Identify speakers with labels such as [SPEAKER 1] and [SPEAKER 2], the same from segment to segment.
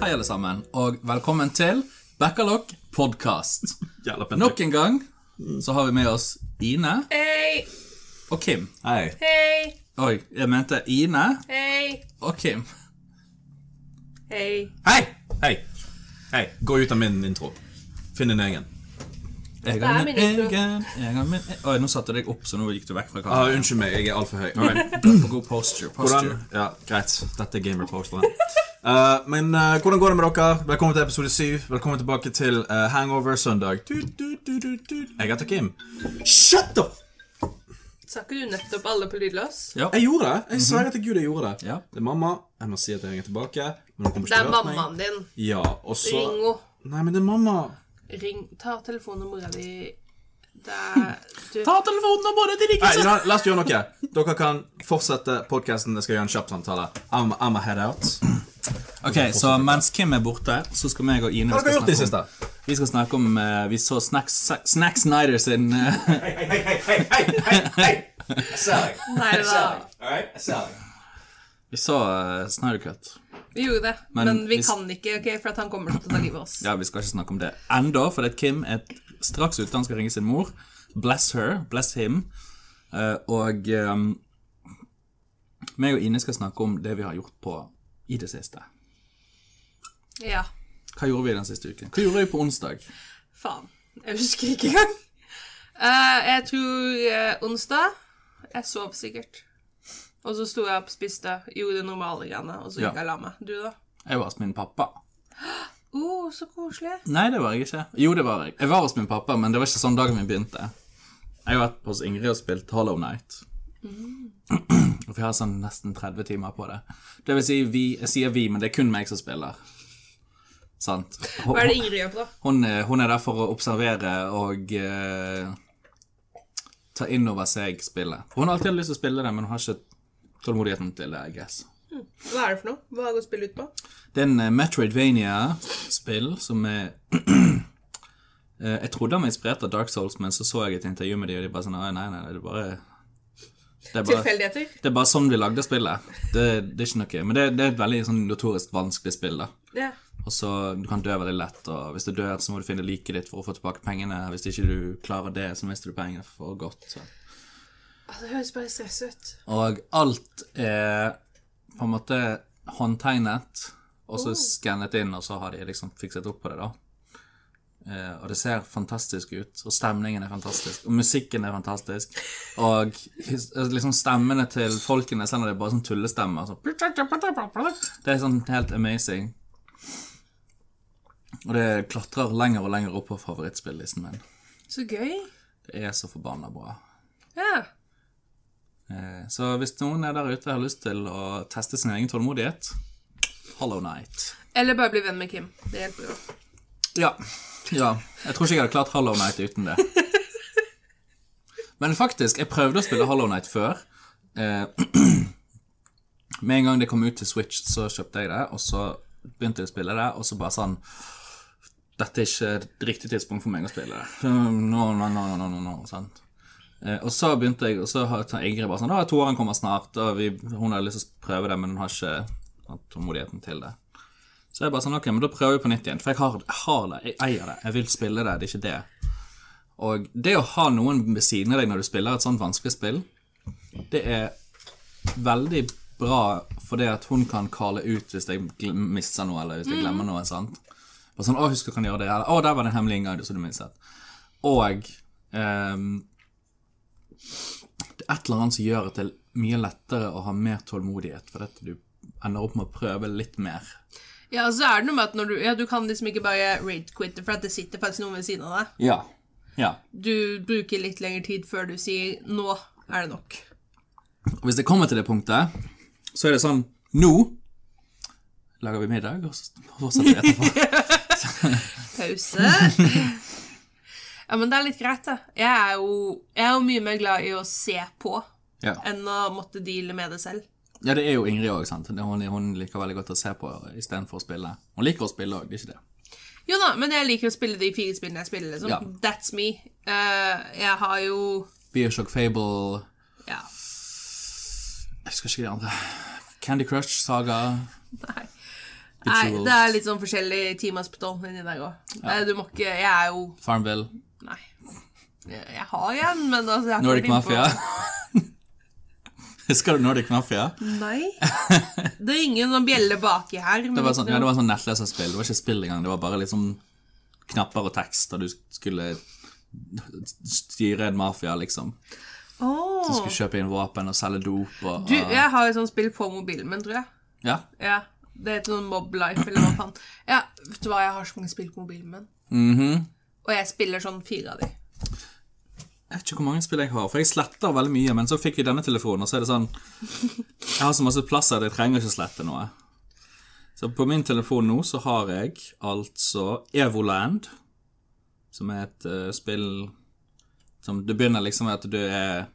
[SPEAKER 1] alle sammen, og velkommen til Backalock podcast.
[SPEAKER 2] Jævla pent.
[SPEAKER 1] Nok en gang så har vi med oss Ine
[SPEAKER 3] Hei,
[SPEAKER 1] og Kim.
[SPEAKER 2] Hei.
[SPEAKER 3] hei,
[SPEAKER 1] Oi, jeg mente Ine
[SPEAKER 3] hei,
[SPEAKER 1] og Kim.
[SPEAKER 3] hei.
[SPEAKER 1] Hei!
[SPEAKER 2] Hei. Hei. Gå ut av min intro. Finn din egen.
[SPEAKER 1] Jeg
[SPEAKER 3] er
[SPEAKER 1] har min
[SPEAKER 3] min intro.
[SPEAKER 1] egen jeg har min... Oi, nå satte jeg deg opp, så nå gikk du vekk fra
[SPEAKER 2] Ah,
[SPEAKER 1] kameraet.
[SPEAKER 2] unnskyld meg, jeg er altfor høy. Alright.
[SPEAKER 1] For god posture.
[SPEAKER 2] Hvordan,
[SPEAKER 1] posture.
[SPEAKER 2] ja, greit. Dette er gamer-posteren. Eh, men eh, hvordan går det med dere? Velkommen til episode 7. Velkommen tilbake til eh, Hangover søndag. Du, du, du, du, du. Jeg heter Kim. Shut up!
[SPEAKER 3] Sa ikke du nettopp alle på lydløs?
[SPEAKER 2] Jeg gjorde det. Jeg sverger til Gud jeg gjorde det.
[SPEAKER 1] Ja.
[SPEAKER 2] Det er mamma. Jeg må si at jeg ringer tilbake. Men hun kommer
[SPEAKER 3] Det
[SPEAKER 2] ikke
[SPEAKER 3] er
[SPEAKER 2] til å høre meg.
[SPEAKER 3] mammaen din.
[SPEAKER 2] Ja, og så
[SPEAKER 3] Ring henne.
[SPEAKER 2] Nei, men det er mamma.
[SPEAKER 3] Ring. Ta telefonnummeret di. Det er du.
[SPEAKER 1] Ta telefonen og bare dirigere
[SPEAKER 2] Nei, la, la oss gjøre noe. Dere kan fortsette podkasten. Jeg skal gjøre en kjapp samtale. I'm, I'm a head out.
[SPEAKER 1] Ok, så mens Kim er borte, så skal meg og Ine
[SPEAKER 2] Hva har dere gjort i det
[SPEAKER 1] snakke om-
[SPEAKER 2] siste?
[SPEAKER 1] Vi skal snakke om eh, Vi så Snack, Snack Snyder sin eh,
[SPEAKER 2] Hei, hei, hei, hei, hei, hei, hei. Jeg ser deg.
[SPEAKER 3] Nei
[SPEAKER 2] Jeg ser
[SPEAKER 3] da.
[SPEAKER 2] deg. All right? Jeg ser deg.
[SPEAKER 1] Vi så eh, Snyder Cut.
[SPEAKER 3] Vi gjorde det,
[SPEAKER 1] Men
[SPEAKER 3] men, vi
[SPEAKER 1] hvis-
[SPEAKER 3] kan ikke, ok, for at han kommer til å ta livet av oss.
[SPEAKER 1] Ja, vi skal ikke snakke om det enda, for det er Kim er straks ute. Han skal ringe sin mor. Bless her. Bless him. Eh, og um, meg og Ine skal snakke om det vi har gjort på i det siste.
[SPEAKER 3] Ja.
[SPEAKER 1] Hva gjorde vi den siste uken? Hva gjorde vi på onsdag?
[SPEAKER 3] Faen. Jeg husker ikke engang. Eh, jeg tror eh, onsdag Jeg sov sikkert. Og så sto jeg opp, spiste, gjorde normale greiene, og så
[SPEAKER 1] Ja.
[SPEAKER 3] gikk jeg og la meg. Du, da?
[SPEAKER 1] Jeg var hos min pappa.
[SPEAKER 3] Å, så koselig.
[SPEAKER 1] Nei, det var jeg ikke. Jo, det var jeg. Jeg var hos min pappa, men det var ikke sånn dagen min begynte. Jeg har vært hos Ingrid og spilt Hollow Night.
[SPEAKER 3] Mm.
[SPEAKER 1] Og vi har sånn nesten 30 timer på det. Det vil si, vi, jeg sier vi, men det er kun meg som spiller. Sant. Hun,
[SPEAKER 3] Hva er det Ingrid gjør på, da?
[SPEAKER 1] hun, er- hun er der for å observere og eh, ta inn over seg spillet. Hun har alltid hatt lyst til å spille det, men hun har ikke tålmodigheten til det, I guess.
[SPEAKER 3] Hva er det for noe? Hva går spillet ut på?
[SPEAKER 1] Det er en eh, Metroidvania-spill som er Eh, Jeg trodde han var inspirert av Dark Souls, men så så jeg et intervju med dem, og de bare sånn «Nei, Nei, nei, det er bare det er bare,
[SPEAKER 3] Tilfeldigheter?
[SPEAKER 1] det er bare sånn vi lagde spillet. Det, det er ikke noe Men det, det er et veldig sånn notorisk vanskelig spill, da.
[SPEAKER 3] Ja.
[SPEAKER 1] Og så Du kan dø veldig lett, og hvis du dør, så må du finne liket ditt for å få tilbake pengene. Hvis ikke du klarer det, så mister du pengene for godt. Så.
[SPEAKER 3] Altså, det høres bare stress ut.
[SPEAKER 1] Og alt er på en måte håndtegnet, og så skannet inn, og så har de liksom fikset opp på det, da. Eh, og det ser fantastisk ut, og stemningen er fantastisk, og musikken er fantastisk. Og his- liksom stemmene til folkene, selv om det er bare sånn tullestemmer sånn. Det er sånn helt amazing. Og det klatrer lenger og lenger opp på favorittspillisten min.
[SPEAKER 3] Så gøy.
[SPEAKER 1] Det er så forbanna bra.
[SPEAKER 3] Ja.
[SPEAKER 1] Eh, Så hvis noen er der ute og har lyst til å teste sin egen tålmodighet Hollow Night.
[SPEAKER 3] Eller bare bli venn med Kim. Det hjelper jo.
[SPEAKER 1] Ja. ja. Jeg tror ikke jeg hadde klart Hollow Night uten det. Men faktisk, jeg prøvde å spille Hollow Night før. Eh, med en gang det kom ut til Switch, så kjøpte jeg det, og så begynte jeg å spille det, og så bare sånn Dette er ikke riktig tidspunkt for meg å spille det. No, no, no, no, no, no, sant? Eh, og så begynte jeg, og så har så Ingrid bare sånn «Å, Toren kommer snart, og vi, hun har lyst til å prøve det, men hun har ikke hatt tålmodigheten til det. Så jeg bare sånn, ok, men da prøver vi på nytt igjen, for jeg har, jeg har det, jeg eier det, jeg vil spille det, det er ikke det. Og det å ha noen ved siden av deg når du spiller et sånt vanskelig spill, det er veldig bra for det at hun kan kalle ut hvis jeg glem- misser noe, eller hvis jeg glemmer noe, sant? Bare sånn, å, husk du kan gjøre det, eller å, der var det en hemmelig inngang, så du mistet. Og ehm, det er et eller annet som gjør at det er mye lettere å ha mer tålmodighet, for dette du ender opp med å prøve litt mer.
[SPEAKER 3] Ja, og så er det noe med at når du Ja, du kan liksom ikke bare rage-quitte, for at det sitter faktisk noen ved siden av deg.
[SPEAKER 1] Ja. ja.
[SPEAKER 3] Du bruker litt lengre tid før du sier 'nå er det nok'.
[SPEAKER 1] Og hvis det kommer til det punktet, så er det sånn Nå lager vi middag, og så fortsetter vi etterpå.
[SPEAKER 3] Pause. ja, men det er litt greit, det. Jeg er jo, jeg er jo mye mer glad i å se på
[SPEAKER 1] Ja,
[SPEAKER 3] enn å måtte deale med det selv.
[SPEAKER 1] ja det er jo Ingrid òg, sant. Det- Hun, hun liker veldig godt å se på istedenfor å spille. Hun liker å spille òg, det er ikke det?
[SPEAKER 3] Jo da, men jeg liker å spille de fire spillene jeg spiller, liksom.
[SPEAKER 1] Ja.
[SPEAKER 3] That's me. Eh, jeg har jo
[SPEAKER 1] Bioshock Fable
[SPEAKER 3] Ja.
[SPEAKER 1] Jeg husker ikke de andre. Candy Crush Saga.
[SPEAKER 3] Nei. Nei,
[SPEAKER 1] Rituals.
[SPEAKER 3] det er litt sånn forskjellig times på tolv inni der òg. Du må ikke Jeg er jo
[SPEAKER 1] Farmville.
[SPEAKER 3] Nei. Jeg jeg har igjen, men altså jeg har
[SPEAKER 1] Nordic
[SPEAKER 3] vært inne på-
[SPEAKER 1] Mafia. Husker du Nordic Mafia?
[SPEAKER 3] Nei. Det ringer en sånn bjelle baki her. men
[SPEAKER 1] Det var sånn,
[SPEAKER 3] ikke
[SPEAKER 1] ja, det
[SPEAKER 3] noe-
[SPEAKER 1] var sånn nettleserspill. Det var ikke spill engang. Det var bare litt sånn knapper og tekst, og du skulle styre en mafia, liksom.
[SPEAKER 3] Åh.
[SPEAKER 1] Du skulle kjøpe inn våpen og selge dop og
[SPEAKER 3] Du, jeg har et sånt spill på mobilen min, tror jeg.
[SPEAKER 1] Ja.
[SPEAKER 3] Ja, Det heter sånn Mob Life, eller hva faen. Ja, vet du hva, jeg har så mange spill på mobilen min.
[SPEAKER 1] Mhm.
[SPEAKER 3] Og jeg spiller sånn fire av de.
[SPEAKER 1] Jeg vet ikke hvor mange spill jeg har, for jeg sletter veldig mye. Men så fikk jeg denne telefonen, og så er det sånn Jeg har så masse plass at jeg trenger ikke slette noe. Så på min telefon nå så har jeg altså Evoland, som er et eh, spill som Det begynner liksom med at du er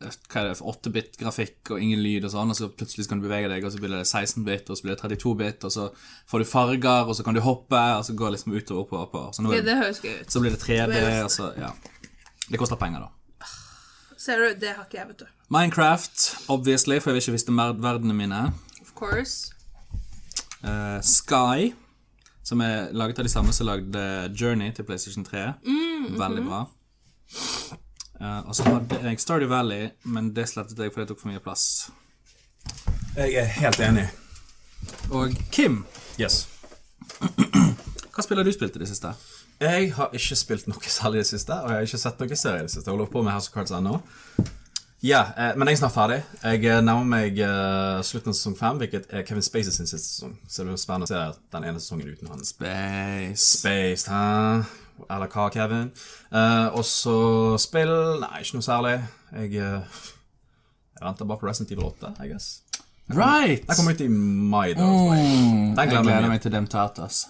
[SPEAKER 1] hva er det, 8-bit-grafikk og ingen lyd og sånn, og så plutselig kan du bevege deg, og så blir det 16-bit, og så blir det 32-bit, og så får du farger, og så kan du hoppe, og så går det liksom utover oppover. oppover. Så nå
[SPEAKER 3] Det,
[SPEAKER 1] er det
[SPEAKER 3] det høres gøy ut.
[SPEAKER 1] så blir det 3D,
[SPEAKER 3] Men-
[SPEAKER 1] og så Ja. Det koster penger, da.
[SPEAKER 3] Ser du, det har ikke jeg, vet du.
[SPEAKER 1] Minecraft, obviously, for jeg vil ikke vise mer verdenene mine.
[SPEAKER 3] Of course.
[SPEAKER 1] Eh, Sky, som er laget av de samme som lagde Journey til PlayStation 3. Veldig bra. Eh, og så hadde jeg Stardew Valley, men det slettet jeg fordi det tok for mye plass.
[SPEAKER 2] Jeg er helt enig.
[SPEAKER 1] Og Kim,
[SPEAKER 2] Yes.
[SPEAKER 1] hva spiller du spilt i det siste?
[SPEAKER 2] Jeg har ikke spilt noe særlig i det siste, og jeg har ikke sett noe serie i det siste. Jeg holder på med House of Cards ennå. Ja, eh, men jeg er snart ferdig. Jeg eh, nærmer meg eh, slutten av sesong fem, hvilket er Kevin Spacey sin siste sesong. Så det blir spennende å se den ene sesongen uten hans
[SPEAKER 1] Space.
[SPEAKER 2] Spaced, hæ? Eller hva, Kevin? Eh, og så spill Nei, ikke noe særlig. Jeg, eh, jeg venter bare på Resident Evil 8, I guess.
[SPEAKER 1] Right!
[SPEAKER 2] Den kommer ut i mai, da. tror jeg.
[SPEAKER 1] Mm,
[SPEAKER 2] Den
[SPEAKER 1] jeg
[SPEAKER 2] glemmer
[SPEAKER 1] gleder
[SPEAKER 2] jeg.
[SPEAKER 1] meg til Demtatas.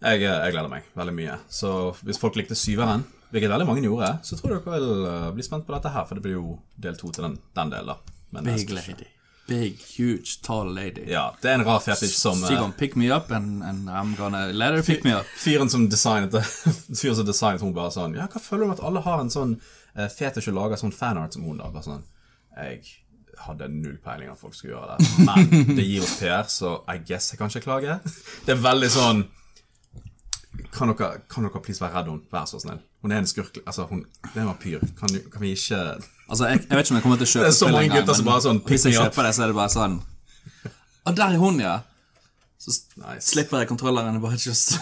[SPEAKER 2] Jeg, eh, jeg gleder meg veldig mye. Så hvis folk likte syveren, hvilket veldig mange gjorde, så tror jeg dere vil eh, bli spent på dette her, for det blir jo del to til den, den delen, da. Men jeg
[SPEAKER 1] Big
[SPEAKER 2] skal ikke-
[SPEAKER 1] lady. Big, huge, tall lady.
[SPEAKER 2] Ja, det er en rar fetisj som eh,
[SPEAKER 1] She's gonna pick me up, and, and I'm gonna let her pick me up.
[SPEAKER 2] Fyren som designet det Fyren som designet hun bare sånn Ja, hva føler du med at alle har en sånn eh, fetisj og lager sånn fanart som hun da? Bare sånn Jeg hadde null peiling av at folk skulle gjøre det. Men det gir oss PR, så I guess jeg kan ikke klage. Det er veldig sånn Kan dere, kan dere please være redd henne? Vær så snill. Hun er en skurk Altså, hun det er en vampyr. Kan, du- kan vi ikke
[SPEAKER 1] Altså, jeg, jeg vet ikke om jeg kommer til å kjøpe
[SPEAKER 2] Det er så
[SPEAKER 1] spill
[SPEAKER 2] mange
[SPEAKER 1] engang,
[SPEAKER 2] gutter som
[SPEAKER 1] men
[SPEAKER 2] bare sånn,
[SPEAKER 1] Hvis jeg
[SPEAKER 2] pick me up.
[SPEAKER 1] kjøper det, så er det bare sånn Å, der er hun, ja! Så s-
[SPEAKER 2] Nice.
[SPEAKER 1] slipper jeg kontrolleren og bare just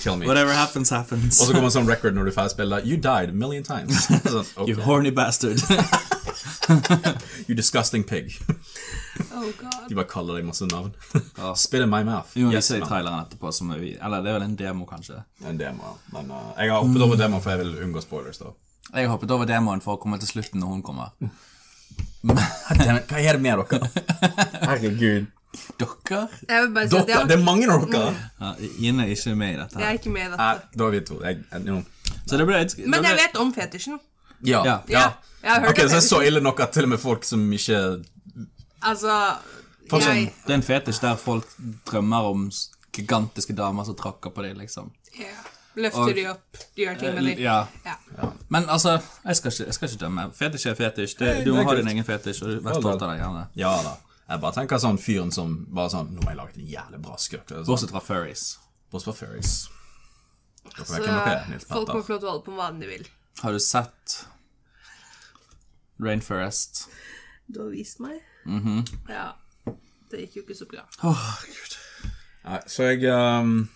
[SPEAKER 2] Kill me.
[SPEAKER 1] Whatever happens, happens.
[SPEAKER 2] Og så kommer en sånn record når du er ferdig spillet. You died a million times. Sånn,
[SPEAKER 1] You
[SPEAKER 2] ok.
[SPEAKER 1] horny bastard.
[SPEAKER 2] You disgusting pig.
[SPEAKER 3] Oh god.
[SPEAKER 2] De bare kaller deg masse navn.
[SPEAKER 1] Ja.
[SPEAKER 2] Spit in my mouth.
[SPEAKER 1] Vi må
[SPEAKER 2] Yes,
[SPEAKER 1] vise
[SPEAKER 2] man.
[SPEAKER 1] deg traileren etterpå. Som vi, eller det er vel en demo, kanskje.
[SPEAKER 2] en demo, ja. Men eh, jeg har hoppet over demoen, for jeg vil unngå spoilers. da
[SPEAKER 1] Jeg har hoppet over demoen for å komme til slutten når hun kommer.
[SPEAKER 2] Hva er det med dere? Herregud.
[SPEAKER 1] Dere
[SPEAKER 3] Jeg vil bare si at
[SPEAKER 2] Dere, det
[SPEAKER 3] jeg,
[SPEAKER 2] er mange av dere!
[SPEAKER 1] ja, Ine er ikke med i dette.
[SPEAKER 3] jeg
[SPEAKER 1] her
[SPEAKER 3] er ikke med i
[SPEAKER 2] Nei,
[SPEAKER 3] dette.
[SPEAKER 2] da er vi to. Jeg, jeg, jo.
[SPEAKER 1] Så det ble et det
[SPEAKER 3] Men
[SPEAKER 1] ble-
[SPEAKER 3] jeg vet om fetisjen.
[SPEAKER 2] Ja.
[SPEAKER 1] Ja.
[SPEAKER 3] Ja, jeg har hørt
[SPEAKER 2] Ok, Så
[SPEAKER 3] om
[SPEAKER 2] det er så
[SPEAKER 3] fetisjen.
[SPEAKER 2] ille nok at til og med folk som ikke
[SPEAKER 3] Altså
[SPEAKER 2] Folk som-
[SPEAKER 3] jeg,
[SPEAKER 1] sånn- Det er en fetisj der folk drømmer om s- gigantiske damer som trakker på dem, liksom.
[SPEAKER 3] ja,
[SPEAKER 1] Og- Eh,
[SPEAKER 3] løfter de opp, de gjør ting med de.
[SPEAKER 1] Ja.
[SPEAKER 3] Ja.
[SPEAKER 1] Men altså, jeg skal ikke, jeg skal ikke dømme. Fetisj er fetisj. Det, du
[SPEAKER 2] Nei, det
[SPEAKER 1] må
[SPEAKER 2] er
[SPEAKER 1] ha
[SPEAKER 2] kult.
[SPEAKER 1] din egen fetisj, og vær stolt av deg gjerne.
[SPEAKER 2] Ja da. Jeg bare tenker sånn fyren som bare sånn Nå har jeg laget en jævlig bra skurk. eller sånn.
[SPEAKER 1] Bortsett fra furries.
[SPEAKER 2] Bortsett fra Fairies. Dere vet
[SPEAKER 3] Så
[SPEAKER 2] hvem dere er, Nils
[SPEAKER 3] folk
[SPEAKER 1] altså.
[SPEAKER 3] må
[SPEAKER 2] Petter.
[SPEAKER 3] få lov til å holde på med hva de vil.
[SPEAKER 1] Har du sett Rainforest?
[SPEAKER 3] Du har vist meg.
[SPEAKER 1] Mhm.
[SPEAKER 3] Ja. Det gikk jo ikke så bra.
[SPEAKER 2] Nei, så jeg ehm,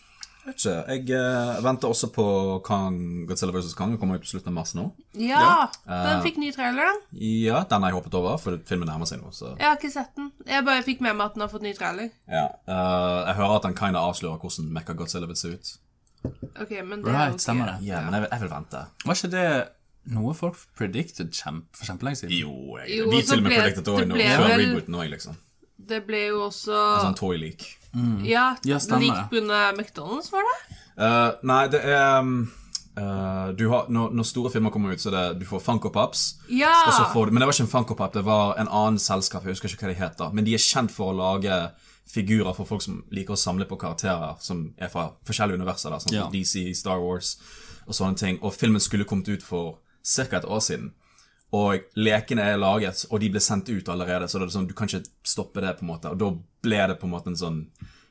[SPEAKER 2] jeg vet ikke. Jeg eh, venter også på Kong, Godzilla vs. Kong. Det kommer ut på slutten av mars nå.
[SPEAKER 3] Ja,
[SPEAKER 1] Eh.
[SPEAKER 3] den fikk ny trailer, da.
[SPEAKER 2] Ja, den har jeg hoppet over, for filmen nærmer seg nå. Så.
[SPEAKER 3] Jeg har ikke sett den. Jeg bare fikk med meg at den har fått ny trailer.
[SPEAKER 2] Ja. eh, jeg hører at den kinda avslører hvordan Mecha Godzilla vil se ut.
[SPEAKER 3] Ok, men det er jo
[SPEAKER 1] Right,
[SPEAKER 3] ikke
[SPEAKER 1] stemmer det.
[SPEAKER 2] Ja, men jeg vil, jeg vil vente.
[SPEAKER 1] Var ikke det noe folk predicted kjempe, for kjempelenge siden?
[SPEAKER 2] Jo, jeg,
[SPEAKER 3] Jo,
[SPEAKER 2] vi
[SPEAKER 3] og så
[SPEAKER 2] til og med
[SPEAKER 3] ble-
[SPEAKER 2] predicted
[SPEAKER 3] det
[SPEAKER 2] det nå.
[SPEAKER 3] ble
[SPEAKER 2] Før
[SPEAKER 3] vel-
[SPEAKER 2] rebooten òg, liksom.
[SPEAKER 3] Det ble jo også
[SPEAKER 2] Sånn toy leak.
[SPEAKER 3] Ja,
[SPEAKER 1] Altså, Ja, stemmer
[SPEAKER 3] lik
[SPEAKER 1] det.
[SPEAKER 3] pga. McDonald's, var det?
[SPEAKER 2] Eh, nei, det er um, eh, du har, når, når store filmer kommer ut, så er det, du får Funko Pops.
[SPEAKER 3] Ja!
[SPEAKER 2] Og så får du, men det var ikke en Funko Pop, det var en annen selskap. Jeg husker ikke hva de het. da, Men de er kjent for å lage figurer for folk som liker å samle på karakterer som er fra forskjellige universer. da, sånn som
[SPEAKER 1] Ja.
[SPEAKER 2] DC, Star Wars og sånne ting. Og filmen skulle kommet ut for ca. et år siden. Og lekene er laget, og de ble sendt ut allerede, så det er sånn, du kan ikke stoppe det. på en måte. Og da ble det på en måte en sånn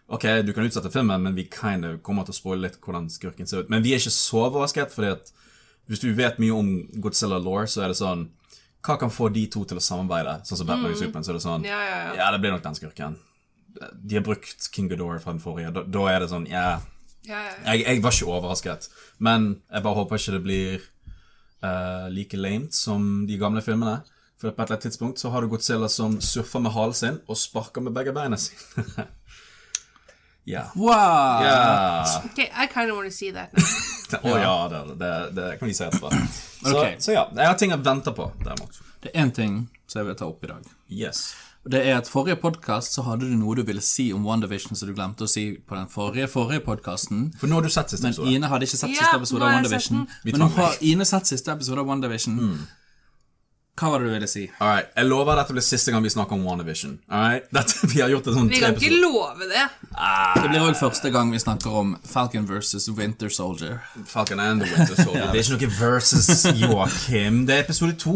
[SPEAKER 2] Ok, du kan utsette filmen, men vi kind of kommer til å spoile litt hvordan skurken ser ut. Men vi er ikke så overrasket, fordi at hvis du vet mye om Godzilla Law, så er det sånn Hva kan få de to til å samarbeide, sånn som Batman og Superman? Så er det sånn
[SPEAKER 3] Mm. Ja, ja, ja.
[SPEAKER 2] det blir nok den skurken. De har brukt King Godor fra den forrige. Da, da er det sånn Ja.
[SPEAKER 3] Ja, ja, ja.
[SPEAKER 2] Jeg, jeg var ikke overrasket, men jeg bare håper ikke det blir eh, like lamet som de gamle filmene. For på et eller annet tidspunkt så har du Godzilla som surfer med halen sin og sparker med begge beina sine. Ja.
[SPEAKER 1] Wow!
[SPEAKER 2] Ja.
[SPEAKER 3] Okay, I kind of want to see that now.
[SPEAKER 2] Å ja, det, det, det kan vi si etterpå. Så,
[SPEAKER 1] Ok.
[SPEAKER 2] så ja, jeg har ting jeg venter på, derimot.
[SPEAKER 1] Det er én ting som jeg vil ta opp i dag.
[SPEAKER 2] Yes.
[SPEAKER 1] Og Det er at forrige podkast så hadde du noe du ville si om WandaVision som du glemte å si på den forrige forrige podkasten.
[SPEAKER 2] For nå har du sett siste
[SPEAKER 1] Men
[SPEAKER 2] episode.
[SPEAKER 1] Ine hadde ikke sett
[SPEAKER 3] Ja,
[SPEAKER 1] siste episode
[SPEAKER 3] nå
[SPEAKER 1] av
[SPEAKER 3] har jeg sett
[SPEAKER 1] WandaVision.
[SPEAKER 3] den.
[SPEAKER 2] Vi
[SPEAKER 1] Men nå
[SPEAKER 2] tar
[SPEAKER 1] har Ine sett siste episode av WandaVision. Hva var det du ville si?
[SPEAKER 2] Alright, jeg lover dette blir siste gang vi snakker om WandaVision. Alright? Dette, vi har gjort det sånn
[SPEAKER 3] Vi
[SPEAKER 2] tre
[SPEAKER 3] kan ikke
[SPEAKER 2] episoder.
[SPEAKER 3] love det.
[SPEAKER 1] Det blir òg første gang vi snakker om Falcon versus Winter Soldier.
[SPEAKER 2] Falcon and the Winter Soldier. Det er ikke noe versus Joakim. Det er episode to.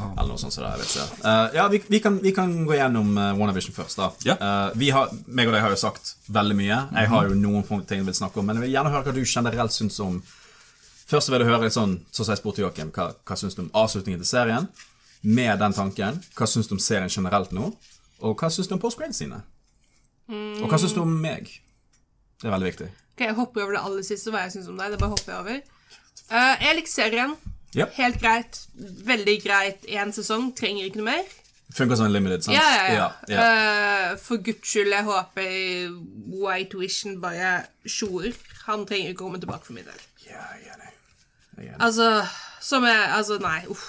[SPEAKER 2] Eller noe sånt. som det, er, jeg vet ikke. Eh, ja, vi, vi, kan, vi kan gå gjennom uh, WandaVision først. da.
[SPEAKER 1] Ja.
[SPEAKER 2] Eh, vi har, meg og deg har jo sagt veldig mye. Jeg har jo noen få ting jeg vil snakke om, men jeg vil gjerne høre hva du generelt syns om Først så vil jeg høre litt sånn, sånn som jeg spurte Joakim, hva, hva syns du om avslutningen til serien? Med den tanken, hva syns du om serien generelt nå? Og hva syns du om postgrade sine? Og hva syns du om meg? Det er veldig viktig.
[SPEAKER 3] Ok, Jeg hopper over det aller siste, hva jeg syns om deg. Det bare hopper jeg over. Eh, jeg liker serien.
[SPEAKER 2] Ja.
[SPEAKER 3] Helt greit. Veldig greit én sesong. Trenger ikke noe mer.
[SPEAKER 2] Funker som en limited, sant?
[SPEAKER 3] Ja, ja, ja.
[SPEAKER 2] ja, ja.
[SPEAKER 3] Eh, for guds skyld, jeg håper White Vision bare sjoer. Han trenger ikke komme tilbake for min del.
[SPEAKER 2] Ja, jeg er enig. Jeg er enig.
[SPEAKER 3] Altså, som jeg Altså, nei. Uff.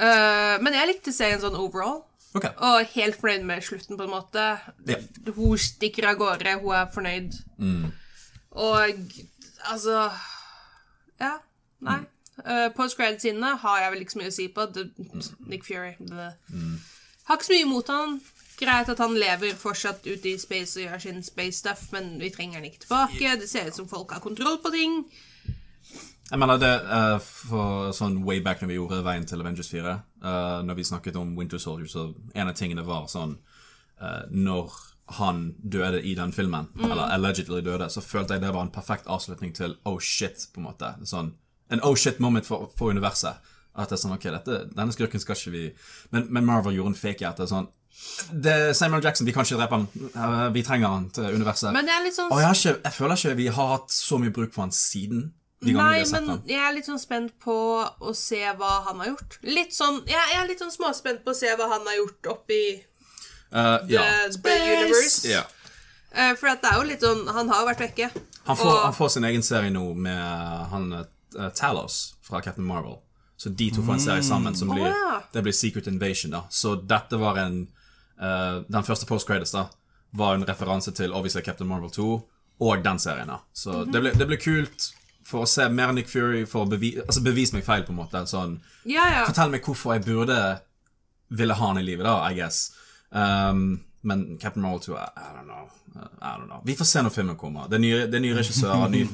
[SPEAKER 3] Eh, men jeg likte serien sånn overall.
[SPEAKER 2] Ok.
[SPEAKER 3] Og helt fornøyd med slutten, på en måte.
[SPEAKER 2] Ja.
[SPEAKER 3] Hun stikker av gårde, hun er fornøyd. Og altså Ja. Nei. Uh, Postgrad-sidene har jeg vel ikke så mye å si på. Det, Nick Fury. Det. Har ikke så mye imot han. Greit at han lever fortsatt ute i space og gjør sin space-stuff, men vi trenger han ikke tilbake. Det ser ut som folk har kontroll på ting.
[SPEAKER 2] Jeg mener det eh, for sånn way back når vi gjorde Veien til Avengers 4, eh, når vi snakket om Winter Soldier, så en av tingene var sånn eh, Når han døde i den filmen,
[SPEAKER 3] Mm.
[SPEAKER 2] eller allegedly døde, så følte jeg det var en perfekt avslutning til oh shit, på en måte. Sånn, en oh shit moment for, for universet. At det er sånn, ok, dette, denne skurken skal ikke vi Men, men Marvel gjorde en fake etter sånn det er Samuel Jackson, vi kan ikke drepe han. Eh, Vi trenger han til universet.
[SPEAKER 3] Men det er litt sånn
[SPEAKER 2] Og jeg, har ikke, jeg føler ikke vi har hatt så mye bruk for han siden de gangene vi
[SPEAKER 3] Nei,
[SPEAKER 2] har sett
[SPEAKER 3] men
[SPEAKER 2] han.
[SPEAKER 3] jeg er litt sånn spent på å se hva han har gjort. Litt sånn Jeg jeg er litt sånn småspent på å se hva han har gjort oppi
[SPEAKER 2] Eh, ja.
[SPEAKER 3] eh, The Universe.
[SPEAKER 2] Ja.
[SPEAKER 3] Eh, for at det er jo litt sånn Han har jo vært vekke.
[SPEAKER 2] Han, får,
[SPEAKER 3] Og-
[SPEAKER 2] han får sin egen serie nå med han eh, Talos fra Captain Marvel. Så de to får en serie sammen som blir,
[SPEAKER 3] Mm. ja.
[SPEAKER 2] det blir Secret Invasion. da. Så dette var en eh, Den første post-credits da, var en referanse til obviously Captain Marvel 2 og den serien. da. Så
[SPEAKER 3] Mhm.
[SPEAKER 2] det, ble, det ble kult for å se mer Nick Fury, for å bevi, altså bevise meg feil, på en måte. sånn...
[SPEAKER 3] Ja, ja.
[SPEAKER 2] Fortell meg hvorfor jeg burde ville ha han i livet, da, I guess. Um, men Captain Marvel 2 I, I, don't know. Uh, I don't know. Vi får se når filmen kommer. Det er nye, det er nye regissører. Ny,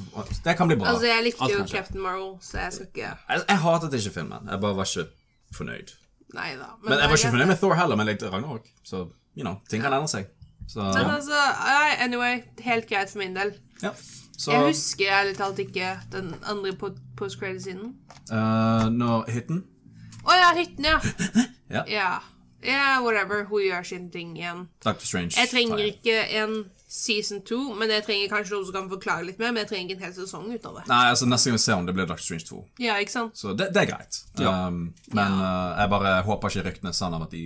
[SPEAKER 2] det kan bli bra.
[SPEAKER 3] Altså, jeg likte
[SPEAKER 2] Alt
[SPEAKER 3] jo
[SPEAKER 2] kan skje.
[SPEAKER 3] Captain Marvel, så jeg skal ikke
[SPEAKER 2] Jeg, jeg hatet ikke filmen. Jeg bare var ikke fornøyd.
[SPEAKER 3] Nei da.
[SPEAKER 2] Men jeg var ikke fornøyd
[SPEAKER 3] greit.
[SPEAKER 2] med Thor heller, men jeg likte Ragnarok. Så you know, ting kan endre seg. Så,
[SPEAKER 3] Men altså, nei, anyway, helt greit for min del.
[SPEAKER 2] ja. så
[SPEAKER 3] Jeg husker ærlig talt ikke den andre pod- post-credit-siden.
[SPEAKER 2] eh, når hytten
[SPEAKER 3] Å ja, hytten, ja.
[SPEAKER 2] Ja.
[SPEAKER 3] ja. Ja, whatever. Hun gjør sin ting igjen.
[SPEAKER 2] Doctor Strange.
[SPEAKER 3] Jeg trenger
[SPEAKER 2] tar
[SPEAKER 3] ikke en season two, men jeg trenger kanskje noen som kan forklare litt mer. Men jeg trenger ikke en hel sesong ut av det.
[SPEAKER 2] Nei, altså Neste gang vi ser om det blir Doctor Strange 2.
[SPEAKER 3] Ja, ikke sant?
[SPEAKER 2] Så det, det er greit.
[SPEAKER 1] Ja.
[SPEAKER 2] Um, men uh, jeg bare håper ikke ryktene er sanne om at de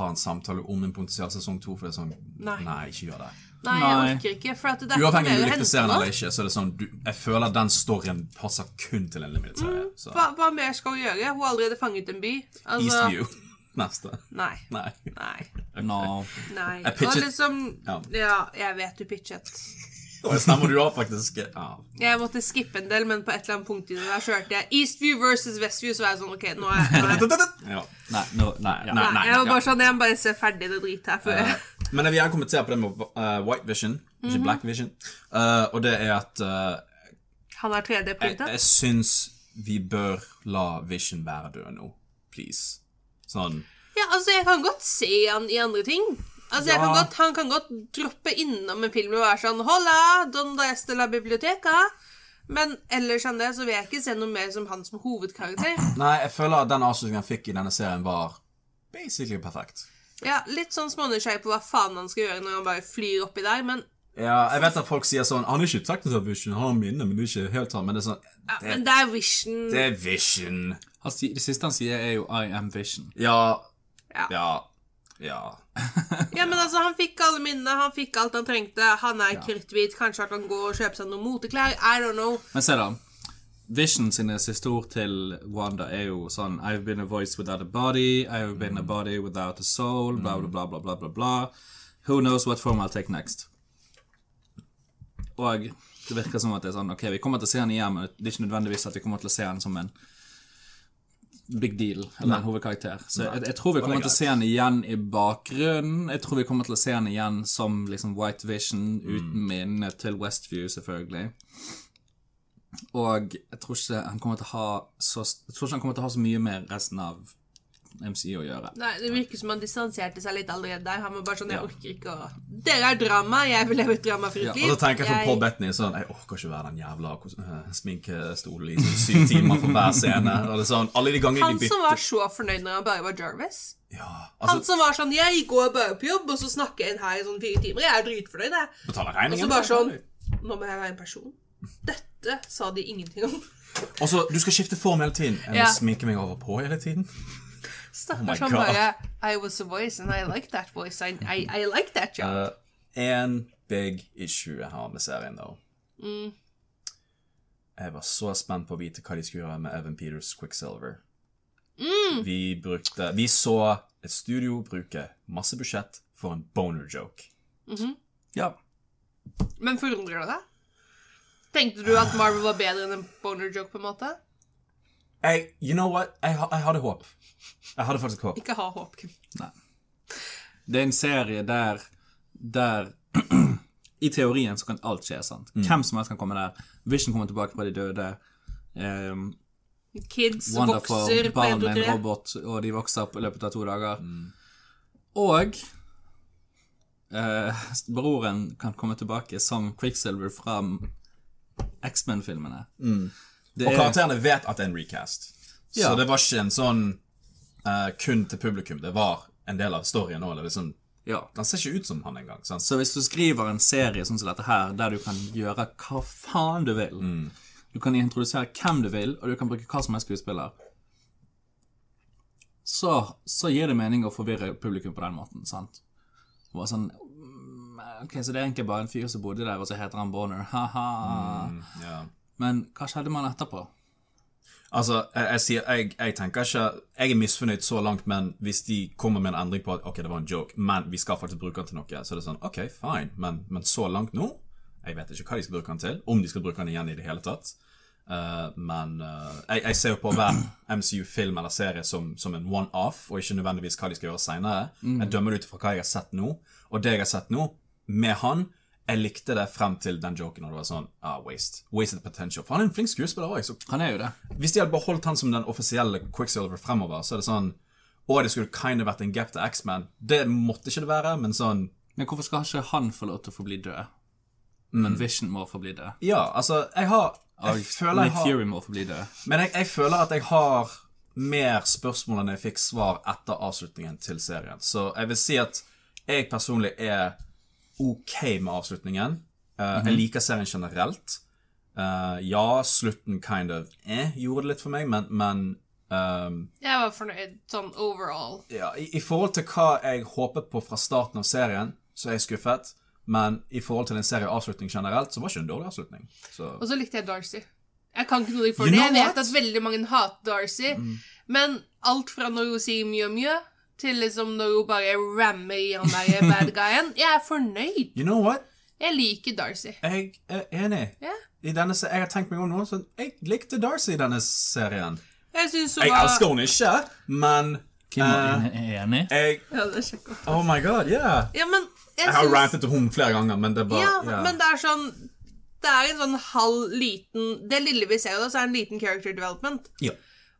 [SPEAKER 2] har en samtale om en potensiell sesong to. For det er sånn Nei,
[SPEAKER 3] Nei.
[SPEAKER 2] ikke gjør det.
[SPEAKER 3] Nei,
[SPEAKER 1] Nei.
[SPEAKER 3] jeg orker ikke. For at det er
[SPEAKER 2] Uavhengig om
[SPEAKER 3] mer
[SPEAKER 2] du
[SPEAKER 3] å
[SPEAKER 2] likte
[SPEAKER 3] hente
[SPEAKER 2] serien
[SPEAKER 3] nå.
[SPEAKER 2] eller ikke, så er det sånn du, Jeg føler den storyen passer kun til en limited serie. Så
[SPEAKER 3] Hva, hva mer skal hun gjøre? Hun har allerede fanget en by. Altså,
[SPEAKER 2] Eastview neste.
[SPEAKER 3] nei.
[SPEAKER 2] Nei.
[SPEAKER 3] Nei.
[SPEAKER 1] No.
[SPEAKER 3] Nei.
[SPEAKER 2] Jeg
[SPEAKER 3] Og
[SPEAKER 2] pitchet-
[SPEAKER 3] liksom
[SPEAKER 2] Ja.
[SPEAKER 3] Ja, jeg vet du pitchet.
[SPEAKER 2] Og jeg stemmer du har faktisk ja.
[SPEAKER 3] Jeg måtte skippe en del, men på et eller annet punkt i det der så hørte jeg Eastview versus Westview, så var jeg sånn OK, nå er jeg Nei,
[SPEAKER 2] ja.
[SPEAKER 1] Nei, nå- nei, ja.
[SPEAKER 2] Nei.
[SPEAKER 3] nei, jeg var bare
[SPEAKER 2] ja.
[SPEAKER 3] sånn Jeg må bare se ferdig det dritet her før
[SPEAKER 2] Men jeg vil gjerne kommentere på det med uh, White Vision, ikke
[SPEAKER 3] Mhm.
[SPEAKER 2] Black Vision. Uh, og det er at uh,
[SPEAKER 3] Han er 3D-printet.
[SPEAKER 2] Jeg, jeg syns vi bør la Vision være død nå. Please. Sånn
[SPEAKER 3] Ja, altså, jeg kan godt se han i andre ting. Altså, jeg kan
[SPEAKER 2] Ja.
[SPEAKER 3] godt, Han kan godt droppe innom en film og være sånn 'Hola, donde este la biblioteca?' Men ellers enn det så vil jeg ikke se noe mer som han som hovedkarakter.
[SPEAKER 2] Nei, jeg føler at den avslutningen han fikk i denne serien, var basically perfekt.
[SPEAKER 3] Ja, Litt sånn smånysgjerrig på hva faen han skal gjøre når han bare flyr oppi der, men,
[SPEAKER 2] Ja, jeg vet at folk sier sånn Han er ikke teknisk vision, han har minne, men det er ikke helt han. Men det er sånn
[SPEAKER 3] ja,
[SPEAKER 2] Det,
[SPEAKER 3] men det er Vision.
[SPEAKER 2] det er vision.
[SPEAKER 1] Han sier- Det siste han sier, er jo 'I am Vision'.
[SPEAKER 2] Ja.
[SPEAKER 3] Ja.
[SPEAKER 2] Ja. Ja.
[SPEAKER 3] Ja, men altså, Han fikk alle minnene, han fikk alt han trengte. Han er kritthvit, kanskje han kan gå og kjøpe seg noen moteklær. I don't know.
[SPEAKER 1] Men se, da. Vision sine siste ord til Wanda er jo sånn I've been a voice without a body, I've been a body without a soul, bla, bla, bla, bla, bla, bla, bla. Who knows what form I'll take next? Og det virker som at det er sånn Ok, vi kommer til å se han igjen, men det er ikke nødvendigvis at vi kommer til å se han som en big deal, eller en hovedkarakter. Så jeg, jeg tror vi kommer til å se han igjen i bakgrunnen. Jeg tror vi kommer til å se han igjen som liksom White Vision, uten minne til Westview, selvfølgelig. Og jeg tror ikke han kommer til å ha så, jeg tror ikke han kommer til å ha så mye med resten av MCU å gjøre.
[SPEAKER 3] Nei, Det virker som han distanserte seg litt allerede der. Han var bare sånn, jeg orker ikke å Dere er drama, jeg vil leve et dramafritt
[SPEAKER 1] Ja,
[SPEAKER 3] liv.
[SPEAKER 2] Og så tenker jeg
[SPEAKER 3] Jeg-
[SPEAKER 2] på Paul Bettany sånn Jeg orker ikke være den jævla kos- eh, sminkestolen i sånn syv timer for hver scene. Og det er sånn, alle de gangene
[SPEAKER 3] Han
[SPEAKER 2] de bytter
[SPEAKER 3] som var så fornøyd når han bare var Jarvis.
[SPEAKER 2] Ja,
[SPEAKER 3] Han
[SPEAKER 2] altså,
[SPEAKER 3] som var sånn 'Jeg går bare på jobb, og så snakker jeg inn her i sånn fire timer.' Jeg er dritfornøyd, jeg.
[SPEAKER 2] betaler
[SPEAKER 3] Og
[SPEAKER 2] regningen. liksom.
[SPEAKER 3] så bare sånn 'Nå må jeg være en person'. Dette sa de ingenting
[SPEAKER 2] Oh
[SPEAKER 3] om.
[SPEAKER 2] Og så, du skal skifte form hele tiden. Jeg må
[SPEAKER 3] Ja.
[SPEAKER 2] sminke meg over på hele tiden.
[SPEAKER 3] Stakkars
[SPEAKER 2] Oh
[SPEAKER 3] han
[SPEAKER 2] my God.
[SPEAKER 3] bare 'I was a voice, and I like that voice. I, I, I like that job'.
[SPEAKER 2] En big issue jeg har med serien, though. Jeg var så spent på å vite hva de skulle gjøre med Evan Peters Quicksilver. Vi brukte Vi så et studio bruke masse budsjett for en boner joke.
[SPEAKER 1] Ja.
[SPEAKER 3] Men forundrer det deg? Tenkte du at Marvel var bedre enn en boner joke, på en måte?
[SPEAKER 2] Jeg, you know what? Jeg, ha- jeg hadde håp. Jeg hadde faktisk håp.
[SPEAKER 3] Ikke ha håp. Kim.
[SPEAKER 1] Det er en serie der, der I teorien så kan alt skje, sant. Hvem som helst kan komme der. Vision kommer tilbake fra de døde. Um,
[SPEAKER 3] Kids
[SPEAKER 1] Wanda
[SPEAKER 3] vokser
[SPEAKER 1] får
[SPEAKER 3] på
[SPEAKER 1] barn med en
[SPEAKER 3] 1-2-3.
[SPEAKER 1] robot, og de vokser opp i løpet av to dager. Og eh, broren kan komme tilbake som Quicksilver fra X-Men-filmene. Det
[SPEAKER 2] Og
[SPEAKER 1] er-
[SPEAKER 2] karakterene vet at det er en recast.
[SPEAKER 1] Ja.
[SPEAKER 2] Så det var ikke en sånn eh, kun til publikum. Det var en del av storyen òg. Liksom,
[SPEAKER 1] ja.
[SPEAKER 2] han ser ikke ut som han engang. sant?
[SPEAKER 1] Så hvis du skriver en serie sånn som dette her, der du kan gjøre hva faen du vil Du kan introdusere hvem du vil, og du kan bruke hva som helst skuespiller så, så gir det mening å forvirre publikum på den måten, sant? Det var sånn mm, Ok, så det er egentlig bare en fyr som bodde der, og så heter han Bonner. Ha-ha.
[SPEAKER 2] Ja.
[SPEAKER 1] Men hva skjedde med han etterpå?
[SPEAKER 2] Altså, jeg, jeg, sier, jeg, jeg tenker ikke Jeg er misfornøyd så langt, men hvis de kommer med en endring på at Ok, det var en joke, men vi skal faktisk bruke den til noe, så er det sånn Ok, fine, men, men så langt nå Jeg vet ikke hva de skal bruke den til, om de skal bruke den igjen i det hele tatt. Eh, men eh, jeg, jeg ser jo på hver MCU-film eller serie som, som en one-off, og ikke nødvendigvis hva de skal gjøre seinere. Jeg dømmer det ut fra hva jeg har sett nå, og det jeg har sett nå, med han jeg likte det frem til den joken, og det var sånn ah, waste. Wasted potential. For han er en flink skuespiller òg, så
[SPEAKER 1] Han er jo det.
[SPEAKER 2] hvis de hadde beholdt han som den offisielle Quicksilver fremover, så er det sånn Å, det skulle kind of vært en gap til X-Man. Det måtte ikke det være, men sånn
[SPEAKER 1] Men hvorfor skal ikke han få lov til å forbli død? Men Vision må forbli død.
[SPEAKER 2] Ja, altså, jeg har Jeg føler jeg
[SPEAKER 1] Nick
[SPEAKER 2] har
[SPEAKER 1] Fury må forbli død.
[SPEAKER 2] Men jeg, jeg føler at jeg har mer spørsmål enn jeg fikk svar etter avslutningen til serien. Så jeg vil si at jeg personlig er OK med avslutningen. Eh, Jeg liker serien generelt. Eh, ja, slutten kind of eh, gjorde det litt for meg, men, men ehm,
[SPEAKER 3] Jeg var fornøyd sånn overall.
[SPEAKER 2] Ja, i, I forhold til hva jeg håpet på fra starten av serien, så er jeg skuffet. Men i forhold til en serieavslutning generelt, så var ikke det en dårlig avslutning. Så,
[SPEAKER 3] Og så likte jeg Darcy. Jeg kan ikke noe for
[SPEAKER 2] You
[SPEAKER 3] det.
[SPEAKER 2] know
[SPEAKER 3] Jeg vet
[SPEAKER 2] what? Mm.
[SPEAKER 3] at veldig mange hater Darcy. Men alt fra når hun sier mjø mjø, til liksom når hun bare rammer i han der bad guyen. Jeg er fornøyd.
[SPEAKER 2] you know what?
[SPEAKER 3] Jeg liker Darcy.
[SPEAKER 2] Jeg er enig.
[SPEAKER 3] Ja.
[SPEAKER 2] I denne se jeg har tenkt meg om nå, så jeg likte Darcy i denne serien.
[SPEAKER 3] Jeg syns hun
[SPEAKER 2] Jeg
[SPEAKER 3] var
[SPEAKER 2] elsker henne ikke, men eh,
[SPEAKER 1] Kim er enig.
[SPEAKER 2] jeg
[SPEAKER 3] Ja, det er så godt.
[SPEAKER 2] Oh my god, yeah.
[SPEAKER 3] Ja, men jeg,
[SPEAKER 2] Jeg har
[SPEAKER 3] syns-
[SPEAKER 2] rantet om henne flere ganger, men det er bare
[SPEAKER 3] Ja,
[SPEAKER 2] yeah.
[SPEAKER 3] men det er sånn Det er en sånn halv liten Det lille vi ser, da, så er en liten character development.
[SPEAKER 2] Ja.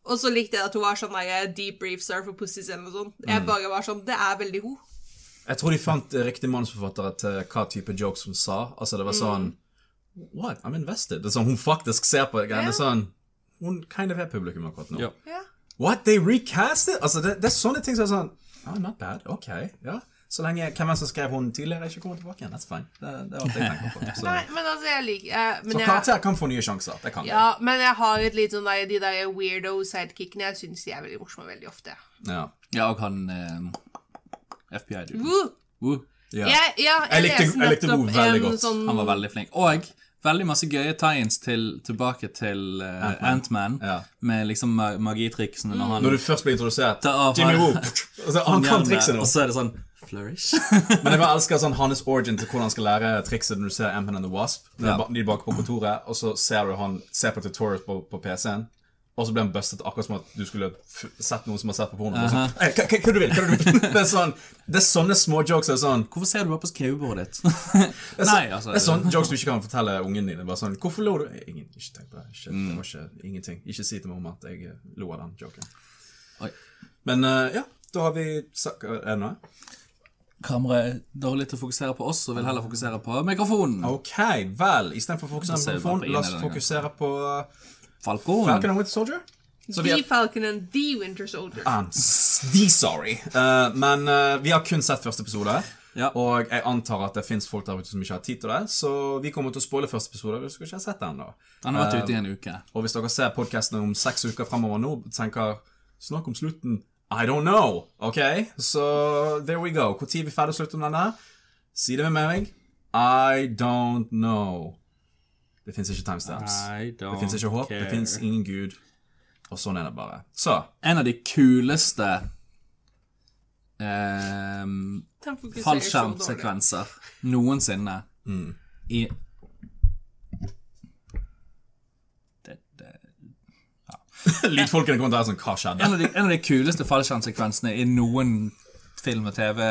[SPEAKER 3] Og så likte jeg at hun var sånn der, deep briefs are for pussies eller noe sånt. Jeg bare var sånn Det er veldig hun.
[SPEAKER 2] Jeg tror de fant eh, riktig manusforfattere til hva type jokes hun sa. Altså, det var
[SPEAKER 3] Mm.
[SPEAKER 2] sånn What? I'm invested. Det er sånn hun faktisk ser på det.
[SPEAKER 3] Ja.
[SPEAKER 2] Det er sånn Hun kind of er publikum akkurat nå.
[SPEAKER 1] Ja.
[SPEAKER 3] Ja.
[SPEAKER 2] What? They recast it? Altså, det, det er sånne ting som er sånn oh, Not bad. Ok. Ja. Så lenge hvem enn som skrev hun tidligere, ikke kommer tilbake igjen. That's fine. Det, det er alt jeg tenker på. Så,
[SPEAKER 3] Nei, men altså, jeg liker eh, men
[SPEAKER 2] så
[SPEAKER 3] jeg,
[SPEAKER 2] karakterer kan få nye sjanser. Det kan de.
[SPEAKER 3] Ja, men jeg har et litt sånn der, de der weirdo sidekickene. Jeg syns de er veldig morsomme veldig ofte.
[SPEAKER 2] Ja.
[SPEAKER 1] Ja, og han eh, FBI-duden.
[SPEAKER 3] Woo!
[SPEAKER 1] Woo.
[SPEAKER 2] Ja.
[SPEAKER 3] Jeg, ja, jeg,
[SPEAKER 2] Jeg likte-
[SPEAKER 3] leste
[SPEAKER 2] jeg likte
[SPEAKER 3] nettopp
[SPEAKER 2] Woo veldig
[SPEAKER 3] en
[SPEAKER 2] godt.
[SPEAKER 3] Sånn,
[SPEAKER 1] Han var veldig flink. Og veldig masse gøye tie-ins til, tilbake til eh, Ant-Man,
[SPEAKER 2] Ja.
[SPEAKER 1] med liksom ma- magitriksene når han
[SPEAKER 2] Når du først blir introdusert
[SPEAKER 1] Ta av
[SPEAKER 2] Jimmy
[SPEAKER 1] han-
[SPEAKER 2] Woo! Altså, han kan trikset nå.
[SPEAKER 1] Og så er det sånn flourish.
[SPEAKER 2] Men jeg bare elsker sånn hans origin til hvordan han skal lære trikset når du ser Ampen and the Wasp. Når
[SPEAKER 1] Ja.
[SPEAKER 2] ba- De er bak på kontoret, og så ser du han ser på tutorials på, på PC-en. Og så blir han bustet akkurat som at du skulle f sett noen som har sett på porno. Og så,
[SPEAKER 1] Aha.
[SPEAKER 2] «Hey, hva, hva, hva du vil, hva du vil. Det er, sånn, det er sånne små jokes. Det er sånn,
[SPEAKER 1] Hvorfor ser du bare på skrivebordet ditt?
[SPEAKER 2] det er, så,
[SPEAKER 1] Nei, altså.
[SPEAKER 2] det er sånn. sånne jokes du ikke kan fortelle ungen din. Det er Bare sånn, Hvorfor lo du? Ingen, ikke tenk på det. Ikke,
[SPEAKER 1] Mm.
[SPEAKER 2] det var ikke, ingenting. Ikke si til mamma at jeg eh, lo av den joken.
[SPEAKER 1] Oi.
[SPEAKER 2] Men eh, ja, da har vi sagt Er det noe?
[SPEAKER 1] Kameraet er dårlig til å fokusere på oss, og vil heller fokusere på mikrofonen.
[SPEAKER 2] Ok, vel. Istedenfor å fokusere på
[SPEAKER 1] ser vi bare på
[SPEAKER 2] telefonen,
[SPEAKER 1] en
[SPEAKER 2] la oss
[SPEAKER 1] eller annen
[SPEAKER 2] fokusere på Falcon
[SPEAKER 1] Falcon.
[SPEAKER 2] and Winter Soldier. Så vi
[SPEAKER 3] The
[SPEAKER 2] er Ah,
[SPEAKER 3] Falcon and the Winter Soldier.
[SPEAKER 2] I'm s- the sorry. Eh, men eh, vi har kun sett første episode.
[SPEAKER 1] Ja.
[SPEAKER 2] Og jeg antar at det fins folk der ute som ikke har tid til det, så vi kommer til å spoile første episode. Hvis dere ikke har sett den da.
[SPEAKER 1] Han har vært ute i
[SPEAKER 2] Um,
[SPEAKER 1] en uke.
[SPEAKER 2] Og hvis dere ser podkasten om seks uker fremover nå, tenker Snakk om slutten. I don't know. OK, så there we go. Når er vi ferdig å slutte om denne? Si det med meg. I don't know. Det fins ikke timestamps.
[SPEAKER 1] I don't
[SPEAKER 2] Det fins ikke håp, det
[SPEAKER 1] care.
[SPEAKER 2] fins ingen gud. Og sånn er det bare. Så
[SPEAKER 1] En av de kuleste ehm,
[SPEAKER 3] Den fokuserer så dårlig.
[SPEAKER 1] fallskjermsekvenser noensinne
[SPEAKER 2] Mm.
[SPEAKER 1] i det, det.
[SPEAKER 2] lydfolkene kommer til å være sånn Hva skjedde?
[SPEAKER 1] En, av de, en av de kuleste fallskjermsekvensene i noen film og TV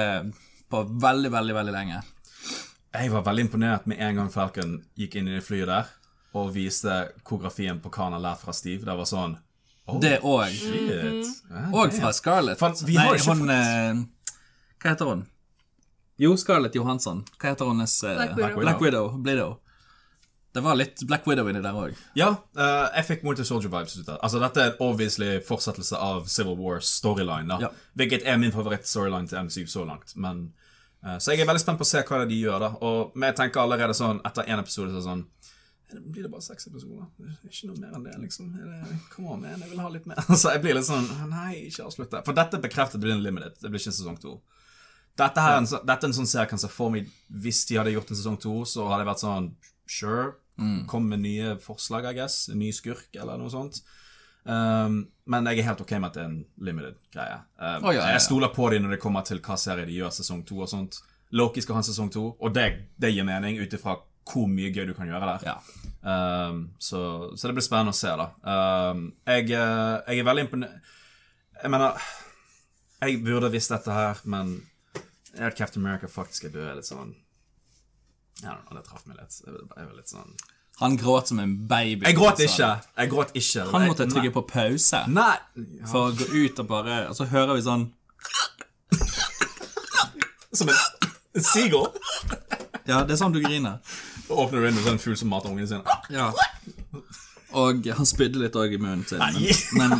[SPEAKER 1] på veldig, veldig veldig lenge.
[SPEAKER 2] Jeg var veldig imponert med en gang Falcon gikk inn i det flyet der og viste koreografien på hva han har lært fra Steve. Det var sånn oh,
[SPEAKER 1] Det òg.
[SPEAKER 2] shit. Ja,
[SPEAKER 1] Og fra Scarlett.
[SPEAKER 2] Fan, vi
[SPEAKER 1] Nei,
[SPEAKER 2] har ikke
[SPEAKER 1] hun
[SPEAKER 2] fått-
[SPEAKER 1] eh, Hva heter hun? Jo, Scarlett Johansson. Hva heter hennes eh,
[SPEAKER 3] Black Widow.
[SPEAKER 1] Black Widow. Widow. Det var litt Black Widow inni der òg.
[SPEAKER 2] Ja, eh, jeg fikk Winter Soldier-vibes ut av det. Altså, dette er en obviously fortsettelse av Civil Wars storyline, da.
[SPEAKER 1] Ja.
[SPEAKER 2] Hvilket er min favoritt-storyline til MCU så langt. Men, eh, så jeg er veldig spent på å se hva det er de gjør, da. Og men jeg tenker allerede sånn, etter én episode så er det sånn blir det bare seks episoder? Det er Ikke noe mer enn det, liksom. Er det, come on, man, jeg vil ha litt mer. Så jeg blir litt sånn Nei, ikke avslutt det. For dette bekreftet blir en limited. Det blir ikke en sesong to. Dette, her, er en sånn- dette er en sånn serie jeg kan se for meg Hvis de hadde gjort en sesong to, så hadde jeg vært sånn Sure.
[SPEAKER 1] Mm.
[SPEAKER 2] Kom med nye forslag, I guess. En ny skurk, eller noe sånt. Um, men jeg er helt ok med at det er en limited greie. Um,
[SPEAKER 1] Å, ja, ja, ja.
[SPEAKER 2] Jeg stoler på dem når det kommer til hva serie de gjør sesong to og sånt. Loki skal ha en sesong to, og det, det gir mening ut ifra hvor mye gøy du kan gjøre der.
[SPEAKER 1] Ja.
[SPEAKER 2] Um, så, så det blir spennende å se, da. Um, jeg, eh, jeg er veldig imponert Jeg mener Jeg burde visst dette her, men jeg at Captain America faktisk er død, er litt sånn Jeg vet ikke, det traff meg litt. Jeg var- jeg var litt sånn
[SPEAKER 1] Han gråt som en baby.
[SPEAKER 2] Jeg gråt
[SPEAKER 1] Altså.
[SPEAKER 2] ikke! Jeg gråt ikke.
[SPEAKER 1] Han måtte trykke på pause
[SPEAKER 2] Nei!
[SPEAKER 1] for å gå ut og bare Og så hører vi sånn
[SPEAKER 2] Som en seagull.
[SPEAKER 1] Ja, det er sånn du griner.
[SPEAKER 2] Åpner vinduet, så er det en fugl som mater ungene sine.
[SPEAKER 1] Ja. Og han spydde litt òg i munnen sin.
[SPEAKER 2] Nei.
[SPEAKER 1] Men, men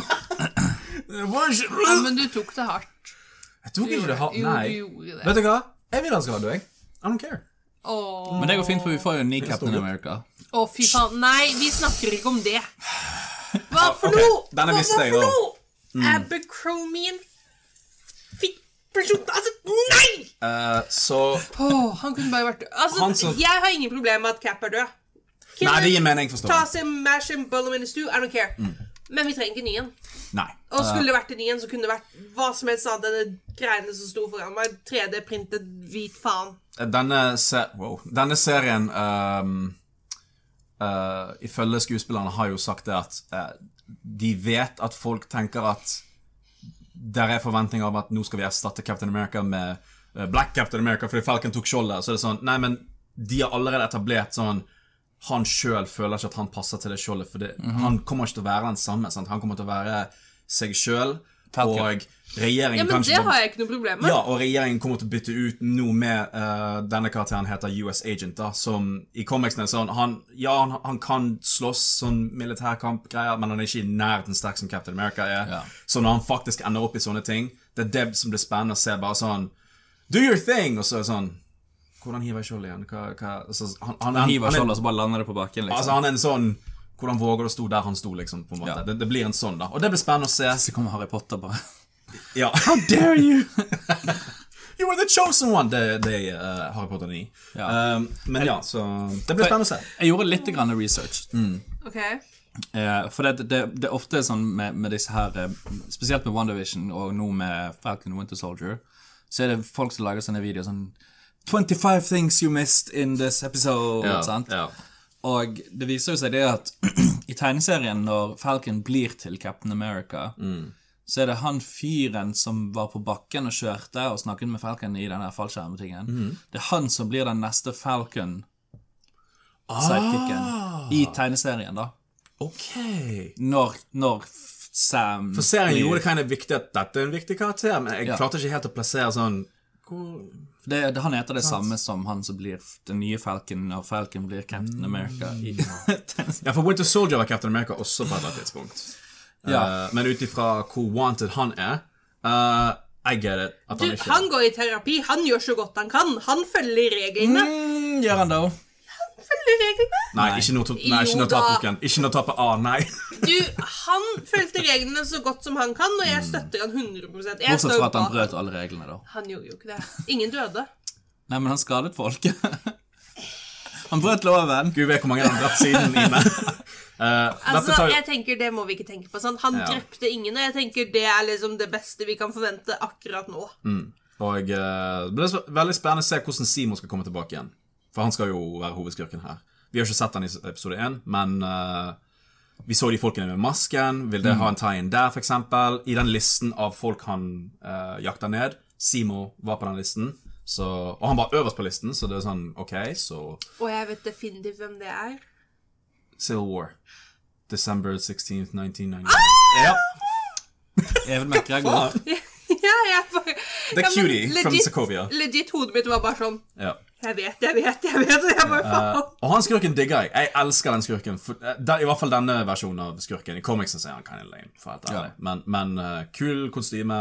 [SPEAKER 3] Ja,
[SPEAKER 2] Jeg
[SPEAKER 3] men du tok det hardt.
[SPEAKER 2] tok ikke det hardt.
[SPEAKER 3] Jo, du
[SPEAKER 2] Nei.
[SPEAKER 3] gjorde det.
[SPEAKER 2] Vet du hva? Jeg vil han skal være død, jeg. I don't care.
[SPEAKER 3] Åh.
[SPEAKER 1] Men det går fint, for vi får jo en ny Captain America.
[SPEAKER 3] Å, fy faen. Nei, vi snakker ikke om det. Hva for
[SPEAKER 2] ok.
[SPEAKER 3] noe?
[SPEAKER 2] Denne
[SPEAKER 3] Hva-
[SPEAKER 2] visste
[SPEAKER 3] hva
[SPEAKER 2] jeg
[SPEAKER 3] for
[SPEAKER 2] da.
[SPEAKER 3] noe?
[SPEAKER 2] Mm.
[SPEAKER 3] Abercrombie and fit- person- Altså, nei!
[SPEAKER 2] Eh, så
[SPEAKER 3] Åh, han kunne bare vært død. Altså,
[SPEAKER 2] Han som-
[SPEAKER 3] Jeg har ingen problem med at Cap er død. Killer,
[SPEAKER 2] Nei, det gir Mm. mening, forstår
[SPEAKER 3] Ta
[SPEAKER 2] jeg.
[SPEAKER 3] seg mash and bollum in a stew, I don't care. Men vi trenger ikke en ny en.
[SPEAKER 2] Nei.
[SPEAKER 3] Og skulle det vært en ny en, så kunne det vært hva som helst annet enn de greiene som sto foran meg. 3D-printet hvit faen.
[SPEAKER 2] Denne, se wow. Denne serien ehm, eh, Ifølge skuespillerne har jo sagt det at eh, de vet at folk tenker at der er forventninger om at nå skal vi erstatte Captain America med eh, Black Captain America fordi Falcon tok skjoldet. Så er det sånn Nei, men de har allerede etablert sånn han sjøl føler ikke at han passer til det skjoldet, for det, han kommer ikke til å være den samme. Sant? Han kommer til å være seg sjøl,
[SPEAKER 1] Falcon.
[SPEAKER 2] og regjeringen
[SPEAKER 3] Ja, men
[SPEAKER 2] kan
[SPEAKER 3] det
[SPEAKER 2] ikke
[SPEAKER 3] har jeg ikke noe problem med.
[SPEAKER 2] ja, og regjeringen kommer til å bytte ut noe med eh, Denne karakteren heter US Agent, da, som i comicsene er sånn han, Ja, han, han kan slåss sånn militærkampgreier, men han er ikke i nærheten sterk som Captain America er.
[SPEAKER 1] Ja.
[SPEAKER 2] Så når han faktisk ender opp i sånne ting, det er det som blir spennende å se. Bare sånn Do your thing! Og så er det sånn Hvordan hiver jeg skjoldet igjen? Hva, hva? Altså, han, han, han,
[SPEAKER 1] Hiver
[SPEAKER 2] han er-
[SPEAKER 1] skjoldet, så bare lander det på bakken,
[SPEAKER 2] Altså,
[SPEAKER 1] liksom.
[SPEAKER 2] han er en sånn Hvordan våger du å stå der han sto, liksom? på en måte.
[SPEAKER 1] Ja.
[SPEAKER 2] Det, det blir en sånn, da. Og det blir spennende å se.
[SPEAKER 1] Så kommer Harry Potter bare
[SPEAKER 2] Ja. How dare you! you were the chosen one! Det, det uh, Harry Potter 9.
[SPEAKER 1] Ja.
[SPEAKER 2] Um, men ja, så Det blir spennende å se.
[SPEAKER 1] Jeg gjorde litt grann research.
[SPEAKER 2] Mm.
[SPEAKER 3] Ok.
[SPEAKER 1] Eh, for det, det, det er ofte sånn med, med disse her eh, Spesielt med WandaVision og nå med Falcon Winter Soldier, så er det folk som lager sånne videoer sånn 25 things you missed in this episode. sant? Og det viser jo seg det at i tegneserien, når Falcon blir til Captain America,
[SPEAKER 2] Mm.
[SPEAKER 1] så er det han fyren som var på bakken og kjørte og snakket med Falcon i den her fallskjermtingen.
[SPEAKER 2] Mhm.
[SPEAKER 1] Det er han som blir den neste Falcon-sidekicken i tegneserien, da.
[SPEAKER 2] Ah, Ok.
[SPEAKER 1] Når, når f- Sam
[SPEAKER 2] For serien
[SPEAKER 1] blir-
[SPEAKER 2] gjorde det kind of viktig at dette er en viktig karakter, men jeg
[SPEAKER 1] Ja.
[SPEAKER 2] klarte ikke helt å plassere sånn hvor...
[SPEAKER 1] det, det, Han heter det samme som han som blir f- den nye Falcon når Falcon blir
[SPEAKER 2] Mm.
[SPEAKER 1] Captain America. I,
[SPEAKER 2] Ja, for Winter Soldier var Captain America også på et eller annet tidspunkt.
[SPEAKER 1] Ja.
[SPEAKER 2] Eh, men ut ifra hvor wanted han er eh, I get it. At
[SPEAKER 3] Du,
[SPEAKER 2] han ikke
[SPEAKER 3] han går i terapi. Han gjør så godt han kan. Han følger reglene.
[SPEAKER 1] mm, gjør han det òg?
[SPEAKER 3] Følger reglene.
[SPEAKER 2] Nei, ikke når to- nei, ikke
[SPEAKER 3] Jo
[SPEAKER 2] når
[SPEAKER 3] da.
[SPEAKER 2] tapboken. Ikke når tapet A, nei.
[SPEAKER 3] Du, han fulgte reglene så godt som han kan, og jeg støtter han 100 jeg
[SPEAKER 1] Mm. Bortsett
[SPEAKER 3] står
[SPEAKER 1] fra at han
[SPEAKER 3] bak.
[SPEAKER 1] brøt alle reglene, da.
[SPEAKER 3] Han gjorde jo ikke det. Ingen døde.
[SPEAKER 1] Nei, men han skadet folk. han brøt loven.
[SPEAKER 2] Gud vet hvor mange han har drept siden, Ine. Eh, dette
[SPEAKER 3] Altså,
[SPEAKER 2] tar jo
[SPEAKER 3] jeg tenker Det må vi ikke tenke på. sant? Han
[SPEAKER 2] Ja.
[SPEAKER 3] drepte ingen, og jeg tenker det er liksom det beste vi kan forvente akkurat nå.
[SPEAKER 1] Mm.
[SPEAKER 2] Og eh, det blir så- veldig spennende å se hvordan Simon skal komme tilbake igjen. For han skal jo være hovedskurken her. Vi har ikke sett han i episode 1, men eh, vi så de folkene med masken. Vil det
[SPEAKER 3] Mm.
[SPEAKER 2] ha en tie-in der, f.eks.? I den listen av folk han eh, jakter ned. Simo var på den listen, så, og han var øverst på listen, så det er sånn OK, så
[SPEAKER 3] Og jeg vet definitivt hvem det er.
[SPEAKER 2] Civil War. December 16th, 1999. Ja,
[SPEAKER 1] Even McGregor.
[SPEAKER 3] Ah! ja, jeg bare
[SPEAKER 2] The
[SPEAKER 3] ja, men
[SPEAKER 2] Cutie from
[SPEAKER 3] legit-
[SPEAKER 2] Sokovia.
[SPEAKER 3] Legit hodet mitt var bare sånn
[SPEAKER 2] Ja.
[SPEAKER 3] Jeg vet, jeg vet, jeg vet. Og jeg bare faen.
[SPEAKER 2] Og han skurken digger jeg. Jeg elsker den skurken. For, eh, der, I hvert fall denne versjonen av skurken. I comicsen så er han kind of lame, for å være helt ærlig. Men, men eh, kul kostyme,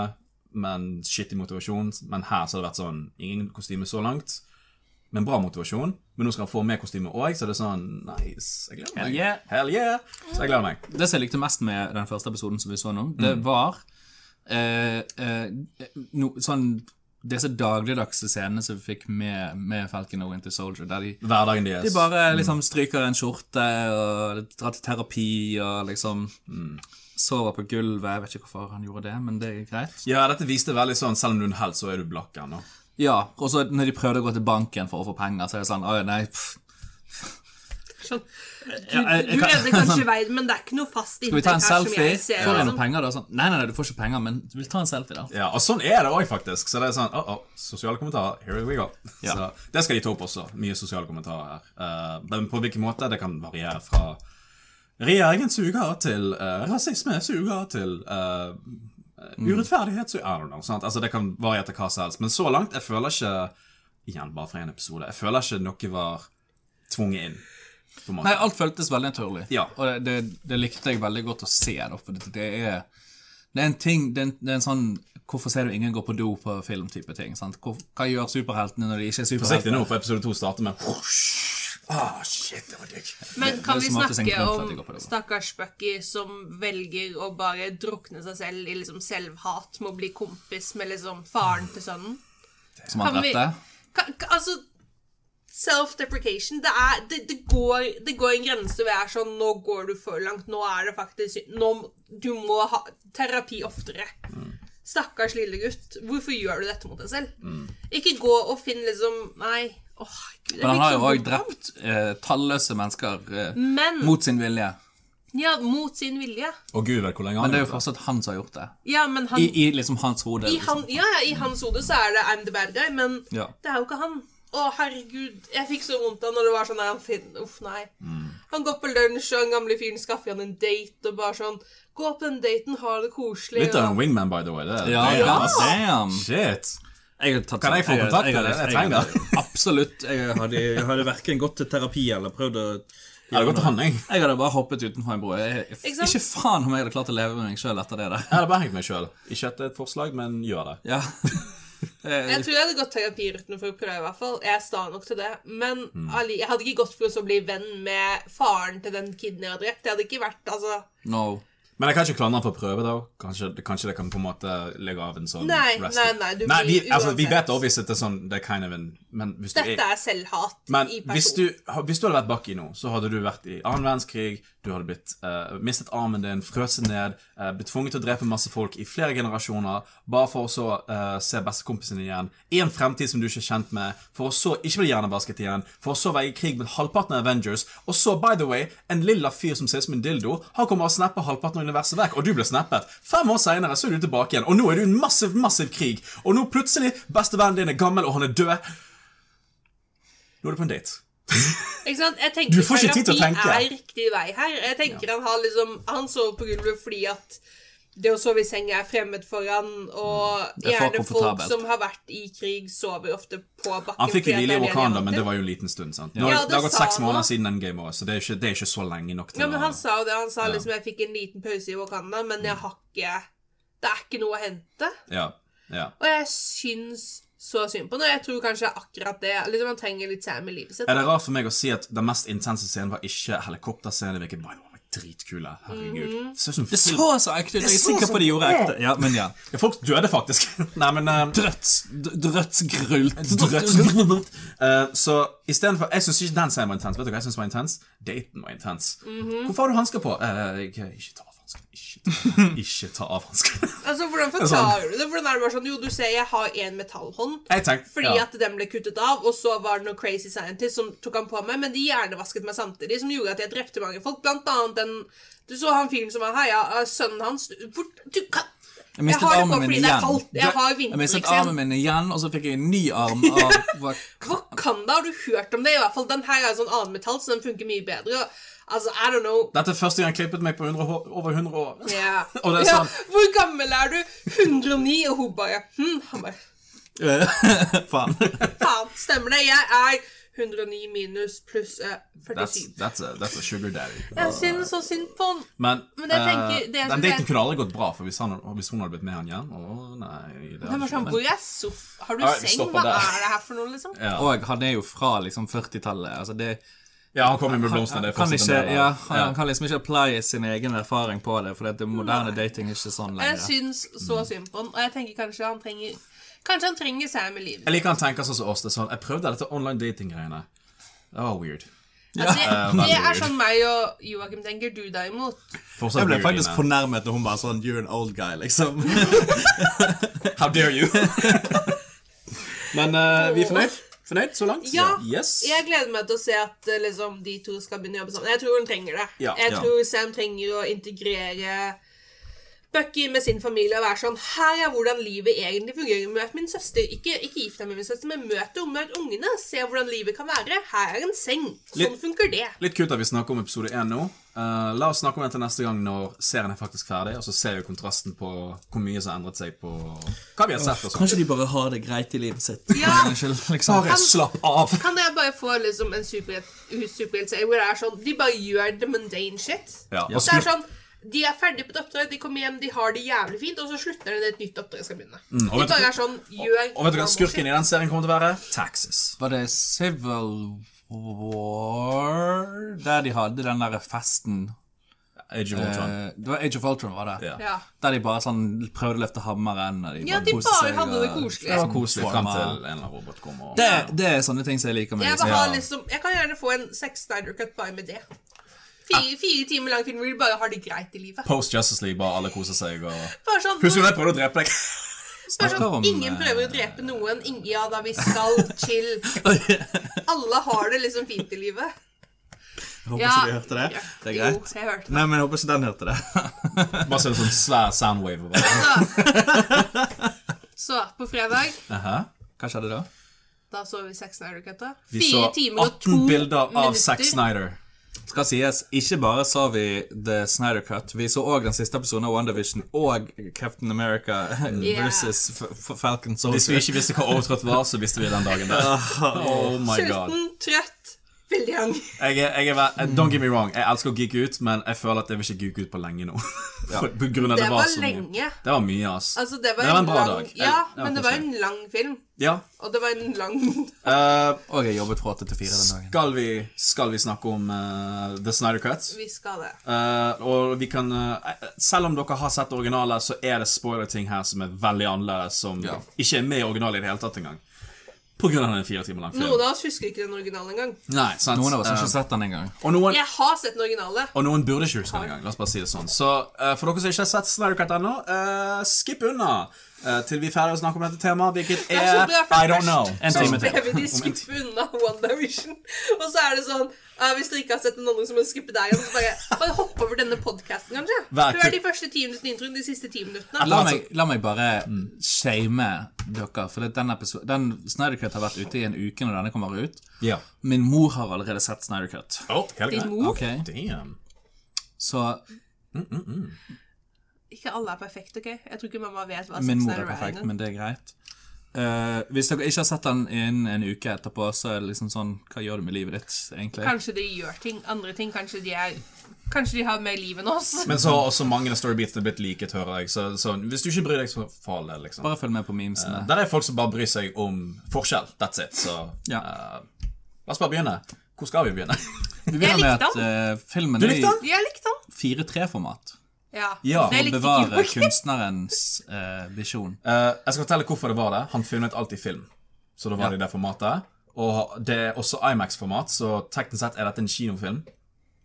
[SPEAKER 2] men shitty motivasjon. Men her så har det vært sånn Ingen kostyme så langt, men bra motivasjon. Men nå skal han få med kostyme òg, så det er sånn Nice. Jeg gleder meg.
[SPEAKER 1] Hell yeah.
[SPEAKER 2] Hell yeah. Så jeg gleder meg.
[SPEAKER 1] Det som jeg likte mest med den første episoden som vi så nå, det var eh, eh, no, sånn disse dagligdagse scenene som vi fikk med, med Falcon og Winter Soldier, der de,
[SPEAKER 2] Hverdagen deres.
[SPEAKER 1] de bare liksom stryker en skjorte og drar til terapi og liksom sover på gulvet. Jeg vet ikke hvorfor han gjorde det, men det er greit.
[SPEAKER 2] Ja, dette viste veldig sånn Selv om du er en helt, så er du blakk ennå.
[SPEAKER 1] Ja, og så når de prøvde å gå til banken for å få penger, så er det sånn Å, nei, pff.
[SPEAKER 3] Sånn. Du,
[SPEAKER 1] Ja, jeg- jeg
[SPEAKER 3] du
[SPEAKER 1] kan-
[SPEAKER 3] redder kanskje verden, men det er ikke noe fast
[SPEAKER 1] Skal vi ta en
[SPEAKER 3] inntekt her som
[SPEAKER 1] selfie?
[SPEAKER 3] jeg ser.
[SPEAKER 1] Får jeg noen
[SPEAKER 3] liksom.
[SPEAKER 1] penger da? Sånn, nei, nei, nei, du får ikke penger, men du vil ta en selfie da.
[SPEAKER 2] Ja, og sånn er det òg, faktisk. Så det er sånn, oh, oh, Sosiale kommentarer. Here we go.
[SPEAKER 1] Ja.
[SPEAKER 2] Så Det skal de ta opp også. Mye sosiale kommentarer her. Eh, men på hvilken måte? Det kan variere fra regjeringen suger til eh, rasisme suger til eh,
[SPEAKER 1] Mm.
[SPEAKER 2] urettferdighet suger I don't know. Sant? Altså, det kan variere til hva som helst. Men så langt, jeg føler ikke Igjen, bare fra én episode. Jeg føler ikke noe var tvunget inn. På en måte.
[SPEAKER 1] Nei, alt føltes veldig naturlig.
[SPEAKER 2] Ja.
[SPEAKER 1] Og det, det, det likte jeg veldig godt å se da, for det, det er det er en ting, det er en, det er en sånn Hvorfor ser du ingen gå på do på film-type ting? Sant? Hvor, hva gjør superheltene når de ikke er
[SPEAKER 2] Forsiktig
[SPEAKER 1] superhelter?
[SPEAKER 2] nå, for episode to starter med Ah, shit, det var digg.
[SPEAKER 3] Men kan
[SPEAKER 1] det er
[SPEAKER 3] vi
[SPEAKER 1] som alltid en
[SPEAKER 3] snakke
[SPEAKER 1] grunn for at jeg går på
[SPEAKER 3] om
[SPEAKER 1] det, da.
[SPEAKER 3] stakkars Bucky som velger å bare drukne seg selv i liksom selvhat med å bli kompis med liksom faren til sønnen?
[SPEAKER 1] Som han
[SPEAKER 3] Kan vi-
[SPEAKER 1] drepte?
[SPEAKER 3] Ka- ka- Altså Self-deprecation. Det, er, det, det, går, det går en grense hvor jeg er sånn Nå går du for langt. Nå er det faktisk nå, må- Du må ha terapi oftere. Stakkars lille gutt. Hvorfor gjør du dette mot deg selv?
[SPEAKER 1] Mm.
[SPEAKER 3] Ikke gå og finn liksom Nei. Åh, Gud, jeg
[SPEAKER 1] Men han
[SPEAKER 3] fikk
[SPEAKER 1] har
[SPEAKER 3] så Mm.
[SPEAKER 1] jo òg
[SPEAKER 3] vondt.
[SPEAKER 1] drept eh, talløse mennesker eh,
[SPEAKER 3] Men
[SPEAKER 1] mot sin vilje.
[SPEAKER 3] Ja, mot sin vilje.
[SPEAKER 2] Og gud vet hvor lenge
[SPEAKER 1] Men
[SPEAKER 2] han
[SPEAKER 1] det er
[SPEAKER 2] gjort
[SPEAKER 1] jo fortsatt han som har gjort det.
[SPEAKER 3] Ja, men han
[SPEAKER 1] I,
[SPEAKER 3] i,
[SPEAKER 1] i liksom hans hode. Liksom.
[SPEAKER 3] han, ja, ja, I hans hode så er det I'm the bad guy, men
[SPEAKER 1] Ja.
[SPEAKER 3] det er jo ikke han. Å, herregud. Jeg fikk så vondt av når det var sånn nei, han fin- Uff, nei. Han går på lunsj, og den gamle fyren skaffer han en date, og bare sånn Gå på den daten, ha det koselig.
[SPEAKER 2] Litt av
[SPEAKER 3] og-
[SPEAKER 2] en wingman, by the way. Det,
[SPEAKER 1] Ja,
[SPEAKER 2] det,
[SPEAKER 1] god
[SPEAKER 2] ass.
[SPEAKER 1] damn.
[SPEAKER 2] Shit.
[SPEAKER 1] Jeg har tatt
[SPEAKER 2] Kan jeg få
[SPEAKER 1] har-
[SPEAKER 2] kontakt med
[SPEAKER 1] har-
[SPEAKER 2] deg? Jeg
[SPEAKER 1] har-
[SPEAKER 2] trenger det.
[SPEAKER 1] Absolutt. Jeg hadde, jeg hadde verken gått til terapi eller prøvd å
[SPEAKER 2] Jeg hadde gått til han, jeg.
[SPEAKER 1] Jeg hadde bare hoppet utenfor en bro. Jeg, jeg,
[SPEAKER 3] Ikke sant?
[SPEAKER 1] ikke faen om jeg hadde klart å leve med meg sjøl etter det der.
[SPEAKER 2] Jeg hadde bare hengt meg sjøl. Ikke at det er et forslag, men gjør det.
[SPEAKER 1] Ja. Eh,
[SPEAKER 3] Jeg tror jeg hadde gått terapiruten for å prøve, i hvert fall. Jeg er sta nok til det. Men
[SPEAKER 2] Mm.
[SPEAKER 3] alli- jeg hadde ikke gått for å så bli venn med faren til den kiden jeg har drept. Det hadde ikke vært, altså
[SPEAKER 1] No.
[SPEAKER 2] Men jeg kan ikke klandre han for å prøve, da. Kanskje, kanskje det kan på en måte legge av en sånn
[SPEAKER 3] Nei,
[SPEAKER 2] rest-
[SPEAKER 3] nei, nei, du
[SPEAKER 2] nei vi,
[SPEAKER 3] blir
[SPEAKER 2] altså, vi
[SPEAKER 3] uansett.
[SPEAKER 2] vet obvious at det er sånn Det er kind of en Men hvis du
[SPEAKER 3] Dette er selvhat
[SPEAKER 2] Men
[SPEAKER 3] i person.
[SPEAKER 2] hvis du, ha- hvis du hadde vært Bucky nå, så hadde du vært i annen verdenskrig, du hadde blitt, eh, mistet armen din, frøset ned, eh, blitt tvunget til å drepe masse folk i flere generasjoner, bare for å så eh, se bestekompisen din igjen, i en fremtid som du ikke er kjent med, for å så ikke bli hjernevasket igjen, for å så være i krig med halvparten av Avengers, og så, by the way, en lilla fyr som ser ut som en dildo, han kommer og snapper halvparten av universet vekk, og du ble snappet. Fem år senere så er du tilbake igjen, og nå er du i en massiv, massiv krig, og nå plutselig, bestevennen din er gammel, og han er død. Nå er du på en date.
[SPEAKER 3] Ikke sant? Jeg tenker
[SPEAKER 2] Du får ikke tid til å
[SPEAKER 3] terapi
[SPEAKER 2] tenke.
[SPEAKER 3] er riktig vei her. Jeg tenker han har liksom Han sover på gulvet fordi at det å sove i seng er fremmed for han,
[SPEAKER 2] Mm.
[SPEAKER 3] og
[SPEAKER 1] Det er for
[SPEAKER 3] gjerne folk
[SPEAKER 1] komfortabelt.
[SPEAKER 3] som har vært i krig, sover ofte på bakken.
[SPEAKER 2] Han fikk jo
[SPEAKER 3] fordi at
[SPEAKER 2] hvile i
[SPEAKER 3] det er det de er
[SPEAKER 2] Wakanda,
[SPEAKER 3] vant
[SPEAKER 2] men det
[SPEAKER 3] til.
[SPEAKER 2] var jo en liten stund. sant? Nå,
[SPEAKER 3] Ja,
[SPEAKER 2] det har gått
[SPEAKER 3] det sa
[SPEAKER 2] seks
[SPEAKER 3] han
[SPEAKER 2] måneder
[SPEAKER 3] også.
[SPEAKER 2] siden Endgame òg, så det er, ikke, det er ikke så lenge nok til
[SPEAKER 3] Ja, men
[SPEAKER 2] å
[SPEAKER 3] han sa jo det. Han sa liksom 'jeg fikk en liten pause i Wakanda, men
[SPEAKER 2] Mm.
[SPEAKER 3] jeg har ikke Det er ikke noe å hente'.
[SPEAKER 2] ja, ja.
[SPEAKER 3] Og jeg syns så synd på ham, og jeg tror kanskje akkurat det Liksom Han trenger litt Sam i livet sitt.
[SPEAKER 2] Er det rart for meg å si at den mest intense scenen var ikke helikopterscenen? Hvilken by the way, var dritkule. Herregud.
[SPEAKER 3] Mhm.
[SPEAKER 2] Det ser ut som
[SPEAKER 1] Det
[SPEAKER 2] film.
[SPEAKER 1] så så ekte ut. Jeg er
[SPEAKER 2] så
[SPEAKER 1] sikker på de gjorde ekte. Ja, men ja.
[SPEAKER 2] Ja, Folk døde faktisk. Nei, men eh,
[SPEAKER 1] Drøts. d- Drøtsgrult.
[SPEAKER 2] Drøtt. Eh, Så i stedet for Jeg syns ikke den scenen var intens. Vet du hva jeg synes var intens? Daten var intens.
[SPEAKER 3] Mhm.
[SPEAKER 2] Hvorfor har du hansker på? Eh, ikke ikke ta av hanskene. Ikke, ta- ikke ta av hanskene.
[SPEAKER 3] Altså, hvordan forklarer du det? Hvordan er det bare sånn Jo, du ser jeg har en metallhånd.
[SPEAKER 2] Jeg tenkte
[SPEAKER 3] Fordi
[SPEAKER 2] ja.
[SPEAKER 3] at den ble kuttet av, og så var det noen crazy scientists som tok han på meg, men de hjernevasket meg samtidig, som gjorde at jeg drepte mange folk. Blant annet den Du så han fyren som var heia, eh, sønnen hans Hvor Du kan
[SPEAKER 1] Jeg
[SPEAKER 3] Jeg
[SPEAKER 1] mistet
[SPEAKER 3] har det
[SPEAKER 1] armen
[SPEAKER 3] bare
[SPEAKER 1] min
[SPEAKER 3] fordi det er
[SPEAKER 1] igjen.
[SPEAKER 3] kaldt. Jeg har liksom.
[SPEAKER 1] Jeg mistet
[SPEAKER 3] vinterleks
[SPEAKER 1] armen
[SPEAKER 3] igjen.
[SPEAKER 1] min igjen, og så fikk jeg en ny arm av hva-
[SPEAKER 3] Wakanda, har du hørt om det? I hvert fall den her er sånn annen metall, så den funker mye bedre. og- Altså, I don't know.
[SPEAKER 2] Dette er første gang jeg klippet meg på 100 hår, over 100 år.
[SPEAKER 3] Ja.
[SPEAKER 2] Og det er sånn-
[SPEAKER 3] ja, hvor gammel er du? 109, og hun bare hm, Han bare
[SPEAKER 1] Faen.
[SPEAKER 3] Faen, stemmer det? Jeg er 109 minus pluss eh,
[SPEAKER 2] That's,
[SPEAKER 3] 47.
[SPEAKER 2] that's, a, that's a sugar daddy.
[SPEAKER 3] Jeg synes så synd på han.
[SPEAKER 2] Men,
[SPEAKER 3] Men jeg tenker,
[SPEAKER 2] eh,
[SPEAKER 3] det som
[SPEAKER 2] den
[SPEAKER 3] er-
[SPEAKER 2] daten kunne aldri gått bra, for hvis, han, hvis hun hadde blitt med han hjem Å nei det
[SPEAKER 3] Det
[SPEAKER 2] hadde
[SPEAKER 3] var sånn,
[SPEAKER 2] ikke
[SPEAKER 3] hvor er sof... Har du
[SPEAKER 2] Nei, vi
[SPEAKER 3] seng?
[SPEAKER 2] stopper
[SPEAKER 3] Hva
[SPEAKER 2] der.
[SPEAKER 3] er det her for noe, liksom?
[SPEAKER 2] ja.
[SPEAKER 1] Og han er jo fra liksom 40-tallet. Altså det
[SPEAKER 2] ja, han kom inn med blomstene.
[SPEAKER 1] han
[SPEAKER 2] Det er
[SPEAKER 1] kan,
[SPEAKER 2] fortsatt
[SPEAKER 1] ikke,
[SPEAKER 2] en del av-
[SPEAKER 1] ja, han, han kan liksom ikke apply sin egen erfaring på det, for det moderne dating er ikke sånn
[SPEAKER 3] Jeg
[SPEAKER 1] lenger.
[SPEAKER 3] syns
[SPEAKER 2] Mm.
[SPEAKER 3] så synd på han, og jeg tenker kanskje han trenger Kanskje han trenger Sam i livet.
[SPEAKER 2] Jeg liker han tenker sånn som oss. Det er sånn, jeg prøvde dette online dating-greiene. Det var weird.
[SPEAKER 3] Altså, det, det
[SPEAKER 2] veldig
[SPEAKER 3] er
[SPEAKER 2] weird.
[SPEAKER 3] sånn meg og Joakim tenker. Du derimot.
[SPEAKER 2] Fortsatt weird, Ine.
[SPEAKER 1] fornærmet når hun bare sånn You're an old guy, liksom.
[SPEAKER 2] How dare you? Men eh, vi er fornøyd? Fornøyd så langt?
[SPEAKER 3] Ja.
[SPEAKER 2] Yes.
[SPEAKER 3] Jeg gleder meg til å se at eh, liksom, de to skal begynne å jobbe sammen. Jeg tror hun trenger det.
[SPEAKER 2] Ja,
[SPEAKER 3] jeg
[SPEAKER 2] ja.
[SPEAKER 3] tror Sam trenger å integrere Bucky med sin familie og være sånn Her er hvordan livet egentlig fungerer. Møt min søster. Ikke, ikke gift deg med min søster, men møt henne. Møt ungene. Se hvordan livet kan være. Her er en seng. Sånn
[SPEAKER 2] Litt-
[SPEAKER 3] funker det.
[SPEAKER 2] Litt kult at vi snakker om episode 1 nå. Eh, la oss snakke om den til neste gang når serien er faktisk ferdig, og så ser vi kontrasten på hvor mye som har endret seg på hva vi har sett. og sånt.
[SPEAKER 4] Kanskje de bare har det greit i livet sitt.
[SPEAKER 3] Ja.
[SPEAKER 1] liksom.
[SPEAKER 2] Bare slapp av!
[SPEAKER 3] Kan jeg bare få liksom en superhelt- superheltserie hvor det er sånn De bare gjør the mundane shit.
[SPEAKER 2] Ja, og
[SPEAKER 3] Det er
[SPEAKER 2] skru-
[SPEAKER 3] sånn de er ferdige på et oppdrag, de kommer hjem, de har det jævlig fint, og så slutter de når et nytt oppdrag skal begynne.
[SPEAKER 2] og
[SPEAKER 3] de
[SPEAKER 2] vet du-
[SPEAKER 3] bare er sånn, gjør
[SPEAKER 2] Mm. og vet du hva skurken i den serien kommer til å være? Taxes.
[SPEAKER 1] Var det Civil War Der de hadde den der festen
[SPEAKER 2] Age of Ultron.
[SPEAKER 1] Eh, Det var Age of Ultron, var det?
[SPEAKER 2] Ja.
[SPEAKER 3] Ja.
[SPEAKER 1] Der de bare sånn prøvde å løfte hammeren. Og de
[SPEAKER 3] Ja, de
[SPEAKER 1] koste
[SPEAKER 3] bare
[SPEAKER 1] seg,
[SPEAKER 3] hadde det
[SPEAKER 1] og-
[SPEAKER 3] koselig.
[SPEAKER 2] det var koselig
[SPEAKER 1] Forma.
[SPEAKER 2] frem til en eller annen robot kommer. og-
[SPEAKER 1] Det, det er sånne ting som jeg liker med
[SPEAKER 3] Jeg, vil
[SPEAKER 1] liksom.
[SPEAKER 3] ha liksom, jeg kan gjerne få en sex Snyder Cut bare med det.
[SPEAKER 2] Ah.
[SPEAKER 3] Fire, fire timer lang film hvor de bare har det greit i livet.
[SPEAKER 2] Post Justice League, bare alle koser seg og
[SPEAKER 3] Bare sånn,
[SPEAKER 2] Husker du da jeg prøvde å drepe deg?
[SPEAKER 3] bare
[SPEAKER 1] Snakker om,
[SPEAKER 3] sånn Ingen
[SPEAKER 1] eh,
[SPEAKER 3] prøver å drepe noen. Ingen, ja da, vi skal chill. Alle har det liksom fint i livet.
[SPEAKER 4] Jeg håper
[SPEAKER 3] Ja.
[SPEAKER 4] ikke de hørte det. Det er greit.
[SPEAKER 3] Jo, jeg hørte det.
[SPEAKER 4] Nei, men jeg håper ikke den hørte det.
[SPEAKER 2] Bare så en sånn svær soundwave. og Bare.
[SPEAKER 3] Så, så på fredag
[SPEAKER 2] Aha.
[SPEAKER 1] Hva skjedde da?
[SPEAKER 3] Da så vi Sex Snyder Cut. da.
[SPEAKER 2] Vi
[SPEAKER 3] Fire
[SPEAKER 2] så
[SPEAKER 3] timer og to
[SPEAKER 2] 18 bilder av
[SPEAKER 3] minutter.
[SPEAKER 2] Zack Snyder.
[SPEAKER 1] Skal sies, ikke bare sa vi The Snyder Cut, vi så òg den siste episoden av WandaVision og Captain America
[SPEAKER 3] Yeah.
[SPEAKER 1] versus F- F- Falcon
[SPEAKER 2] Hvis vi
[SPEAKER 1] Soldier.
[SPEAKER 2] ikke visste hva overtrøtt var, så visste vi den dagen der. Oh my god.
[SPEAKER 3] Sulten, trøtt, veldig hang.
[SPEAKER 2] Jeg er, jeg er, ver- don't get me wrong, jeg elsker å geeke ut, men jeg føler at jeg vil ikke geeke ut på lenge nå. For- På grunn av det,
[SPEAKER 3] Det
[SPEAKER 2] var
[SPEAKER 3] var
[SPEAKER 2] så
[SPEAKER 3] lenge.
[SPEAKER 2] mye. Det var mye, ass.
[SPEAKER 3] Altså, det var,
[SPEAKER 2] Det var en bra
[SPEAKER 3] lang,
[SPEAKER 2] dag.
[SPEAKER 3] Ja,
[SPEAKER 2] Ja,
[SPEAKER 3] men det var en lang film.
[SPEAKER 2] ja.
[SPEAKER 3] Og det var en lang
[SPEAKER 2] eh,
[SPEAKER 1] Og jeg jobbet fra 8 til 4 den dagen.
[SPEAKER 2] skal, vi, skal vi snakke om eh, The Snyder Cut?
[SPEAKER 3] Vi skal det.
[SPEAKER 2] Eh, og vi kan eh, Selv om dere har sett originaler, så er det spoiler-ting her som er veldig annerledes, som
[SPEAKER 1] Ja.
[SPEAKER 2] ikke er med i originalen i det hele tatt engang. På grunn av den fire timer lang filmen.
[SPEAKER 3] Noen av oss husker ikke den originale engang.
[SPEAKER 2] Nei, sant?
[SPEAKER 1] Noen av oss har
[SPEAKER 2] Eh,
[SPEAKER 1] ikke sett den engang.
[SPEAKER 2] og noen,
[SPEAKER 3] Jeg har sett den originale.
[SPEAKER 2] Og noen burde ikke huske den engang. La oss bare si det sånn. Så eh, for dere som ikke har sett Snyder Cut ennå, eh, skipp unna eh, til vi er ferdige å snakke om dette temaet, hvilket
[SPEAKER 3] Det er så
[SPEAKER 2] er
[SPEAKER 3] bra, for
[SPEAKER 2] Eh, I don't
[SPEAKER 3] først
[SPEAKER 2] know. Sånn. En
[SPEAKER 3] så
[SPEAKER 2] time
[SPEAKER 3] ber
[SPEAKER 2] til.
[SPEAKER 3] vi de skippe unna WandaVision. Og så er det sånn eh, Hvis dere ikke har sett noen andre, så må dere skippe deg. Og så bare, bare hopp over denne podkasten, kanskje.
[SPEAKER 2] Vær
[SPEAKER 3] Hør
[SPEAKER 2] kul.
[SPEAKER 3] de første ti minuttene i introen, de siste ti minuttene.
[SPEAKER 1] La meg, la meg bare
[SPEAKER 2] Mm.
[SPEAKER 1] shame dere, for det, den, episo- den Snyder Cut har vært ute i en uke når denne kommer ut.
[SPEAKER 2] Ja.
[SPEAKER 1] Min mor har allerede sett Snyder Cut.
[SPEAKER 2] Oh, hele
[SPEAKER 3] Din
[SPEAKER 2] greia.
[SPEAKER 3] mor.
[SPEAKER 1] Ok?
[SPEAKER 2] Damn.
[SPEAKER 1] Så
[SPEAKER 3] Ikke alle er perfekte, OK? Jeg tror ikke mamma vet hva
[SPEAKER 1] min mor
[SPEAKER 3] Zack Altså, Snyder
[SPEAKER 1] er perfekt,
[SPEAKER 3] engang.
[SPEAKER 1] men det er greit. Eh, hvis dere ikke har sett den innen en uke etterpå, så er det liksom sånn Hva gjør du med livet ditt, egentlig?
[SPEAKER 3] Kanskje de gjør ting, andre ting. Kanskje de er Kanskje de har mer liv enn oss.
[SPEAKER 2] Men så har også mange av storybeatene blitt liket, hører jeg. Så, så hvis du ikke bryr deg, så fall det, liksom.
[SPEAKER 1] Bare følg med på memesene.
[SPEAKER 2] Der er folk som bare bryr seg om forskjell. That's it. Så
[SPEAKER 1] Ja.
[SPEAKER 2] eh, la oss bare begynne. Hvor skal vi begynne?
[SPEAKER 1] Vi begynner
[SPEAKER 3] Jeg
[SPEAKER 1] med
[SPEAKER 3] likte
[SPEAKER 1] at eh, filmen
[SPEAKER 2] Du
[SPEAKER 1] er i
[SPEAKER 2] likte den?
[SPEAKER 3] Jeg likte han.
[SPEAKER 1] 4-3-format.
[SPEAKER 3] Ja.
[SPEAKER 2] Ja,
[SPEAKER 3] det
[SPEAKER 2] og
[SPEAKER 3] likte
[SPEAKER 1] Bevare
[SPEAKER 3] ikke Joakim.
[SPEAKER 1] kunstnerens eh, visjon.
[SPEAKER 2] Eh, jeg skal fortelle hvorfor det var det. Han funnet alt i film. Så da
[SPEAKER 1] Ja.
[SPEAKER 2] var det i det formatet. Og det er også Imax-format, så teknisk sett er dette en kinofilm.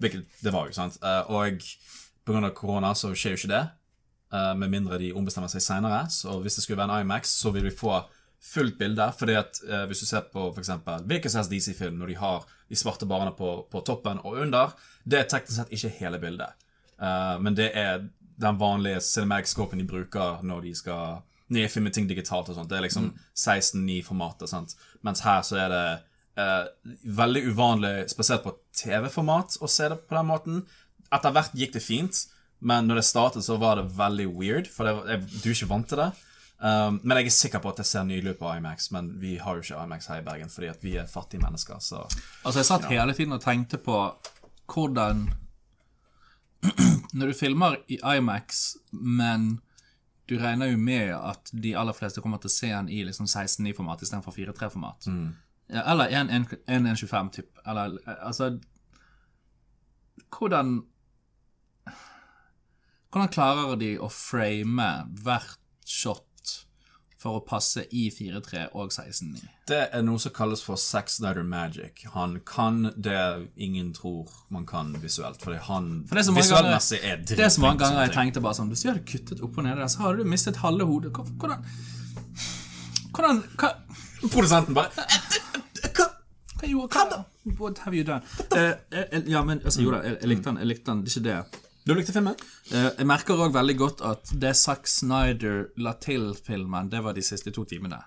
[SPEAKER 2] Hvilket det var jo, sant. Eh, og pga. korona så skjer jo ikke det. Eh, med mindre de ombestemmer seg seinere. Så hvis det skulle være en Imax, så vil vi få fullt bilde. fordi at eh, hvis du ser på for eksempel hvilken som helst DC-film, når de har de svarte barene på, på toppen og under, det er teknisk sett ikke hele bildet. Eh, men det er den vanlige cinematic-scopen de bruker når de skal når de filmer ting digitalt og sånt. Det er liksom 16-9-formatet, sant. Mens her så er det eh, veldig uvanlig, spesielt på TV-format, å se det på den måten. Etter hvert gikk det fint, men når det startet, så var det veldig weird, for det, var- jeg, du er ikke vant til det. Um, men jeg er sikker på at det ser nydelig ut på Imax, men vi har jo ikke Imax her i Bergen fordi at vi er fattige mennesker, så
[SPEAKER 1] Altså, jeg satt hele tiden og tenkte på hvordan Når du filmer i Imax, men du regner jo med at de aller fleste kommer til å se den i liksom 16.9-format istedenfor 4.3-format. Ja, eller 1.125, typ. Eller eh, altså Hvordan Hvordan klarer de å frame hvert shot for å passe i 4.3 og 16.9?
[SPEAKER 2] Det er noe som kalles for Zack Snyder magic. Han kan det ingen tror man kan visuelt. Fordi han
[SPEAKER 1] For det er så mange ganger,
[SPEAKER 2] visuellmessig er
[SPEAKER 1] det er så mange
[SPEAKER 2] dritflink til
[SPEAKER 1] ganger jeg
[SPEAKER 2] sånne ting.
[SPEAKER 1] tenkte bare sånn Hvis vi hadde kuttet opp og ned der, så hadde du mistet halve hodet. Hvor- Hvordan Hvordan Hva,
[SPEAKER 2] Produsenten bare
[SPEAKER 1] hva gjorde hva, What have you done? Eh, eh, ja, men altså, jo da, jeg, jeg likte den. Jeg likte den, det er ikke det.
[SPEAKER 2] Du likte filmen?
[SPEAKER 1] Eh, jeg merker òg veldig godt at det Zack Snyder la til filmen, det var de siste to timene.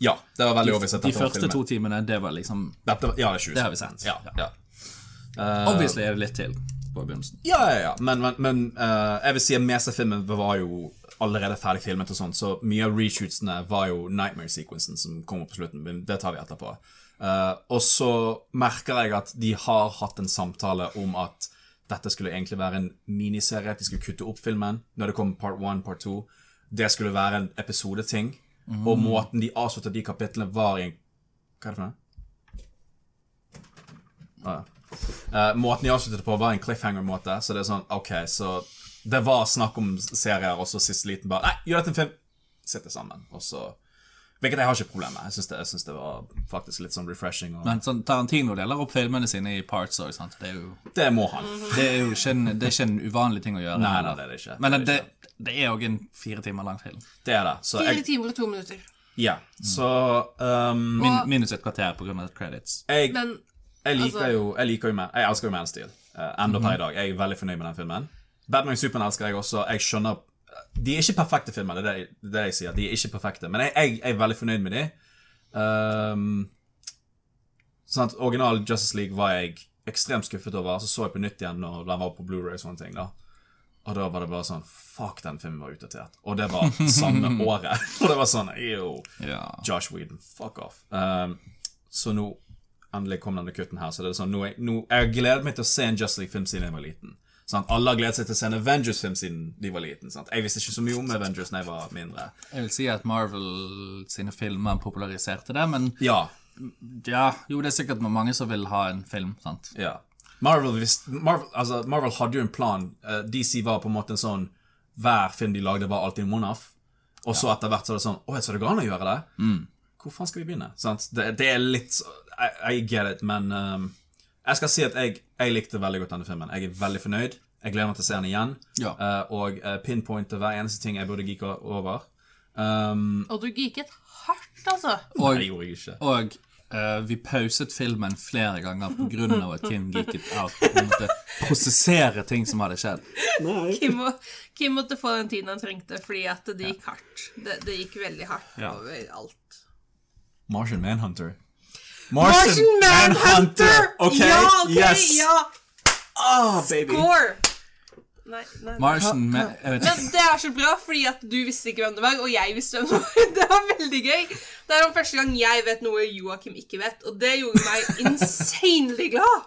[SPEAKER 2] Ja. Det var veldig
[SPEAKER 1] De,
[SPEAKER 2] oversett.
[SPEAKER 1] de første to timene, det var liksom
[SPEAKER 2] Dette, var- ja, det, er 20
[SPEAKER 1] Det har vi sett.
[SPEAKER 2] Ja, ja.
[SPEAKER 1] Obviously er det litt til på begynnelsen.
[SPEAKER 2] ja, ja, ja. Men, men, men eh, jeg vil si at meste filmen var jo allerede ferdig filmet, og sånt, så mye av reshootsene var jo Nightmare-sekvensen som kommer på slutten. Men det tar vi etterpå. Eh, og så merker jeg at de har hatt en samtale om at dette skulle egentlig være en miniserie, at de skulle kutte opp filmen når det kom part one, part two. Det skulle være en episodeting. Og måten de avsluttet de kapitlene, var i en Hva er det for noe? Ah, ja. Eh, måten de avsluttet det på, var en cliffhanger-måte. Så det er sånn, ok, så det var snakk om serier, og så siste liten bare Nei, gjør dette til en film! Sitter sammen, og så Hvilket jeg har ikke problem med. Jeg syns det, jeg synes det var faktisk litt sånn refreshing. Og,
[SPEAKER 1] Men sånn, Tarantino deler opp filmene sine i parts òg, sant. Det er jo,
[SPEAKER 2] det må han.
[SPEAKER 1] det er jo ikke, en, det er ikke en uvanlig ting å gjøre.
[SPEAKER 2] Nei, nei, det er det ikke.
[SPEAKER 1] Men
[SPEAKER 2] det,
[SPEAKER 1] det,
[SPEAKER 2] er ikke.
[SPEAKER 1] det er òg en fire timer lang film.
[SPEAKER 2] det er det. Så
[SPEAKER 3] Fire
[SPEAKER 2] jeg
[SPEAKER 3] timer og to minutter.
[SPEAKER 2] Ja. Så um,
[SPEAKER 1] Min,
[SPEAKER 3] Og-
[SPEAKER 1] minus et kvarter pga. credits.
[SPEAKER 2] jeg,
[SPEAKER 3] Men
[SPEAKER 2] jeg
[SPEAKER 3] altså-
[SPEAKER 2] liker jo Jeg liker jo Man Jeg elsker jo Man of Steel. eh, Enda per i dag. Jeg er veldig fornøyd med den filmen. Batman og Superman elsker jeg også. Jeg skjønner De er ikke perfekte filmer, det er det, jeg- det er det jeg sier. De er ikke perfekte, men jeg, jeg, jeg er veldig fornøyd Ehm, med de. Um, sånn at Original Justice League var jeg ekstremt skuffet over. Så så jeg på nytt igjen når den var på Blu-ray og sånne ting. da. Og da var det bare sånn Fuck, den filmen var utdatert. Og det var samme året. Og det var sånn Yo,
[SPEAKER 1] Ja.
[SPEAKER 2] Josh Whedon, fuck off. Um, så nå endelig kom denne kutten her. Så det er sånn, nå, er- nå, Jeg har gledet meg til å se en Just League-film siden jeg var liten. Sant? Alle har gledet seg til å se en Avengers-film siden de var liten. Sant? Jeg visste ikke så mye om Avengers da jeg var mindre.
[SPEAKER 1] Jeg vil si at Marvel sine filmer populariserte det, men
[SPEAKER 2] Ja,
[SPEAKER 1] ja, jo, det er sikkert mange som vil ha en film, sant?
[SPEAKER 2] Ja. Marvel, visst- Marvel, altså, Marvel hadde jo en plan. Eh, DC var på en måte en sånn Hver film de lagde, var alltid en one-off. Og så etter hvert så er det sånn Å, så det går an å gjøre det?
[SPEAKER 3] Mm.
[SPEAKER 2] Hvor faen skal vi begynne? Sant? Det, det er litt så- I, I get it, men ehm, Jeg skal si at jeg, jeg likte veldig godt denne filmen. Jeg er veldig fornøyd. Jeg gleder meg til å se den igjen.
[SPEAKER 1] Ja.
[SPEAKER 2] Eh, og eh, pinpointe hver eneste ting jeg burde geeke over. Ehm,
[SPEAKER 3] Og du geeket hardt, altså.
[SPEAKER 1] Og,
[SPEAKER 2] nei, det gjorde jeg ikke.
[SPEAKER 1] og eh, vi pauset filmen flere ganger på grunn av at Kim geeket out. Vi måtte prosessere ting som hadde skjedd.
[SPEAKER 3] Kim, må, Kim måtte få den tiden han trengte, fordi at det gikk hardt. Det, det gikk veldig hardt
[SPEAKER 1] Ja.
[SPEAKER 3] over alt.
[SPEAKER 2] Martian Manhunter.
[SPEAKER 3] Martian Manhunter!
[SPEAKER 2] Ok,
[SPEAKER 3] Ja, ok,
[SPEAKER 2] yes.
[SPEAKER 3] ja!
[SPEAKER 2] Ah, baby.
[SPEAKER 3] Gore! Nei, nei, nei.
[SPEAKER 1] Martian Ma- jeg vet ikke.
[SPEAKER 3] Men det er så bra, fordi at du visste ikke hvem det var, og jeg visste hvem det var. Det var veldig gøy. Det er den første gang jeg vet noe Joakim ikke vet, og det gjorde meg insanely glad.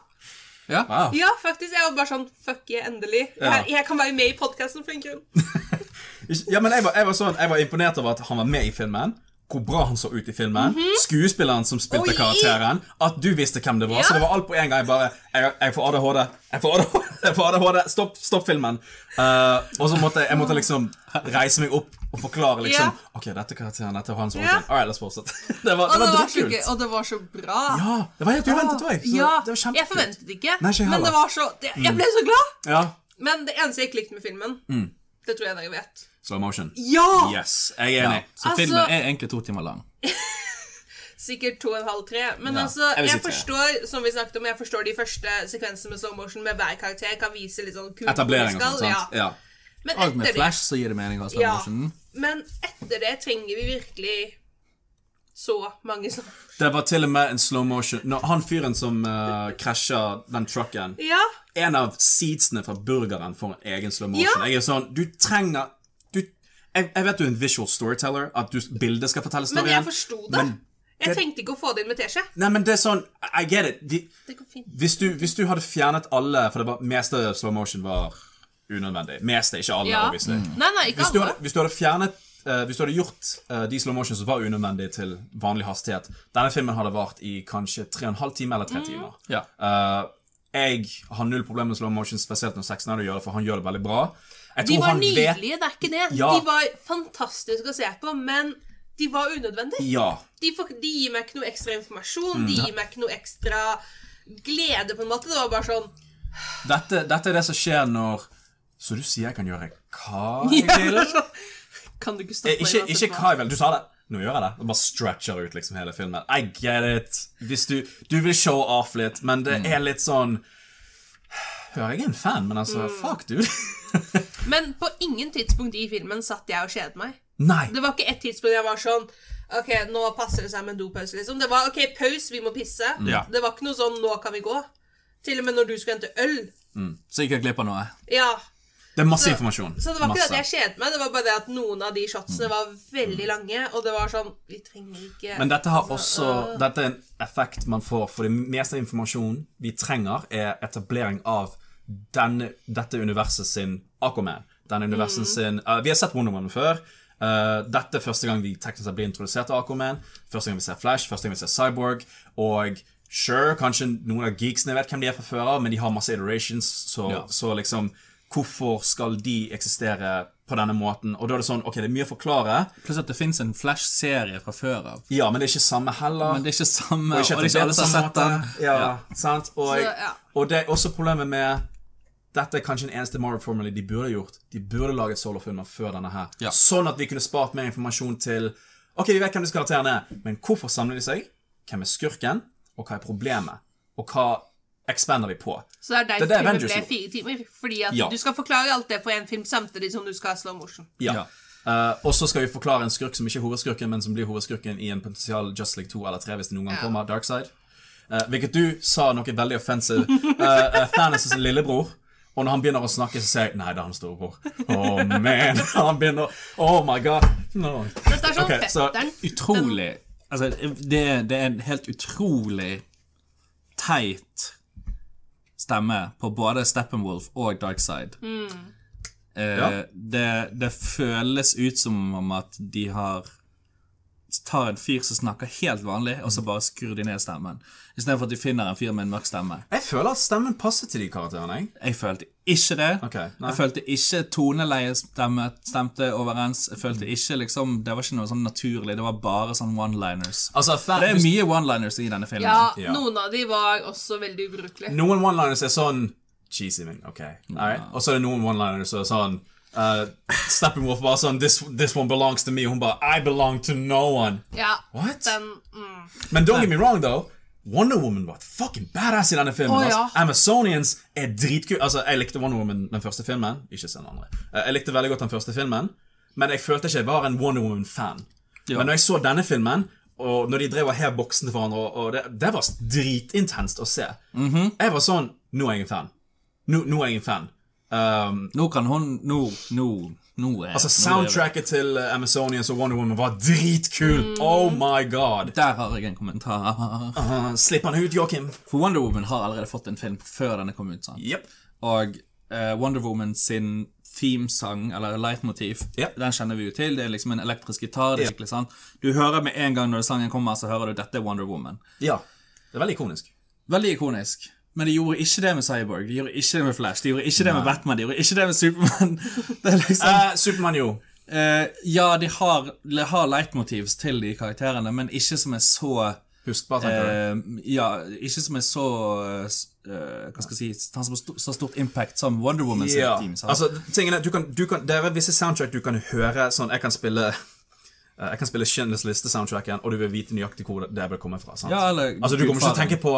[SPEAKER 1] Ja.
[SPEAKER 2] Wow.
[SPEAKER 3] Ja, faktisk. Jeg var bare sånn Fuck yeah, endelig. Jeg, jeg kan være med i podkasten for en grunn.
[SPEAKER 2] Ja, men jeg var, jeg, var sånn, jeg var imponert over at han var med i filmen. Hvor bra han så ut i filmen. Skuespilleren som spilte
[SPEAKER 3] Mhm. Oi!
[SPEAKER 2] karakteren. At du visste hvem det var.
[SPEAKER 3] Ja.
[SPEAKER 2] Så det var alt på en gang. Jeg bare Jeg, jeg får ADHD. Jeg får ADHD. Jeg får ADHD. Stopp, stopp filmen. Eh, og så måtte jeg, jeg måtte liksom reise meg opp og forklare liksom
[SPEAKER 3] Ja.
[SPEAKER 2] OK, dette er karakteren. Dette er han som
[SPEAKER 3] Ja.
[SPEAKER 2] All right, la oss fortsette. Det var,
[SPEAKER 3] Og
[SPEAKER 2] det
[SPEAKER 3] det
[SPEAKER 2] var
[SPEAKER 3] var så
[SPEAKER 2] dritkult.
[SPEAKER 3] gøy, og det var så bra.
[SPEAKER 2] Ja, det var helt uventet òg.
[SPEAKER 3] Ah, Ja,
[SPEAKER 2] det var
[SPEAKER 3] jeg
[SPEAKER 2] kjempekult.
[SPEAKER 3] forventet
[SPEAKER 2] Nei,
[SPEAKER 3] ikke,
[SPEAKER 2] ikke jeg
[SPEAKER 3] men
[SPEAKER 2] heller. Mm.
[SPEAKER 3] det var så det, Jeg ble så glad!
[SPEAKER 2] Ja.
[SPEAKER 3] Men det eneste jeg ikke likte med filmen,
[SPEAKER 2] Mm.
[SPEAKER 3] det tror jeg dere vet.
[SPEAKER 2] Slow motion.
[SPEAKER 3] Ja!
[SPEAKER 2] Yes, jeg er
[SPEAKER 1] Ja.
[SPEAKER 2] enig.
[SPEAKER 1] Så
[SPEAKER 3] Altså-
[SPEAKER 1] filmen er egentlig to timer lang.
[SPEAKER 3] Sikkert to og en halv, tre. Men
[SPEAKER 1] Ja,
[SPEAKER 3] altså,
[SPEAKER 2] jeg vil si
[SPEAKER 3] jeg,
[SPEAKER 2] tre.
[SPEAKER 3] forstår som vi snakket om, jeg forstår de første sekvensene med slow motion med hver karakter. Jeg kan vise litt sånn kul
[SPEAKER 2] Etablering og sånt. sant?
[SPEAKER 3] Ja.
[SPEAKER 2] Ja.
[SPEAKER 3] Men
[SPEAKER 1] Og med
[SPEAKER 3] etter det,
[SPEAKER 1] Flash så gir det mening å ha slow
[SPEAKER 3] Ja.
[SPEAKER 1] motion.
[SPEAKER 3] men etter det trenger vi virkelig så mange sånne
[SPEAKER 2] Det var til og med en slow motion Når Han fyren som eh, krasja den trucken
[SPEAKER 3] Ja!
[SPEAKER 2] En av seedsene fra burgeren får en egen slow motion.
[SPEAKER 3] Ja.
[SPEAKER 2] Jeg er sånn Du trenger du, jeg, jeg vet du er en visual storyteller, at du, bildet skal fortelle
[SPEAKER 3] Men
[SPEAKER 2] storyen.
[SPEAKER 3] jeg forsto det.
[SPEAKER 2] Men-
[SPEAKER 3] jeg
[SPEAKER 2] det-
[SPEAKER 3] trengte ikke å få det inn med teskje.
[SPEAKER 2] Nei, men det er sånn I get it. De,
[SPEAKER 3] Det går fint.
[SPEAKER 2] hvis, du, hvis du hadde fjernet alle For det var, meste slow motion var unødvendig. Meste, ikke alle,
[SPEAKER 3] Ja.
[SPEAKER 2] obviously.
[SPEAKER 3] Nei, nei, ikke
[SPEAKER 2] Hvis du
[SPEAKER 3] alle.
[SPEAKER 2] hadde, hvis du hadde fjernet eh, Hvis du hadde gjort eh, de slow motion som var unødvendige, til vanlig hastighet Denne filmen hadde vart i kanskje 3,5 timer eller
[SPEAKER 3] Mm.
[SPEAKER 2] 3 timer.
[SPEAKER 1] Ja.
[SPEAKER 2] Eh, jeg har null problemer med slow motion, spesielt når 16 gjør det, for han gjør det veldig bra. Jeg
[SPEAKER 3] De
[SPEAKER 2] tror
[SPEAKER 3] var
[SPEAKER 2] han vet-
[SPEAKER 3] nydelige, det er ikke det.
[SPEAKER 2] Ja.
[SPEAKER 3] De var fantastiske å se på, men de var unødvendige.
[SPEAKER 2] Ja.
[SPEAKER 3] De, får, de gir meg ikke noe ekstra informasjon,
[SPEAKER 2] Mm.
[SPEAKER 3] de gir meg ikke noe ekstra glede, på en måte. Det var bare sånn
[SPEAKER 2] Dette, dette er det som skjer når Så du sier jeg kan gjøre hva jeg vil?
[SPEAKER 3] sånn, Kan du ikke
[SPEAKER 2] Eh,
[SPEAKER 3] stoppe meg
[SPEAKER 2] Ikke,
[SPEAKER 3] uansett
[SPEAKER 2] ikke
[SPEAKER 3] hva?
[SPEAKER 2] hva jeg vil. Du sa det. Nå gjør jeg det. Og bare stretcher ut liksom hele filmen. I get it. Hvis du, du vil show off litt, men det
[SPEAKER 3] Mm.
[SPEAKER 2] er litt sånn Hører jeg er en fan, men altså,
[SPEAKER 3] Mm.
[SPEAKER 2] fuck, dude.
[SPEAKER 3] Men på ingen tidspunkt i filmen satt jeg og kjedet meg.
[SPEAKER 2] Nei.
[SPEAKER 3] Det var ikke ett tidspunkt jeg var sånn OK, nå passer det seg med en dopause, liksom. Det var OK, pause, vi må pisse.
[SPEAKER 1] Ja.
[SPEAKER 3] Det var ikke noe sånn 'nå kan vi gå'. Til og med når du skulle hente øl.
[SPEAKER 1] Så gikk jeg glipp av noe.
[SPEAKER 3] Ja.
[SPEAKER 2] Det er masse
[SPEAKER 3] Så-
[SPEAKER 2] informasjon.
[SPEAKER 3] Så det var ikke
[SPEAKER 2] masse.
[SPEAKER 3] det at jeg kjedet meg, det var bare det at noen av de shotsene var veldig lange, og det var sånn Vi trenger ikke
[SPEAKER 2] Men dette har også
[SPEAKER 3] øh.
[SPEAKER 2] Dette er en effekt man får, for det meste av informasjonen vi trenger, er etablering av denne, dette universet sin Aquaman. Denne universet sin eh, Vi har sett Wonder Woman før. Eh, dette er første gang vi teknisk sett blir introdusert til Aquaman. Første gang vi ser Flash, første gang vi ser Cyborg. Og sure, kanskje noen av geeksene vet hvem de er fra før av, men de har masse iterations, så,
[SPEAKER 1] Ja.
[SPEAKER 2] så liksom Hvorfor skal de eksistere på denne måten? Og da er det sånn, ok, det er mye å forklare,
[SPEAKER 1] Pluss at det fins en Flash-serie fra før av.
[SPEAKER 2] ja, men det er ikke samme heller.
[SPEAKER 1] Men det er ikke samme,
[SPEAKER 2] Og ikke
[SPEAKER 1] og det er ikke alle som har sett den.
[SPEAKER 2] Ja, sant? Og,
[SPEAKER 3] Så, ja.
[SPEAKER 2] og det er også problemet med Dette er kanskje den eneste Marvel-formelen de burde gjort. De burde laget solofilmer før denne her.
[SPEAKER 1] Ja.
[SPEAKER 2] Sånn at vi kunne spart mer informasjon til Ok, vi vet hvem disse karakterene er, men hvorfor samler de seg? Hvem er skurken? Og hva er problemet? Og hva expander de på?
[SPEAKER 3] Så det er
[SPEAKER 2] Det er
[SPEAKER 3] derfor
[SPEAKER 2] det
[SPEAKER 3] filmen
[SPEAKER 2] Avengers
[SPEAKER 3] ble
[SPEAKER 2] gjorde.
[SPEAKER 3] fire timer. Fordi at
[SPEAKER 2] Ja.
[SPEAKER 3] du skal forklare alt det på én film samtidig som du skal ha slow motion.
[SPEAKER 2] Ja.
[SPEAKER 1] Ja.
[SPEAKER 2] Eh, og så skal vi forklare en skurk som ikke er hovedskurken, men som blir hovedskurken i en potensial Just League 2 eller 3 hvis det noen gang
[SPEAKER 3] Ja.
[SPEAKER 2] kommer, Darkside. Eh, hvilket du sa noe veldig offensive. Eh, eh, Thanos' lillebror. Og når han begynner å snakke, så sier jeg Nei, det er han storebror. Oh man! Han begynner Oh my god! No.
[SPEAKER 3] Dette er sånn
[SPEAKER 2] Ok, så-
[SPEAKER 3] fetteren.
[SPEAKER 1] Utrolig Altså, det, det er en helt utrolig teit stemme på både Steppenwolf og Darkside. Eh,
[SPEAKER 2] Ja.
[SPEAKER 1] det, det føles ut som om at de har tar en fyr som snakker helt vanlig, og så bare skrur de ned stemmen. Istedenfor at de finner en fyr med en mørk stemme.
[SPEAKER 2] Jeg føler at stemmen passer til de karakterene. jeg.
[SPEAKER 1] Jeg følte ikke det.
[SPEAKER 2] Ok, nei.
[SPEAKER 1] jeg følte ikke toneleiet stemme, stemte overens. Jeg følte ikke liksom Det var ikke noe sånn naturlig. Det var bare sånn one-liners.
[SPEAKER 2] Altså,
[SPEAKER 1] Det er
[SPEAKER 2] Thanos,
[SPEAKER 1] mye one-liners i denne filmen.
[SPEAKER 3] Ja,
[SPEAKER 2] Ja.
[SPEAKER 3] noen av de var også veldig ubrukelige.
[SPEAKER 2] Noen one-liners er sånn cheesy, men ok. alright. Og så er det noen one-liners som er sånn eh, Steppenwolf bare sånn this, this one belongs to me. Og hun bare I belong to no one.
[SPEAKER 3] Ja,
[SPEAKER 2] What?
[SPEAKER 3] den mm.
[SPEAKER 2] Men don't get me wrong, though. Wonder Woman var fucking badass i denne filmen.
[SPEAKER 3] Å,
[SPEAKER 2] altså.
[SPEAKER 3] ja.
[SPEAKER 2] Amazonians er dritkul. Altså, jeg likte Wonder Woman den første filmen. Ikke se den andre. Eh, Jeg likte veldig godt den første filmen, men jeg følte ikke jeg var en Wonder Woman-fan. Men når jeg så denne filmen, og når de drev og hev boksen til hverandre, og- og det, det var dritintenst å se.
[SPEAKER 1] Mhm.
[SPEAKER 2] Jeg var sånn Nå er jeg en fan. Nå, nå er jeg en fan. Um,
[SPEAKER 1] Nå kan hun Nå, nå, nå er
[SPEAKER 2] altså,
[SPEAKER 1] nå er det-
[SPEAKER 2] soundtracket til eh, Amazonians og Wonder Woman var dritkul.
[SPEAKER 3] Mm.
[SPEAKER 2] Oh my god.
[SPEAKER 1] Der har jeg en kommentar.
[SPEAKER 2] Uh, Slipp han ut, Joakim.
[SPEAKER 1] For Wonder Woman har allerede fått en film før denne kom ut. sant?
[SPEAKER 2] Yep.
[SPEAKER 1] Og eh, Wonder Woman sin themesang, eller leitmotiv,
[SPEAKER 2] Ja.
[SPEAKER 1] den kjenner vi jo til. Det er liksom en elektrisk gitar. det er
[SPEAKER 2] Ja.
[SPEAKER 1] skikkelig sant? Du hører med en gang når sangen kommer, så hører du dette er Wonder Woman.
[SPEAKER 2] Ja. Det er veldig ikonisk.
[SPEAKER 1] Um, Veldig ikonisk. Men de gjorde ikke det med Cyborg, de gjorde ikke det med Flash, de gjorde ikke det med Batman, de gjorde ikke det med Supermann. Det er liksom
[SPEAKER 2] Eh, Supermann, jo.
[SPEAKER 1] Eh, ja, de har, de har leitmotivs til de karakterene, men ikke som er så
[SPEAKER 2] Husk bare tenker
[SPEAKER 1] eh,
[SPEAKER 2] du.
[SPEAKER 1] Ja, ikke som er så eh, s- eh, Hva skal jeg si tar så stor- så stort impact som Wonder Woman sitt
[SPEAKER 2] Ja.
[SPEAKER 1] team. sant?
[SPEAKER 2] Altså, tingene, du kan, du kan, det er visse soundtrack du kan høre sånn Jeg kan spille eh, jeg kan spille Schindlers liste-soundtracken, og du vil vite nøyaktig hvor det vil komme fra. sant?
[SPEAKER 1] Ja, eller
[SPEAKER 2] altså, Du kommer ikke til å
[SPEAKER 1] Gudfaren.
[SPEAKER 2] tenke på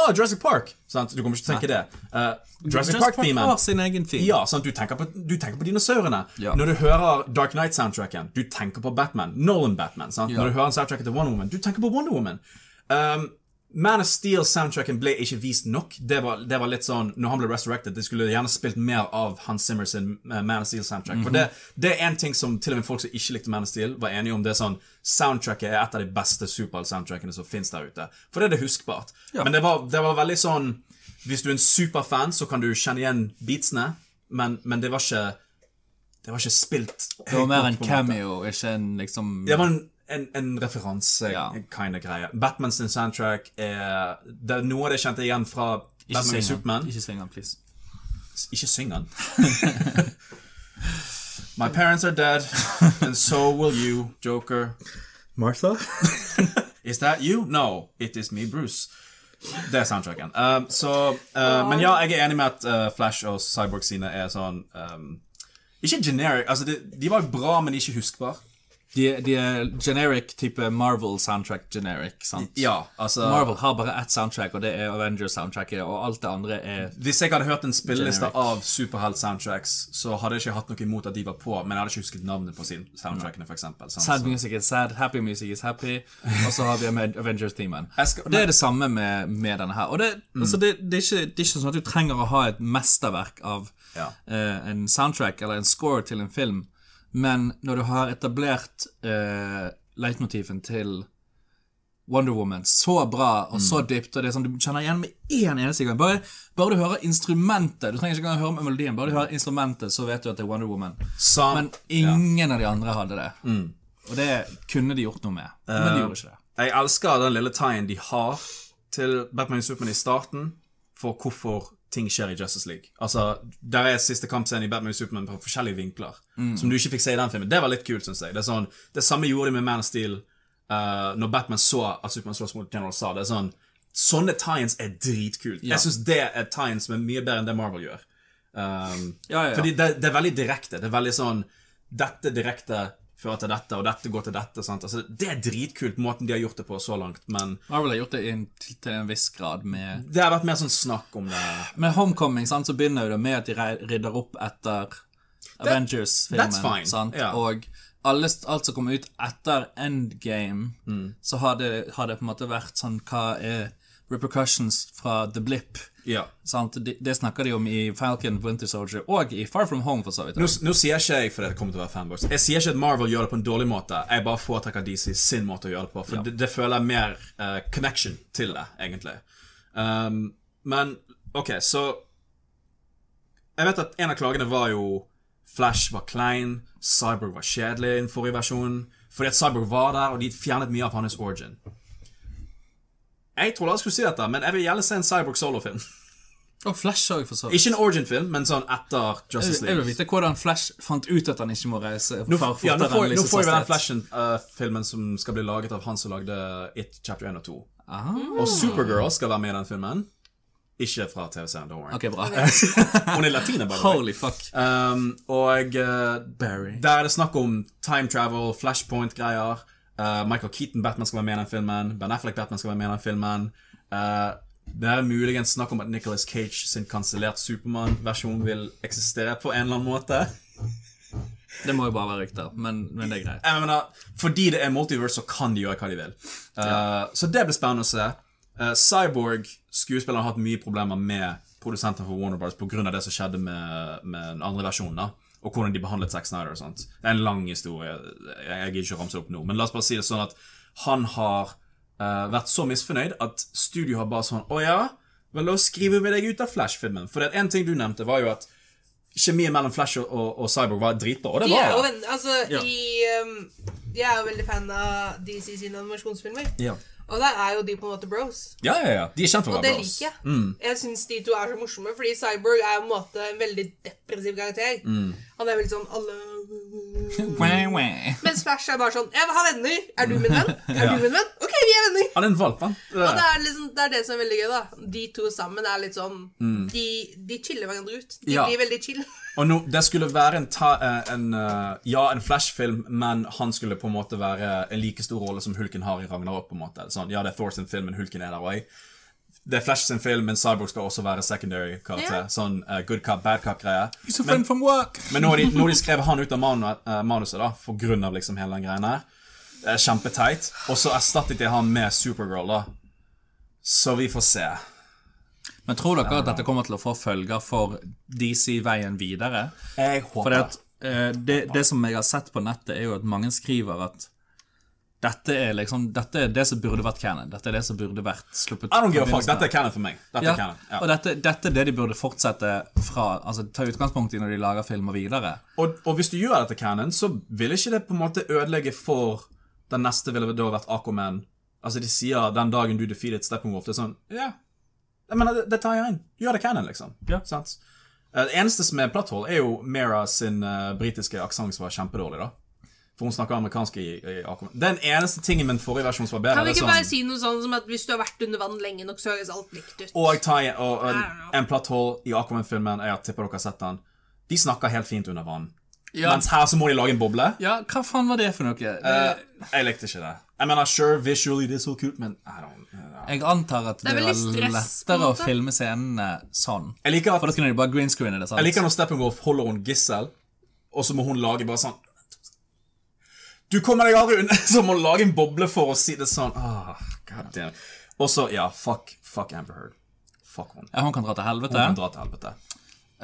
[SPEAKER 2] oh, Jurassic Park! sant? Du kommer ikke til å tenke det. Eh, Jurassic
[SPEAKER 1] Jurassic Park
[SPEAKER 2] Park-themen.
[SPEAKER 1] Altså, har sin egen theme.
[SPEAKER 2] Ja, sant? Du, tenker på, du tenker på dinosaurene.
[SPEAKER 1] Ja.
[SPEAKER 2] Når du hører Dark Knight-soundtracken, du tenker på Batman. Nolan-Batman. sant?
[SPEAKER 1] Ja.
[SPEAKER 2] Når du hører soundtracken til Wonder Woman, du tenker på Wonder Woman. Um, Man of Steel-soundtracken ble ikke vist nok. Det var, det var litt sånn, når han ble resurrected, de skulle gjerne spilt mer av Hans Zimmer sin eh, Man of Steel-soundtrack. For det,
[SPEAKER 1] Mhm.
[SPEAKER 2] det er en ting som til og med folk som ikke likte Man of Steel, var enige om. det er sånn, Soundtracket er et av de beste superhelt-soundtrackene som finnes der ute. For det er det huskbart. Men det var, det var veldig sånn hvis du er en superfan, så kan du kjenne igjen beatsene, men, men det var ikke Det var ikke spilt
[SPEAKER 1] Det var mer en cameo, ikke en liksom
[SPEAKER 2] Det var en, en, en referanse
[SPEAKER 1] Ja.
[SPEAKER 2] kind of greie. Batman sin soundtrack er det er Noe av det jeg kjente igjen fra
[SPEAKER 1] Ikke
[SPEAKER 2] Batman og
[SPEAKER 1] syng han,
[SPEAKER 2] Superman.
[SPEAKER 1] ikke syng han, please.
[SPEAKER 2] Ikke syng den. My parents are dead, and so will you, Joker.
[SPEAKER 4] Martha?
[SPEAKER 2] Is that you? No, it is me, Bruce. Det er soundtracken. Um, så, uh, men ja, jeg er enig med at uh, Flash og Cyborg sine er sånn um, Ikke generic. Altså, de, de var jo bra, men ikke huskbar.
[SPEAKER 1] De, de er generic type Marvel soundtrack generic, sant?
[SPEAKER 2] Ja, altså
[SPEAKER 1] Marvel har bare ett soundtrack, og det er Avengers-soundtracket, og alt det andre er
[SPEAKER 2] Hvis jeg hadde hørt en spilleliste
[SPEAKER 1] Generic.
[SPEAKER 2] av superhelt-soundtracks, så hadde jeg ikke hatt noe imot at de var på, men jeg hadde ikke husket navnet på sin- soundtrackene, for eksempel. sant?
[SPEAKER 1] Sad
[SPEAKER 2] Så-
[SPEAKER 1] music is sad, happy music is happy. Og så har vi Aven- Avengers-teamen.
[SPEAKER 2] Jeg skal- Mm.
[SPEAKER 1] Det er det samme med, med denne her. Og det, altså det, det, er ikke, det er ikke sånn at du trenger å ha et mesterverk av
[SPEAKER 2] Ja.
[SPEAKER 1] eh, en soundtrack eller en score til en film, men når du har etablert eh, leitmotiven til Wonder Woman så bra og så dypt, og det er sånn du kjenner igjen med én eneste gang. Bare, bare du hører instrumentet, du trenger ikke engang høre om melodien, bare du hører instrumentet, så vet du at det er Wonder Woman.
[SPEAKER 2] Sam-
[SPEAKER 1] Men ingen av de andre hadde det. Og det kunne de gjort noe med, men de gjorde ikke det.
[SPEAKER 2] Jeg elsker den lille tien de har til Batman og Superman i starten for hvorfor ting skjer i Justice League. Altså, Der er siste kampscene i Batman og Superman fra forskjellige vinkler, som du ikke fikk se i den filmen. Det var litt kult, syns jeg. Det er sånn, det samme gjorde de med Man of Steel eh, når Batman så at Superman slåss mot General Saad. Det er sånn, Sånne tie-ins er dritkult. Jeg syns det er tie-ins som er mye bedre enn det Marvel gjør. Um,
[SPEAKER 1] Ja, ja, ja.
[SPEAKER 2] Fordi det, det er veldig direkte. Det er veldig sånn Dette direkte fører til dette, og dette går til dette. Sant? Altså, det er dritkult, måten de har gjort det på så langt, men
[SPEAKER 1] Marvel har gjort det inn til, til en viss grad med
[SPEAKER 2] det har vært mer sånn snakk om det.
[SPEAKER 1] Med Homecoming sant, så begynner jo det med at de rei- rydder opp etter
[SPEAKER 2] that's fine,
[SPEAKER 1] Avengers-filmen. sant?
[SPEAKER 2] ja.
[SPEAKER 1] Og alle, st- alt som kom
[SPEAKER 2] Mm.
[SPEAKER 1] ut etter Endgame, så har det, har det på en måte vært sånn Hva er repercussions fra The Blip.
[SPEAKER 2] Ja.
[SPEAKER 1] Sant? Det, det snakker de om i Falcon, Winter Soldier og i Far From Home, for så vidt.
[SPEAKER 2] Nå, nå sier ikke jeg for det kommer til å være fanbox Jeg sier ikke at Marvel gjør det på en dårlig måte. Jeg bare foretrekker DC sin måte å gjøre det på. For det, det føler jeg mer eh, connection til det, egentlig. Um, men OK, så Jeg vet at en av klagene var jo Flash var klein, Cyborg var kjedelig i den forrige versjonen. Fordi at Cyborg var der, og de fjernet mye av hans origin. Jeg trodde jeg skulle si dette, men jeg vil gjerne se en Cyborg solofilm.
[SPEAKER 1] Og Flash òg, for så vidt.
[SPEAKER 2] Ikke en origin-film, men sånn etter Justice
[SPEAKER 1] Jeg vil
[SPEAKER 2] League.
[SPEAKER 1] vite hvordan Flash fant ut at han ikke må reise.
[SPEAKER 2] Nå,
[SPEAKER 1] far
[SPEAKER 2] ja, nå
[SPEAKER 1] fortere enn
[SPEAKER 2] får, nå får vi den
[SPEAKER 1] lyseshastighet.
[SPEAKER 2] Flashen-filmen eh, som skal bli laget av han som lagde It chapter 1 og 2.
[SPEAKER 1] Ah.
[SPEAKER 2] Og Supergirl skal være med i den filmen. Ikke fra TV-serien, don't worry.
[SPEAKER 1] Ok, bra.
[SPEAKER 2] Hun er latina, by the way.
[SPEAKER 1] Holy fuck.
[SPEAKER 2] Um, og eh,
[SPEAKER 1] Barry.
[SPEAKER 2] der er det snakk om time travel, flashpoint-greier. Eh, Michael Keaton Batman skal være med i den filmen. Ben Affleck Batman skal være med i den filmen. Eh, det er muligens snakk om at Nicolas Cage sin kansellert Supermann-versjon vil eksistere på en eller annen måte.
[SPEAKER 1] Det må jo bare være rykter, men, men det er greit.
[SPEAKER 2] Jeg mener, fordi det er multiverse, så kan de gjøre hva de vil. Eh, Så det blir spennende å se. Eh, Cyborg, skuespilleren, har hatt mye problemer med produsenten for Warner Brothers pga. det som skjedde med, med den andre versjonen. da og hvordan de behandlet Zack Snyder. og sånt. Det er en lang historie. Jeg, jeg gidder ikke å ramse det opp nå. Men la oss bare si det sånn at han har eh, vært så misfornøyd at studio har bare sånn Å ja, vel, da skriver vi deg ut av Flash-filmen. For det er en ting du nevnte, var jo at kjemien mellom Flash og, og, og Cyborg var dritbra. Og det
[SPEAKER 3] De
[SPEAKER 2] var
[SPEAKER 3] er jo
[SPEAKER 2] det.
[SPEAKER 3] venn, altså, i, um, jeg er jo veldig fan av DC sine animasjonsfilmer.
[SPEAKER 2] Ja.
[SPEAKER 3] Og der er jo de på en måte bros.
[SPEAKER 2] Ja, ja, ja. De er kjent for å
[SPEAKER 3] Og
[SPEAKER 2] være
[SPEAKER 3] det
[SPEAKER 2] bros. Mm.
[SPEAKER 3] liker jeg. Jeg syns de to er så morsomme, fordi Cyborg er på en måte en veldig depressiv karakter.
[SPEAKER 2] Mm.
[SPEAKER 3] Han er veldig sånn alle
[SPEAKER 1] Wah, wah.
[SPEAKER 3] Mens Flash er bare sånn Jeg vil ha venner! Er du min venn? Er du min venn? OK, vi er venner!
[SPEAKER 2] Han er en valp, han.
[SPEAKER 3] Og det er, liksom, det er det som er veldig gøy, da. De to sammen er litt sånn
[SPEAKER 2] Mm.
[SPEAKER 3] de, de chiller hverandre ut. De
[SPEAKER 1] Ja.
[SPEAKER 3] blir veldig chill.
[SPEAKER 2] Og nå, det skulle være en, ta, eh, en eh, Ja, en Flash-film, men han skulle på en måte være en like stor rolle som Hulken har i Ragnarok. på en måte. Sånn, ja, det er Thor sin film, men Hulken er der òg. Det er Flash sin film, men Cyborg skal også være secondary karakter.
[SPEAKER 3] Ja.
[SPEAKER 2] Sånn eh, good cop, bad cop-greie.
[SPEAKER 1] He's a friend from work.
[SPEAKER 2] Men nå har de, nå har de skrevet han ut av manu, eh, manuset, da, for grunn av liksom hele den greien her. Det er kjempeteit. Og så erstattet de han med Supergirl, da. Så vi får se.
[SPEAKER 1] Men tror dere at dette kommer til å få følger for DC-veien videre?
[SPEAKER 2] Jeg håper
[SPEAKER 1] Fordi at eh, det, det som jeg har sett på nettet, er jo at mange skriver at dette er liksom Dette er det som burde vært canon. Dette er det som burde vært sluppet
[SPEAKER 2] I don't give a
[SPEAKER 1] fra begynnelsen
[SPEAKER 2] fuck.
[SPEAKER 1] av.
[SPEAKER 2] Dette er canon for meg. Dette
[SPEAKER 1] ja,
[SPEAKER 2] er canon. Ja.
[SPEAKER 1] Og dette, dette er det de burde fortsette fra. Altså Ta utgangspunkt i når de lager filmer videre.
[SPEAKER 2] Og, og hvis du gjør dette canon, så vil ikke det på en måte ødelegge for Den neste ville da vært Aquaman. Altså, de sier 'den dagen du defeated Steppenwolf'. Det er sånn Ja. Jeg mener, det, det tar jeg inn. Gjør det canon, liksom.
[SPEAKER 1] Ja.
[SPEAKER 2] Sant? Eh, Det eneste som er platthold, er jo Mera sin eh, britiske aksent som var kjempedårlig, da. For hun snakker amerikansk i, i Aquaman. Den eneste tingen med den forrige versjonen som var bedre.
[SPEAKER 3] Kan vi
[SPEAKER 2] det er
[SPEAKER 3] ikke
[SPEAKER 2] sånn-
[SPEAKER 3] bare si noe sånn som at hvis du har vært under vann lenge nok, så høres alt likt ut?
[SPEAKER 2] Og, jeg tar, igjen- og en,
[SPEAKER 3] don't know.
[SPEAKER 2] en platt hull i Aquaman-filmen, jeg tipper dere har sett den, de snakker helt fint under vann.
[SPEAKER 1] Ja.
[SPEAKER 2] Mens her så må de lage en boble.
[SPEAKER 1] Ja, hva faen var det for noe? Det,
[SPEAKER 2] Eh, jeg likte ikke det. Jeg mener, sure, visually det er så kult, men I don't, eh,
[SPEAKER 1] jeg antar at det,
[SPEAKER 3] er
[SPEAKER 1] var
[SPEAKER 3] veldig stress, på en
[SPEAKER 1] lettere å
[SPEAKER 3] måte.
[SPEAKER 1] filme scenene sånn.
[SPEAKER 2] jeg liker
[SPEAKER 1] For da
[SPEAKER 2] at
[SPEAKER 1] kunne de bare greenscreene det, sant?
[SPEAKER 2] jeg liker når Steppenwolf holder hun gissel, og så må hun lage bare sånn Du kommer deg aldri unna! Så må hun lage en boble for å si det sånn. Ah, God damn. Og så, ja, fuck, fuck Amber Heard. Fuck hun.
[SPEAKER 1] Ja, hun kan dra til helvete.
[SPEAKER 2] Hun kan dra til helvete.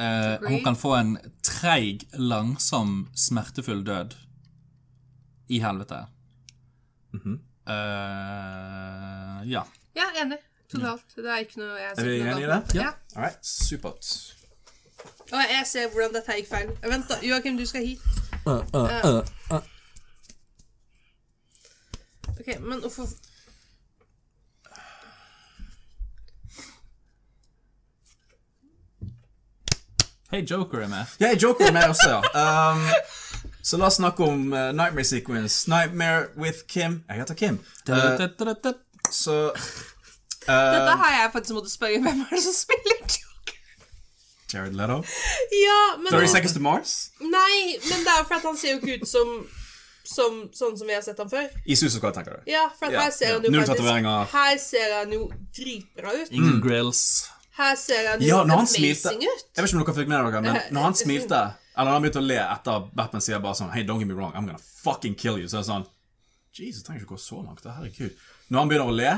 [SPEAKER 1] Eh, hun kan få en treig, langsom, smertefull død i helvete.
[SPEAKER 2] Mhm.
[SPEAKER 1] Eh, ja.
[SPEAKER 3] Ja, enig. Totalt. Det er ikke noe jeg
[SPEAKER 2] Er vi enige i det?
[SPEAKER 3] Ja.
[SPEAKER 2] All right, supert.
[SPEAKER 3] Og jeg ser hvordan dette gikk feil. Vent, da. Joakim, du skal hit. Ok, men hvorfor
[SPEAKER 1] Hei, Joker er med.
[SPEAKER 2] Jeg joker med også, ja. Um, så la oss snakke om eh, Nightmare Sequence. Nightmare with Kim. Jeg heter Kim. Eh, så eh,
[SPEAKER 3] Dette har jeg faktisk måttet spørre hvem er det som spiller Joker.
[SPEAKER 2] Jared Leto.
[SPEAKER 3] Ja, men
[SPEAKER 2] 30 Seconds to Mars.
[SPEAKER 3] Nei, men det er jo fordi at han ser jo ikke ut som, som sånn som vi har sett han før.
[SPEAKER 2] I Suicide Squad, tenker du.
[SPEAKER 3] Ja, for at
[SPEAKER 2] Ja,
[SPEAKER 3] her ser
[SPEAKER 2] ja.
[SPEAKER 3] han jo
[SPEAKER 2] Null tatoveringer.
[SPEAKER 3] faktisk Her ser han jo dritbra ut.
[SPEAKER 2] Mm.
[SPEAKER 1] Ingen grills.
[SPEAKER 3] Her ser han jo
[SPEAKER 2] Ja, når han smilte
[SPEAKER 3] amazing
[SPEAKER 2] Jeg
[SPEAKER 3] ut.
[SPEAKER 2] vet ikke om dere fikk med dere, men når han smilte Eller når han begynte å le etter Batman sier bare sånn Hey, don't get me wrong, I'm gonna fucking kill you. Så er det sånn Jesus, jeg trenger ikke gå så langt. da, Herregud. Når han begynner å le,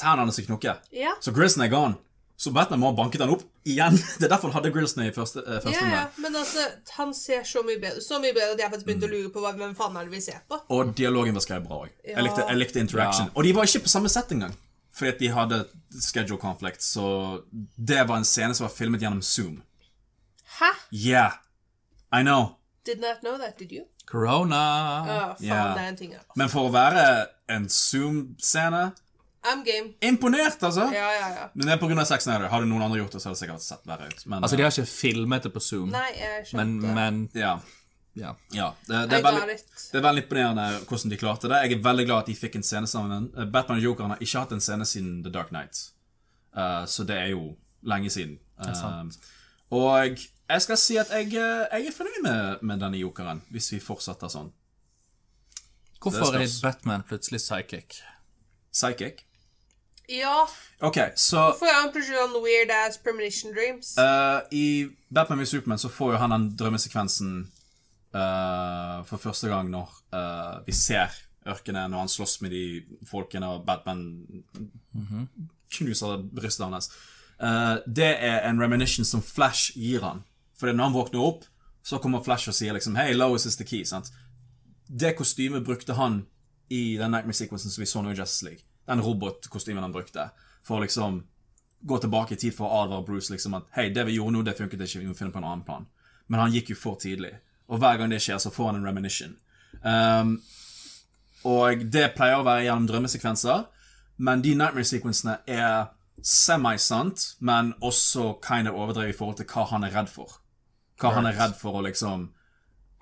[SPEAKER 2] tennene som knokker.
[SPEAKER 3] Ja.
[SPEAKER 2] Så Grilson er gone. Så Batman må ha banket han opp igjen. Det er derfor han hadde Grilson i første, eh, første
[SPEAKER 3] Ja,
[SPEAKER 2] runde.
[SPEAKER 3] ja, men altså, han ser så mye bedre Så mye bedre at jeg faktisk begynte å lure på hva, hvem faen er det vi ser på.
[SPEAKER 2] Og dialogen var skrevet bra òg.
[SPEAKER 3] Ja.
[SPEAKER 2] Jeg, likte- jeg likte interaction.
[SPEAKER 1] Ja.
[SPEAKER 2] Og de var ikke på samme sett engang. Fordi at de hadde schedule conflict, så det var en scene som var filmet gjennom Zoom.
[SPEAKER 3] Hæ?
[SPEAKER 2] Yeah, I know.
[SPEAKER 3] Did not know that, did you?
[SPEAKER 1] Corona!
[SPEAKER 3] Å, faen,
[SPEAKER 2] Ja.
[SPEAKER 3] det er en ting her.
[SPEAKER 2] Men for å være en Zoom-scene
[SPEAKER 3] I'm game.
[SPEAKER 2] Imponert, altså!
[SPEAKER 3] Ja, ja, ja.
[SPEAKER 2] Men det er pga. Zack Snyder. Hadde noen andre gjort det, så hadde det sikkert sett verre ut. Men, eh,
[SPEAKER 1] Altså, de har ikke filmet det på Zoom,
[SPEAKER 3] Nei, jeg
[SPEAKER 1] men,
[SPEAKER 3] skjønte.
[SPEAKER 1] men
[SPEAKER 2] ja,
[SPEAKER 1] ja.
[SPEAKER 2] ja. Det, det,
[SPEAKER 3] I
[SPEAKER 2] er
[SPEAKER 3] got
[SPEAKER 2] veldig,
[SPEAKER 3] it.
[SPEAKER 2] det er veldig imponerende hvordan de klarte det. Jeg er veldig glad at de fikk en scene sammen. Eh, Batman og Jokeren har ikke hatt en scene siden The Dark Knight. Eh, så det er jo lenge siden. Eh,
[SPEAKER 1] sant.
[SPEAKER 2] og jeg skal si at jeg, eh, jeg er fornøyd med, med denne jokeren, hvis vi fortsetter sånn.
[SPEAKER 1] Hvorfor
[SPEAKER 2] Det
[SPEAKER 1] er
[SPEAKER 2] spørs.
[SPEAKER 1] Batman plutselig psychic?
[SPEAKER 2] Psychic.
[SPEAKER 3] Ja,
[SPEAKER 2] OK, så
[SPEAKER 3] for jeg har en plutselig sånn weird ass premonition dreams.
[SPEAKER 2] Eh, I Batman vs Superman så får jo han den drømmesekvensen eh, for første gang når eh, vi ser ørkenen, når han slåss med de folkene, og Batman knuser brystet hans. Eh, det er en reminiscence som Flash gir han. For når han våkner opp, så kommer Flash og sier liksom Hey, Lois is the key. sant? Det kostymet brukte han i den Nightmare-sekvensen som vi så nå i Justice League. Den robotkostymen han brukte. For å liksom gå tilbake i tid for å advare Bruce liksom at hei, det vi gjorde nå, det funket ikke, vi må finne på en annen plan. Men han gikk jo for tidlig. Og hver gang det skjer, så får han en reminiscence. Um, og det pleier å være gjennom drømmesekvenser, men de nightmare-sekvensene er semi-sant, men også kind of overdrevet i forhold til hva han er redd for. Hva han er redd for å liksom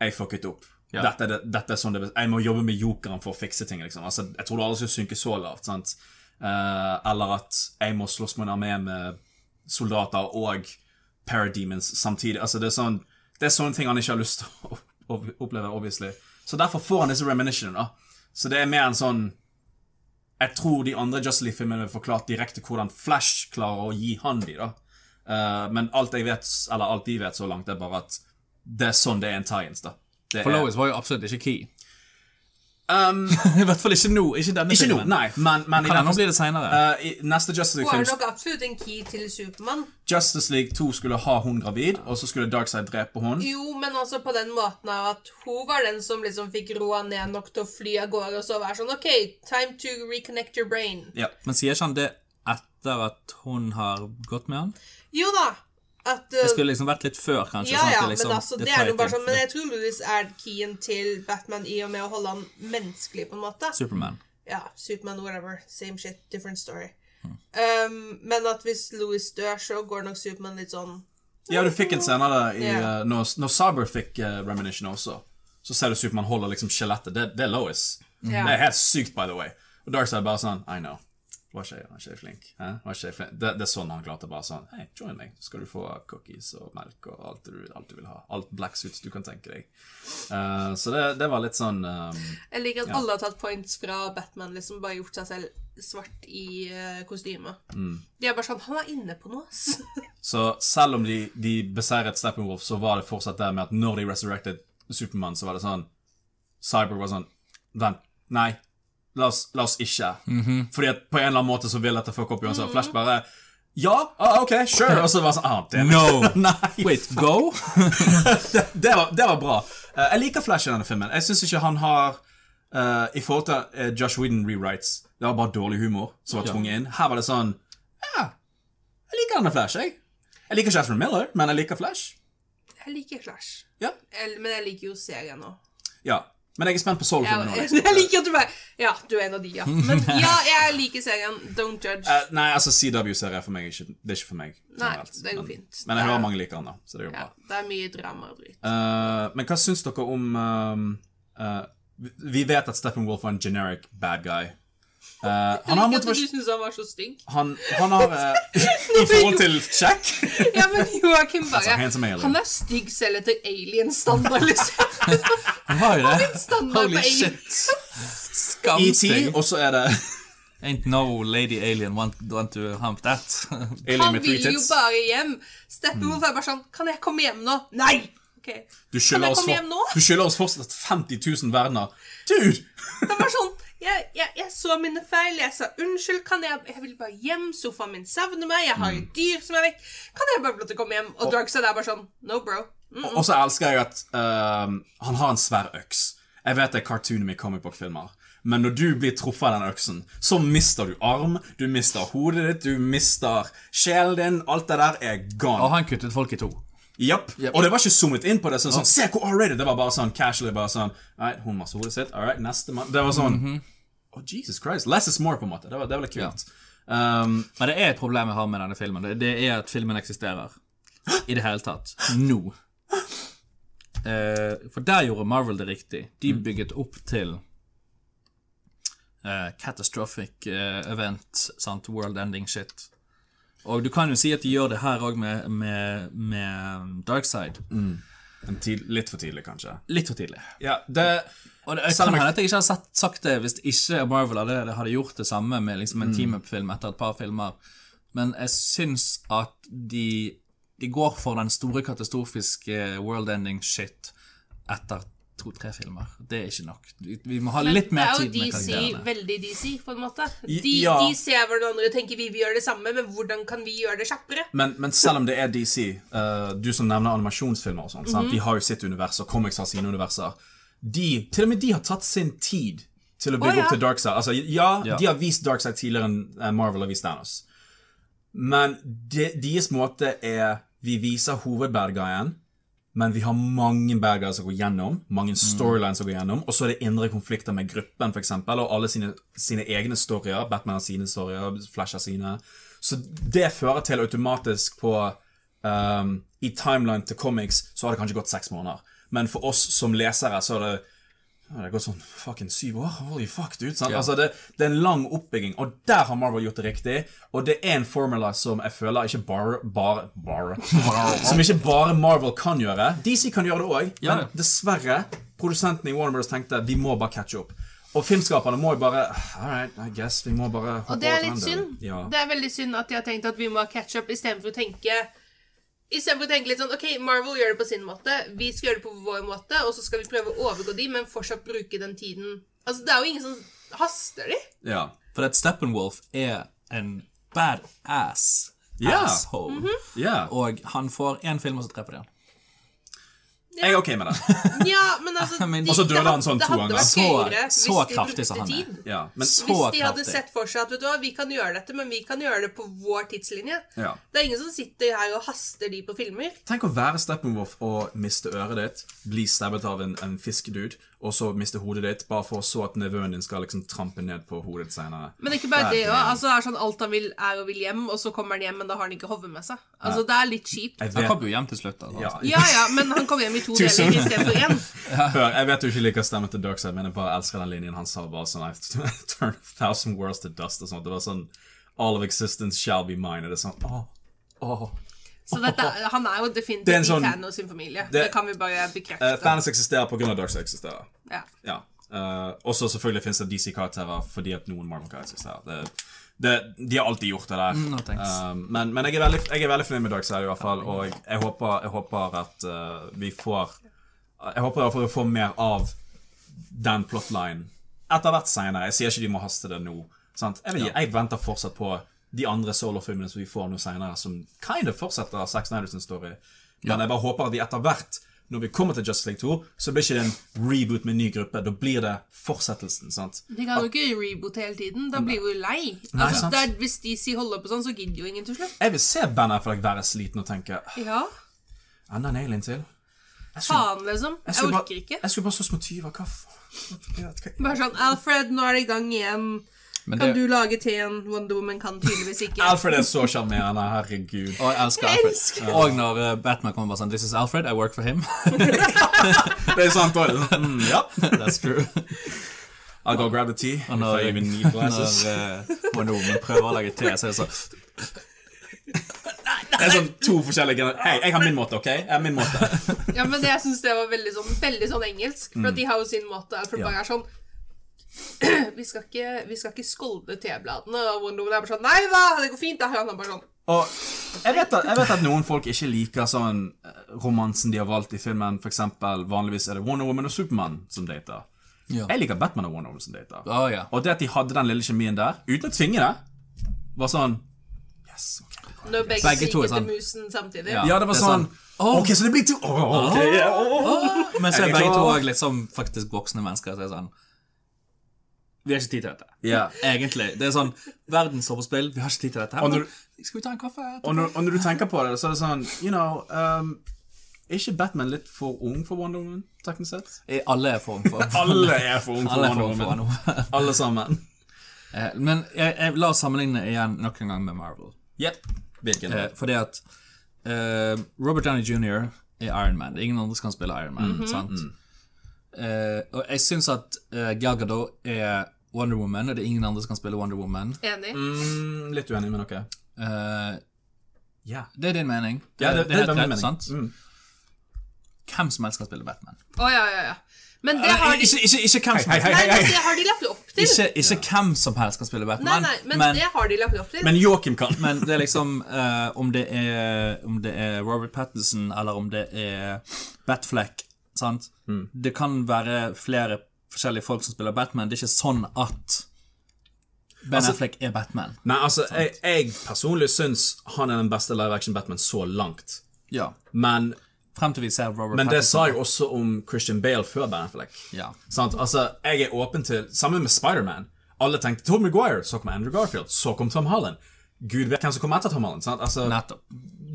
[SPEAKER 2] Jeg fucket opp. Dette, er det, dette er sånn det Jeg må jobbe med jokeren for å fikse ting, liksom. Altså, jeg tror du aldri skal synke så lavt, sant. Eh, eller at jeg må slåss med en armé med soldater og parademons samtidig. Altså, det er sånn Det er sånne ting han ikke har lyst til å å oppleve, obviously. Så derfor får han disse reminiscenene, da. Så det er mer en sånn jeg tror de andre Justice League-filmene forklart direkte hvordan Flash klarer å gi han de, da. Eh, men alt jeg vet, eller alt de vet så langt, er bare at det er sånn det er en tie-ins, da. Det
[SPEAKER 1] For
[SPEAKER 2] er-
[SPEAKER 1] Lois var jo absolutt ikke key.
[SPEAKER 2] Um,
[SPEAKER 1] I hvert fall ikke nå. Ikke denne
[SPEAKER 2] ikke nå,
[SPEAKER 1] filmen.
[SPEAKER 2] nei, men, men i
[SPEAKER 1] Kan
[SPEAKER 2] den
[SPEAKER 1] hende blir det senere.
[SPEAKER 2] eh, i neste Justice
[SPEAKER 3] Hun er
[SPEAKER 2] League-film
[SPEAKER 3] nok absolutt en key til Supermann.
[SPEAKER 2] Justice League 2 skulle ha hun gravid, og så skulle Darkseid drepe hun.
[SPEAKER 3] Jo, men altså på den måten av at hun var den som liksom fikk roa ned nok til å fly av gårde og så være sånn OK, time to reconnect your brain.
[SPEAKER 2] Ja.
[SPEAKER 1] Men sier ikke han det etter at hun har gått med han?
[SPEAKER 3] Jo da. At uh,
[SPEAKER 1] Det skulle liksom vært litt før, kanskje.
[SPEAKER 3] Ja,
[SPEAKER 1] sånn at
[SPEAKER 3] ja,
[SPEAKER 1] det liksom,
[SPEAKER 3] men altså, det
[SPEAKER 1] tar
[SPEAKER 3] er jo
[SPEAKER 1] litt
[SPEAKER 3] bare
[SPEAKER 1] tid.
[SPEAKER 3] sånn Men jeg tror Louis er keyen til Batman i og med å holde han menneskelig, på en måte.
[SPEAKER 1] Superman.
[SPEAKER 3] Ja, Superman, whatever. Same shit, different story.
[SPEAKER 2] Hmm.
[SPEAKER 3] Um, men at hvis Louis dør, så går nok Superman litt sånn
[SPEAKER 2] ja, du fikk en senere i,
[SPEAKER 3] Ja.
[SPEAKER 2] eh, når, når Saber fikk uh, Reminiscen også. Så ser du Supermann holder liksom skjelettet. Det, det er Lois.
[SPEAKER 3] Ja.
[SPEAKER 2] Det er helt sykt, by the way. Og Darkseid bare sånn I know. Var ikke jeg, var ikke jeg flink? Hæ? Var ikke jeg flink? Det, det er sånn han klarte bare sånn Hei, join meg, så skal du få cookies og melk og alt du, alt du vil ha. Alt black suits du kan tenke deg. Eh, så det, det var litt sånn um,
[SPEAKER 3] Jeg liker at alle har tatt points fra Batman, liksom bare gjort seg selv svart i uh, kostyme.
[SPEAKER 2] Mm.
[SPEAKER 3] De er bare sånn Han er inne på noe, ass.
[SPEAKER 2] Så selv om de, de beseiret Steppenwolf, så var det fortsatt der med at når de resurrected Supermann, så var det sånn Cyber var sånn Vent. Nei. La oss, la oss ikke.
[SPEAKER 1] Mhm.
[SPEAKER 2] Fordi at på en eller annen måte så vil dette fucke opp uansett. Flash bare Ja, ah, OK, sure. Og så var det sånn ah, damn it.
[SPEAKER 1] No!
[SPEAKER 2] Nei.
[SPEAKER 1] Wait, go?
[SPEAKER 2] Det, det, var, det var bra. Eh, jeg liker Flash i denne filmen. Jeg syns ikke han har eh, I forhold til eh, Josh Whedon rewrites, det var bare dårlig humor som var tvunget inn. Her var det sånn Ja, jeg liker denne Flash, jeg. Jeg liker ikke Ashton Miller, men jeg liker Flash.
[SPEAKER 3] Jeg liker Flash.
[SPEAKER 2] Ja.
[SPEAKER 3] Jeg, men jeg liker jo serien nå.
[SPEAKER 2] ja. Men jeg er spent på Soul-filmen nå.
[SPEAKER 3] Jeg,
[SPEAKER 2] Liksom.
[SPEAKER 3] jeg liker at du bare Ja, du er en av de, ja. Men ja, jeg liker serien. Don't judge.
[SPEAKER 2] Eh, nei, altså CW-serier for meg er ikke, det er ikke for meg.
[SPEAKER 3] Nei,
[SPEAKER 2] generelt.
[SPEAKER 3] det går
[SPEAKER 2] men,
[SPEAKER 3] fint.
[SPEAKER 2] Men jeg
[SPEAKER 3] Det er-
[SPEAKER 2] hører mange liker den, da, så det er jo
[SPEAKER 3] Ja,
[SPEAKER 2] bra.
[SPEAKER 3] det er mye drama og dritt.
[SPEAKER 2] Eh, men hva syns dere om eh, eh, vi- Vi vet at Steppenwolf var en generic bad guy. Eh, han har
[SPEAKER 3] jeg liker at
[SPEAKER 2] motivasjon
[SPEAKER 3] du syns han var så stygg.
[SPEAKER 2] Han, han har eh, I forhold til Jack
[SPEAKER 3] Ja, men Joakim bare
[SPEAKER 2] Altså, handsome alien.
[SPEAKER 3] Han er stygg selv etter alien-standard, liksom.
[SPEAKER 1] Han var jo det.
[SPEAKER 3] Standard E
[SPEAKER 1] Holy
[SPEAKER 3] på alien.
[SPEAKER 1] shit. Skamsteg.
[SPEAKER 2] ET, og så er det
[SPEAKER 1] Ain't no lady alien want, want to hump that.
[SPEAKER 2] Alien
[SPEAKER 3] Han
[SPEAKER 2] med three
[SPEAKER 3] vil jo
[SPEAKER 2] tits. Mm.
[SPEAKER 3] bare hjem. Steppenwolf er bare sånn Kan jeg komme hjem nå? Nei! Ok.
[SPEAKER 2] Du
[SPEAKER 3] Kan
[SPEAKER 2] skylder
[SPEAKER 3] jeg
[SPEAKER 2] oss,
[SPEAKER 3] komme
[SPEAKER 2] for,
[SPEAKER 3] hjem nå?
[SPEAKER 2] du skylder oss fortsatt 50 000 verdener. Dude!
[SPEAKER 3] Han var sånn jeg, jeg, jeg så mine feil. Jeg sa unnskyld. Kan jeg Jeg vil bare hjem. Sofaen min savner meg. Jeg
[SPEAKER 2] Mm.
[SPEAKER 3] har jo dyr som er vekk. Kan jeg bare få lov til å komme hjem? Og Dragstad er bare sånn No, bro. Mm.
[SPEAKER 2] Og så elsker jeg at ehm, han har en svær øks. Jeg vet det er cartoon i comic book-filmer, men når du blir truffet av den øksen, så mister du arm, du mister hodet ditt, du mister sjelen din. Alt det der er
[SPEAKER 1] Og
[SPEAKER 2] gone.
[SPEAKER 1] han kuttet folk i to.
[SPEAKER 2] Japp. Og det var ikke zoomet inn på det. Sånn, sånn, Se hvor R-rated det var! Bare sånn casually. bare sånn, Alright, Hun master hodet sitt. Alright, neste mann. Det var sånn oh, Jesus Christ. Less is more, på en måte. Det var, det var litt kult. Ehm,
[SPEAKER 1] Men det er et problem jeg har med denne filmen. Det- Det er at filmen eksisterer. I det hele tatt. Nå. Eh, for der gjorde Marvel det riktig. De bygget opp til eh, catastrophic eh, event, sant? world ending shit. Og du kan jo si at de gjør det her òg med, med, med um, Darkside.
[SPEAKER 2] en tid, litt for tidlig, kanskje.
[SPEAKER 1] Litt for tidlig.
[SPEAKER 2] Ja, det
[SPEAKER 1] Og det, jeg
[SPEAKER 2] Selv
[SPEAKER 1] kan
[SPEAKER 2] om jeg-
[SPEAKER 1] hende at jeg ikke hadde sett, sagt det hvis ikke Marvel hadde, hadde gjort det samme med liksom
[SPEAKER 2] Mm.
[SPEAKER 1] en team-up-film etter et par filmer. Men jeg syns at de, de går for den store katastrofiske world-ending-shit etter to-tre filmer. Det er ikke nok. Vi, vi må ha litt
[SPEAKER 3] det
[SPEAKER 1] mer
[SPEAKER 3] er jo
[SPEAKER 1] tid med
[SPEAKER 3] DC,
[SPEAKER 1] karakterene.
[SPEAKER 3] veldig DC, på en måte.
[SPEAKER 2] I-
[SPEAKER 3] De,
[SPEAKER 2] ja.
[SPEAKER 3] de ser hvordan andre tenker vi vil gjøre det samme, men hvordan kan vi gjøre det kjappere?
[SPEAKER 2] Men, men selv om det er DC, eh, du som nevner animasjonsfilmer og sånn,
[SPEAKER 3] Mhm.
[SPEAKER 2] sant? de har jo sitt univers, og comics har sine universer. De, til og med de har tatt sin tid til å bygge
[SPEAKER 3] Å, ja.
[SPEAKER 2] opp til Darkside. Altså, ja,
[SPEAKER 1] Ja.
[SPEAKER 2] de har vist Darkside tidligere enn eh, Marvel har vist Thanos. Men de, deres måte er Vi viser hovedbadguyen, men vi har mange badguys som går gjennom, mange storylines som går gjennom, og så er det indre konflikter med gruppen, for eksempel, og alle sine, sine egne storyer. Batman har sine storyer, Flash har sine. Så det fører til automatisk på ehm, I timeline til comics så har det kanskje gått seks måneder. Men for oss som lesere så har det ja, Det har gått sånn fucking syv år. Holy fuck, dude. Sant? Altså, det, det er en lang oppbygging, og der har Marvel gjort det riktig. Og det er en formula som jeg føler ikke bare, bare, bare Som ikke bare Marvel kan gjøre. DC kan gjøre det òg,
[SPEAKER 1] Ja, ja.
[SPEAKER 2] men dessverre. Produsenten i Warner Bros. tenkte vi må bare catche opp. Og filmskaperne må jo bare All right, I guess. Vi må bare hoppe
[SPEAKER 3] Og det er
[SPEAKER 2] over
[SPEAKER 3] litt
[SPEAKER 2] trenden.
[SPEAKER 3] synd.
[SPEAKER 2] Ja.
[SPEAKER 3] Det er veldig synd at de har tenkt at vi må ha ketchup istedenfor å tenke Istedenfor å tenke litt sånn OK, Marvel gjør det på sin måte, vi skal gjøre det på vår måte, og så skal vi prøve å overgå de, men fortsatt bruke den tiden Altså, det er jo ingen som haster de.
[SPEAKER 2] ja.
[SPEAKER 1] For at Steppenwolf er en badass
[SPEAKER 2] Ja.
[SPEAKER 1] asshole.
[SPEAKER 3] Mhm.
[SPEAKER 2] Ja.
[SPEAKER 1] Og han får én film, og så dreper de han.
[SPEAKER 2] Jeg er ok med det.
[SPEAKER 3] Ja, men altså
[SPEAKER 1] Men-
[SPEAKER 3] de-
[SPEAKER 1] Og
[SPEAKER 2] så
[SPEAKER 3] det
[SPEAKER 2] døde
[SPEAKER 3] had-
[SPEAKER 2] han sånn
[SPEAKER 3] det
[SPEAKER 2] to
[SPEAKER 3] hadde
[SPEAKER 2] ganger.
[SPEAKER 3] vært
[SPEAKER 1] Så-
[SPEAKER 3] gøyere hvis
[SPEAKER 1] så
[SPEAKER 3] de
[SPEAKER 1] kraftig som
[SPEAKER 3] brukte
[SPEAKER 1] han er.
[SPEAKER 3] tid.
[SPEAKER 2] Ja, men
[SPEAKER 1] Så
[SPEAKER 3] Hvis de hadde
[SPEAKER 1] kraftig.
[SPEAKER 3] sett for seg at vet du hva, vi kan gjøre dette, men vi kan gjøre det på vår tidslinje.
[SPEAKER 2] Ja.
[SPEAKER 3] Det er ingen som sitter her og haster de på filmer.
[SPEAKER 2] Tenk å være Steppenwolf og miste øret ditt, bli stabbet av en, en fiskedude, og så miste hodet ditt, bare for så at nevøen din skal liksom trampe ned på hodet ditt senere.
[SPEAKER 3] Men ikke bare
[SPEAKER 2] Nei,
[SPEAKER 3] det
[SPEAKER 2] det er-
[SPEAKER 3] òg. Altså, det er sånn alt han vil, er og vil hjem, og så kommer han hjem, men da har han ikke hodet med seg. Altså, Det er litt kjipt.
[SPEAKER 2] Jeg
[SPEAKER 1] Han kom
[SPEAKER 2] vet,
[SPEAKER 1] jo hjem til slutt. Altså.
[SPEAKER 2] ja,
[SPEAKER 3] Ja ja, men han kom hjem i to deler istedenfor én.
[SPEAKER 2] hør, jeg vet du ikke liker stemmen til Darkseid, men jeg bare elsker den linjen han sa bare sånn I've turned a thousand worlds to dust og sånt. Det var sånn All of existence shall be mine. Og det er sånn åh, åh.
[SPEAKER 3] Så dette, er- han er jo definitivt
[SPEAKER 2] Det er en
[SPEAKER 3] i
[SPEAKER 2] sånn-
[SPEAKER 3] Thanos sin familie. Det,
[SPEAKER 2] det-
[SPEAKER 3] kan vi bare
[SPEAKER 2] Eh,
[SPEAKER 3] bekrefte.
[SPEAKER 2] Thanos eksisterer på grunn av Darkseid eksisterer.
[SPEAKER 3] ja.
[SPEAKER 2] Ja. Eh, også selvfølgelig fins det DC-karakterer fordi at noen Marvel-karakterer eksisterer. Det, det, de har alltid gjort det der.
[SPEAKER 1] Mm, no thanks.
[SPEAKER 2] Eh, men men jeg, er veldig, jeg er veldig fornøyd med Darkside i hvert fall, og jeg håper, jeg håper at eh, vi får Jeg håper i hvert fall vi får mer av den plotlinen etter hvert senere. Jeg sier ikke de må haste det nå. Sant? Jeg, vet ikke, jeg venter fortsatt på de andre solo-filmene som vi får nå senere, som kind of fortsetter Zack Snyder sin story. Men jeg bare håper at de etter hvert, når vi kommer til Just League 2, så blir ikke det en reboot med en ny gruppe. Da blir det fortsettelsen. sant?
[SPEAKER 3] De kan jo ikke reboote hele tiden. Da blir vi jo lei.
[SPEAKER 2] Nei,
[SPEAKER 3] Altså,
[SPEAKER 2] sant.
[SPEAKER 3] det er, hvis DC holder på sånn, så gidder jo ingen til slutt.
[SPEAKER 2] Jeg vil se Ben Affleck være sliten og tenke
[SPEAKER 3] Ja,
[SPEAKER 2] Enda en alien til? Jeg skulle-
[SPEAKER 3] faen, liksom.
[SPEAKER 2] Jeg
[SPEAKER 3] Jeg
[SPEAKER 2] skulle
[SPEAKER 3] orker
[SPEAKER 2] bare,
[SPEAKER 3] ikke.
[SPEAKER 2] Jeg skulle bare slåss mot tyver. Hva faen?
[SPEAKER 3] Bare sånn Alfred, nå er det i gang igjen.
[SPEAKER 1] Men
[SPEAKER 3] Kan
[SPEAKER 1] det,
[SPEAKER 3] du lage teen? Wonder Woman kan tydeligvis ikke.
[SPEAKER 2] Alfred er så sjarmerende. Herregud.
[SPEAKER 1] Og jeg elsker
[SPEAKER 3] Jeg
[SPEAKER 1] Alfred.
[SPEAKER 3] elsker
[SPEAKER 1] Og når eh, Batman kommer bare sånn This is Alfred, I work for him.
[SPEAKER 2] Det er sant òg. Mm, ja.
[SPEAKER 1] That's true.
[SPEAKER 2] I'll go grab the tea. If
[SPEAKER 1] når-
[SPEAKER 2] I even need glasses.
[SPEAKER 1] Når eh, Wonder Woman prøver å lage te, så er det sånn
[SPEAKER 2] Det er sånn to forskjellige gener- Hei, jeg har min måte, OK? Jeg har min måte.
[SPEAKER 3] Ja, men det, jeg synes det var veldig sånn, veldig sånn engelsk. For
[SPEAKER 1] Mm.
[SPEAKER 3] at de har jo sin måte. For det bare er sånn vi skal, ikke, vi skal ikke skolde tebladene. Og Wonder Woman er bare sånn Nei da, det går fint. Da hører han bare sånn
[SPEAKER 2] Og jeg vet, at, jeg vet at noen folk ikke liker sånn eh, romansen de har valgt i filmen. For eksempel, vanligvis er det Wonder Woman og Supermann som dater.
[SPEAKER 1] Ja.
[SPEAKER 2] Jeg liker Batman og Wonder Woman som dater.
[SPEAKER 1] Å ja.
[SPEAKER 2] Og det at de hadde den lille kjemien der, uten å tvinge det, var sånn Yes, ok.
[SPEAKER 3] Når begge,
[SPEAKER 1] Begge to er
[SPEAKER 3] synger til
[SPEAKER 1] sånn.
[SPEAKER 3] musen samtidig.
[SPEAKER 1] Ja.
[SPEAKER 2] Ja, det var
[SPEAKER 1] det er
[SPEAKER 2] sånn
[SPEAKER 1] sant.
[SPEAKER 2] Ok, så det blir to Åh, ok, ja, åh, åh.
[SPEAKER 1] Men så
[SPEAKER 2] Jeg
[SPEAKER 1] er
[SPEAKER 2] er
[SPEAKER 1] begge to
[SPEAKER 2] klar.
[SPEAKER 1] òg litt sånn faktisk voksne mennesker. Så er sånn Vi har ikke tid til dette.
[SPEAKER 2] Ja.
[SPEAKER 1] Egentlig. Det er sånn Verden står på spill, vi har ikke tid til dette. her,
[SPEAKER 2] Og når
[SPEAKER 1] Men, skal vi ta en kaffe? etterpå?»
[SPEAKER 2] Og når, og når du tenker på det, så er det sånn You know um, Er ikke Batman litt for ung for Wonder Woman, teknisk sett?
[SPEAKER 1] I alle form for
[SPEAKER 2] Alle er for ung for
[SPEAKER 1] Alle
[SPEAKER 2] Wonder
[SPEAKER 1] form for
[SPEAKER 2] Woman.
[SPEAKER 1] noe.
[SPEAKER 2] Alle sammen.
[SPEAKER 1] Eh, Men jeg, jeg, la oss sammenligne igjen nok en gang med Marvel.
[SPEAKER 2] Yep. Hvilken?
[SPEAKER 1] Eh, fordi at eh, Robert Downey Jr. er Iron Man. Ingen andre som kan spille Iron Man.
[SPEAKER 3] Mhm.
[SPEAKER 1] sant?
[SPEAKER 2] Mm.
[SPEAKER 1] Eh, og jeg syns at eh, Gal Gadot er Wonder Woman, og det er ingen andre som kan spille Wonder Woman.
[SPEAKER 3] Enig.
[SPEAKER 2] Mm, litt uenig, men ok.
[SPEAKER 1] Eh,
[SPEAKER 2] Ja.
[SPEAKER 1] det er din mening. Det,
[SPEAKER 2] Ja,
[SPEAKER 1] det, er helt
[SPEAKER 2] min
[SPEAKER 1] rett,
[SPEAKER 2] mening.
[SPEAKER 1] sant?
[SPEAKER 2] Mm.
[SPEAKER 1] Hvem som helst kan spille Batman.
[SPEAKER 3] Å ja, ja, ja. Men det har de,
[SPEAKER 1] Ikke, ikke, ikke hvem som
[SPEAKER 2] Hei,
[SPEAKER 1] helst.
[SPEAKER 2] hei,
[SPEAKER 3] nei,
[SPEAKER 2] hei,
[SPEAKER 3] men
[SPEAKER 2] hei.
[SPEAKER 3] det har de lagt opp til.
[SPEAKER 1] Ikke, ikke hvem som helst kan spille
[SPEAKER 3] Nei,
[SPEAKER 1] Batman,
[SPEAKER 3] nei, men,
[SPEAKER 1] men,
[SPEAKER 3] det har de lagt opp til.
[SPEAKER 2] Men Joakim kan.
[SPEAKER 1] men det er liksom eh, om, det er, om det er Robert Pattinson eller om det er Batfleck sant?
[SPEAKER 2] Mm.
[SPEAKER 1] Det kan være flere forskjellige folk som spiller Batman. Det er ikke sånn at Ben
[SPEAKER 2] Altså-
[SPEAKER 1] Affleck er Batman.
[SPEAKER 2] Nei, altså, jeg, jeg personlig syns han er den beste live action Batman så langt.
[SPEAKER 1] Ja.
[SPEAKER 2] Men,
[SPEAKER 1] Frem til vi ser Robert
[SPEAKER 2] men det sa
[SPEAKER 1] Pattinson.
[SPEAKER 2] jeg også om Christian Bale før Ben Affleck.
[SPEAKER 1] Ja.
[SPEAKER 2] Sant? Altså, jeg er åpen til Sammen med Spiderman. Alle tenkte Tom Maguire, så kom Andrew Garfield, så kom Tom Holland. Gud vet hvem som kom etter Tom Holland. Sant? Altså,
[SPEAKER 1] Nettopp.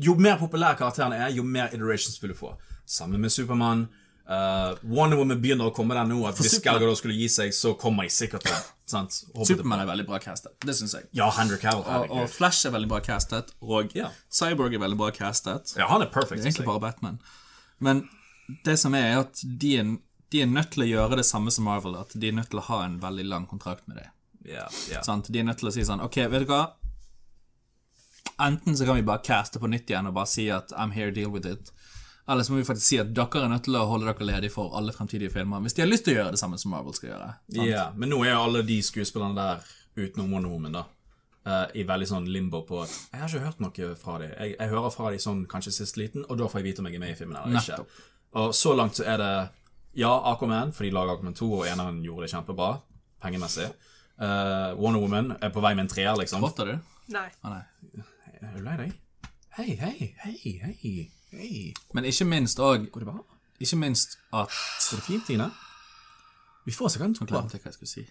[SPEAKER 2] jo mer populær karakteren er, jo mer iterations vil du få. Sammen med Supermann. eh, Wonder Woman begynner å komme der nå. At Hvis
[SPEAKER 1] Superman- Ah.
[SPEAKER 2] Gal Gadot skulle gi seg, så kommer jeg sikkert til sant? Håper det-
[SPEAKER 1] Supermann er veldig bra castet. Det syns jeg.
[SPEAKER 2] Ja, Henry Cavill.
[SPEAKER 1] Og, og
[SPEAKER 2] herregud.
[SPEAKER 1] Flash er veldig bra castet, og
[SPEAKER 2] Ja.
[SPEAKER 1] Cyborg er veldig bra castet.
[SPEAKER 2] Ja, han er perfect.
[SPEAKER 1] Det er egentlig
[SPEAKER 2] synes jeg.
[SPEAKER 1] bare Batman. Men det som er, er at de er, de er nødt til å gjøre det samme som Marvel. At de er nødt til å ha en veldig lang kontrakt med deg.
[SPEAKER 2] Ja, ja.
[SPEAKER 1] Sant? De er nødt til å si sånn OK, vet du hva? Enten så kan vi bare caste på nytt igjen og bare si at I'm here, deal with it. Eller så må vi faktisk si at dere er nødt til å holde dere ledige for alle fremtidige filmer. Hvis de har lyst til å gjøre det samme som Marvel skal gjøre. Sant?
[SPEAKER 2] ja. Men nå er jo alle de skuespillerne der utenom Wonder Woman, da. eh, I veldig sånn limbo på at Jeg har ikke hørt noe fra dem. Jeg, jeg hører fra dem sånn kanskje sist liten, og da får jeg vite om jeg er med i filmen eller ikke.
[SPEAKER 1] Nettopp.
[SPEAKER 2] Og så langt så er det ja, Aquaman, for de lager Aquaman 2, og eneren gjorde det kjempebra pengemessig. Eh, Wonder Woman er på vei med en treer, liksom.
[SPEAKER 1] Spotter du?
[SPEAKER 3] Nei.
[SPEAKER 1] Å, nei.
[SPEAKER 2] Er du lei deg? Hei, hei, hei, hei. hei.
[SPEAKER 1] Men ikke minst òg
[SPEAKER 2] Går det bra?
[SPEAKER 1] Ikke minst at
[SPEAKER 2] Går det fint, Tine? Vi får sikkert en
[SPEAKER 1] Nå
[SPEAKER 2] toer.
[SPEAKER 1] glemte jeg hva jeg skulle si.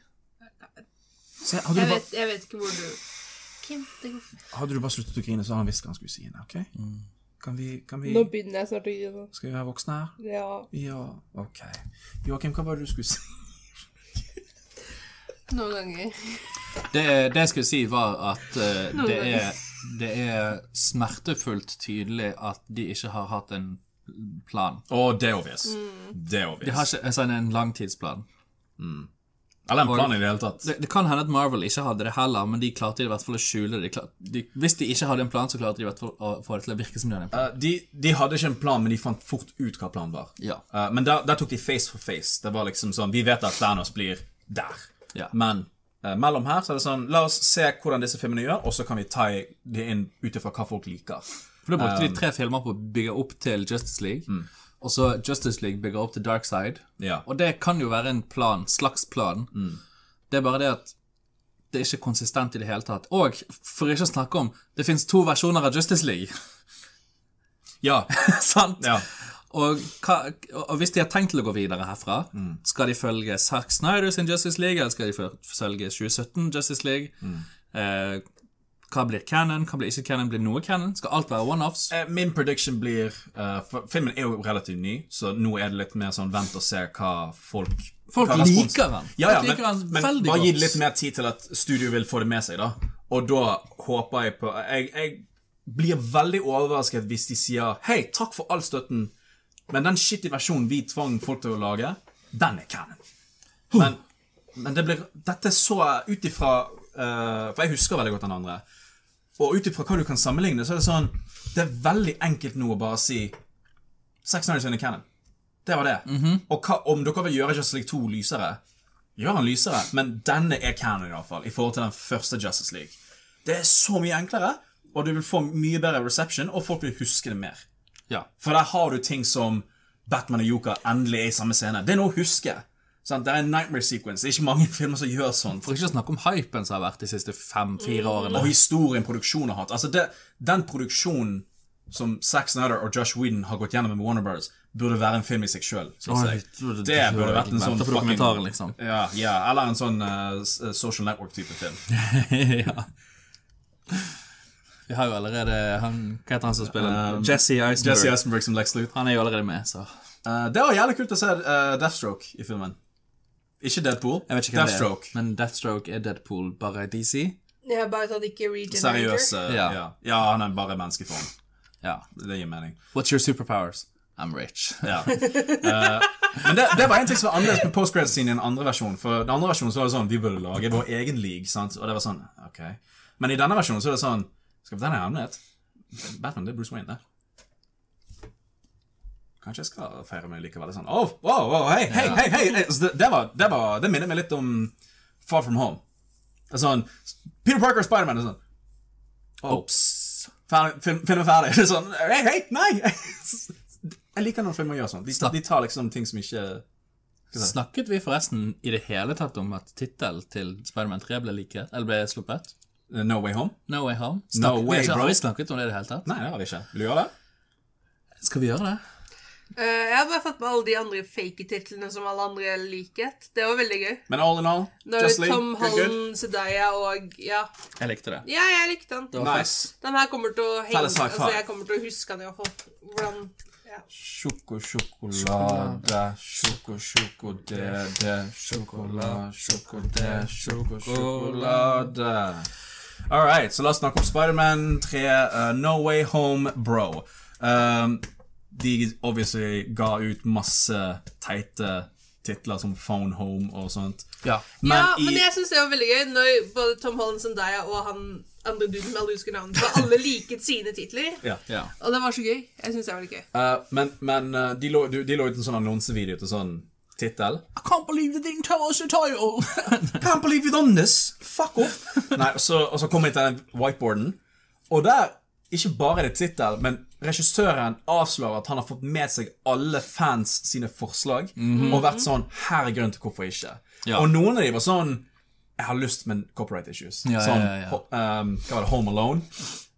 [SPEAKER 2] Se, Hadde
[SPEAKER 3] Jeg
[SPEAKER 2] du bare-
[SPEAKER 3] vet, jeg vet ikke hvor du Kim, det går fint.
[SPEAKER 2] Hadde du bare sluttet å grine, så hadde han visst hva han skulle si. Ine, ok? Kan vi, kan vi
[SPEAKER 3] begynner jeg snart å gi det.
[SPEAKER 2] Skal vi være voksne her?
[SPEAKER 3] Ja.
[SPEAKER 2] Ja, ok. Joakim, hva var det du skulle si?
[SPEAKER 3] Noen ganger.
[SPEAKER 1] Det, det jeg skulle si, var at eh, det, er, det er smertefullt tydelig at de ikke har hatt en plan.
[SPEAKER 2] Å, det er obvious. Det er obvious.
[SPEAKER 1] De har ikke altså, en- en langtidsplan.
[SPEAKER 2] Eller en plan i det hele tatt.
[SPEAKER 1] Det, det kan hende at Marvel ikke hadde det heller, men de klarte i hvert fall å skjule det. De klar, de, hvis de ikke hadde en plan, så klarte de i hvert fall å få det til å virke som de hadde en plan.
[SPEAKER 2] Eh, de, de hadde ikke en plan, men de fant fort ut hva planen var.
[SPEAKER 1] Ja.
[SPEAKER 2] Eh, men der, der tok de face for face. Det var liksom sånn, Vi vet at Thanos blir der.
[SPEAKER 1] Ja.
[SPEAKER 2] Men eh, mellom her så er det sånn La oss se hvordan disse filmene gjør, og så kan vi ta det inn ut ifra hva folk liker.
[SPEAKER 1] For da brukte de tre filmer på å bygge opp til Justice League, og så Justice League bygger opp til Dark Side.
[SPEAKER 2] Ja.
[SPEAKER 1] Og det kan jo være en plan, slags plan.
[SPEAKER 2] Mm.
[SPEAKER 1] Det er bare det at det er ikke konsistent i det hele tatt. Og for ikke å snakke om, det finnes to versjoner av Justice League,
[SPEAKER 2] Ja.
[SPEAKER 1] sant?
[SPEAKER 2] ja.
[SPEAKER 1] Og, hva, og hvis de har tenkt til å gå videre herfra,
[SPEAKER 2] Mm.
[SPEAKER 1] skal de følge Zack Snyder sin Justice League, eller skal de føl- følge 2017 Justice League?
[SPEAKER 2] Mm.
[SPEAKER 1] Eh, hva blir canon, hva blir ikke canon, blir noe canon? Skal alt være one-offs?
[SPEAKER 2] Eh, Min prediction blir eh, for Filmen er jo relativt ny, så nå er det litt mer sånn vent og se hva folk
[SPEAKER 1] Folk
[SPEAKER 2] hva respons-
[SPEAKER 1] liker han.
[SPEAKER 2] Ja, ja,
[SPEAKER 1] Folk liker
[SPEAKER 2] men,
[SPEAKER 1] han
[SPEAKER 2] men
[SPEAKER 1] veldig
[SPEAKER 2] bare
[SPEAKER 1] godt.
[SPEAKER 2] gi det litt mer tid til at studio vil få det med seg, da. Og da håper jeg på Jeg, jeg blir veldig overrasket hvis de sier Hei, takk for all støtten, men den shitty versjonen vi tvang folk til å lage, den er canon. Men, men det blir Dette er så ut ifra eh, For jeg husker veldig godt den andre. Og ut ifra hva du kan sammenligne, så er det sånn Det er veldig enkelt nå å bare si Sex Nights in the Cannon. Det var det.
[SPEAKER 1] Mhm.
[SPEAKER 2] Og hva, om dere vil gjøre Justice League 2 lysere, gjør han lysere, men denne er canon, iallfall, i forhold til den første Justice League. Det er så mye enklere, og du vil få mye bedre reception, og folk vil huske det mer.
[SPEAKER 1] Ja.
[SPEAKER 2] For der har du ting som Batman og Joker endelig er i samme scene. Det er noe å huske. Sant? Det er en nightmare sequence. Det er ikke mange filmer som gjør sånt.
[SPEAKER 1] For ikke å snakke om hypen som har vært de siste fem-fire årene.
[SPEAKER 2] Og historien produksjonen har hatt. Altså det, Den produksjonen som Zack Snyder og Josh Whedon har gått gjennom med Warner Brothers, burde være en film i seg sjøl.
[SPEAKER 1] Oi,
[SPEAKER 2] Det burde vært en sånn
[SPEAKER 1] Venter på dokumentaren, liksom.
[SPEAKER 2] Ja, ja, eller en sånn eh, s- eh, social network-type film.
[SPEAKER 1] ja. Vi har jo allerede han, Hva heter han som spiller
[SPEAKER 2] Um,
[SPEAKER 1] Eh, Jesse Eisenberg.
[SPEAKER 2] Jesse Eisenberg som Lex Luth.
[SPEAKER 1] Han er jo allerede med, så
[SPEAKER 2] Eh, det var jævlig kult å se eh, Deathstroke i filmen. Ikke Deadpool.
[SPEAKER 1] jeg vet ikke hvem det er.
[SPEAKER 2] Deathstroke.
[SPEAKER 1] Men Deathstroke er Deadpool, bare DC.
[SPEAKER 3] Jeg har bare tatt ikke regenerator.
[SPEAKER 2] Seriøs. eh,
[SPEAKER 1] Ja.
[SPEAKER 2] ja. ja, han er bare menneskeform.
[SPEAKER 1] Ja.
[SPEAKER 2] Det gir mening.
[SPEAKER 1] What's your superpowers? I'm rich.
[SPEAKER 2] Ja. Eh, men det, det var en ting som var annerledes med postgrad sin i den andre versjonen. For den andre versjonen så var det sånn, vi burde lage vår egen league, sant? Og det var sånn, ok. Men i denne versjonen så er det sånn, skal den ha hemmelighet? Batman, det er Bruce Wayne, det. Kanskje jeg skal feire meg likevel. Det er Sånn, oh, wow, wow, hei, hei, hei, hei. hei. Så det, det, var, det, var, det minner meg litt om Far From Home. Det er sånn, Peter Parker og Spider-Man, det er sånn, ops. Ferdig, film, film er ferdig. Det er sånn, hei, hei, nei! Jeg liker når filmer gjør sånn. De,
[SPEAKER 1] Snakk.
[SPEAKER 2] de tar liksom ting som ikke
[SPEAKER 1] Snakket vi forresten i det hele tatt om at tittelen til Spiderman 3 ble liket, eller ble sluppet?
[SPEAKER 2] eh, No Way Home?
[SPEAKER 1] No Way Home? Snakket vi
[SPEAKER 2] way,
[SPEAKER 1] ikke,
[SPEAKER 2] bro.
[SPEAKER 1] har vi snakket om det i det hele tatt?
[SPEAKER 2] Nei, det har vi ikke. Vil du gjøre det?
[SPEAKER 1] Skal vi gjøre det?
[SPEAKER 3] Eh, jeg har bare fått med alle de andre fake titlene som alle andre liket. Det var veldig gøy.
[SPEAKER 2] Men all in all,
[SPEAKER 3] Når
[SPEAKER 2] Just League,
[SPEAKER 3] Tom
[SPEAKER 2] good, good.
[SPEAKER 3] Holland, Zendaya og ja.
[SPEAKER 1] Jeg likte det.
[SPEAKER 3] ja, jeg likte han.
[SPEAKER 2] Nice.
[SPEAKER 3] Den her kommer til å henge
[SPEAKER 2] Felles high
[SPEAKER 3] Altså,
[SPEAKER 2] five.
[SPEAKER 3] jeg kommer til å huske han i hvert fall. Hvordan ja.
[SPEAKER 2] Sjoko-sjokolade, sjoko-sjokolade, sjokolade, sjoko-sjokolade. All right, så la oss snakke om Spiderman 3, uh, No Way Home, bro. Um, de obviously ga ut masse teite titler som Phone Home og sånt.
[SPEAKER 1] Ja.
[SPEAKER 3] ja,
[SPEAKER 2] i-
[SPEAKER 3] men jeg syns det var veldig gøy når både Tom Holland, Zendaya og han andre duden med alle husker navnet på, alle liket sine titler.
[SPEAKER 2] Ja.
[SPEAKER 1] ja.
[SPEAKER 3] Og det var så gøy. Jeg syns det var veldig gøy.
[SPEAKER 2] Eh, men men eh, de, lå, de, de lå ut en sånn annonsevideo til sånn tittel.
[SPEAKER 1] I can't believe they didn't tell us the title!
[SPEAKER 2] Can't believe you've done this! Fuck off! Nei, og så, og så kom jeg til den whiteboarden, og der ikke bare er det tittel, men regissøren avslører at han har fått med seg alle fans sine forslag, og vært sånn Her er grunnen til hvorfor ikke.
[SPEAKER 1] Ja.
[SPEAKER 2] Og noen av de var sånn Jeg har lyst, men copyright issues.
[SPEAKER 1] Ja, ja,
[SPEAKER 2] sånn
[SPEAKER 1] ja, ja.
[SPEAKER 2] ho- ehm, Hva var det? Home Alone?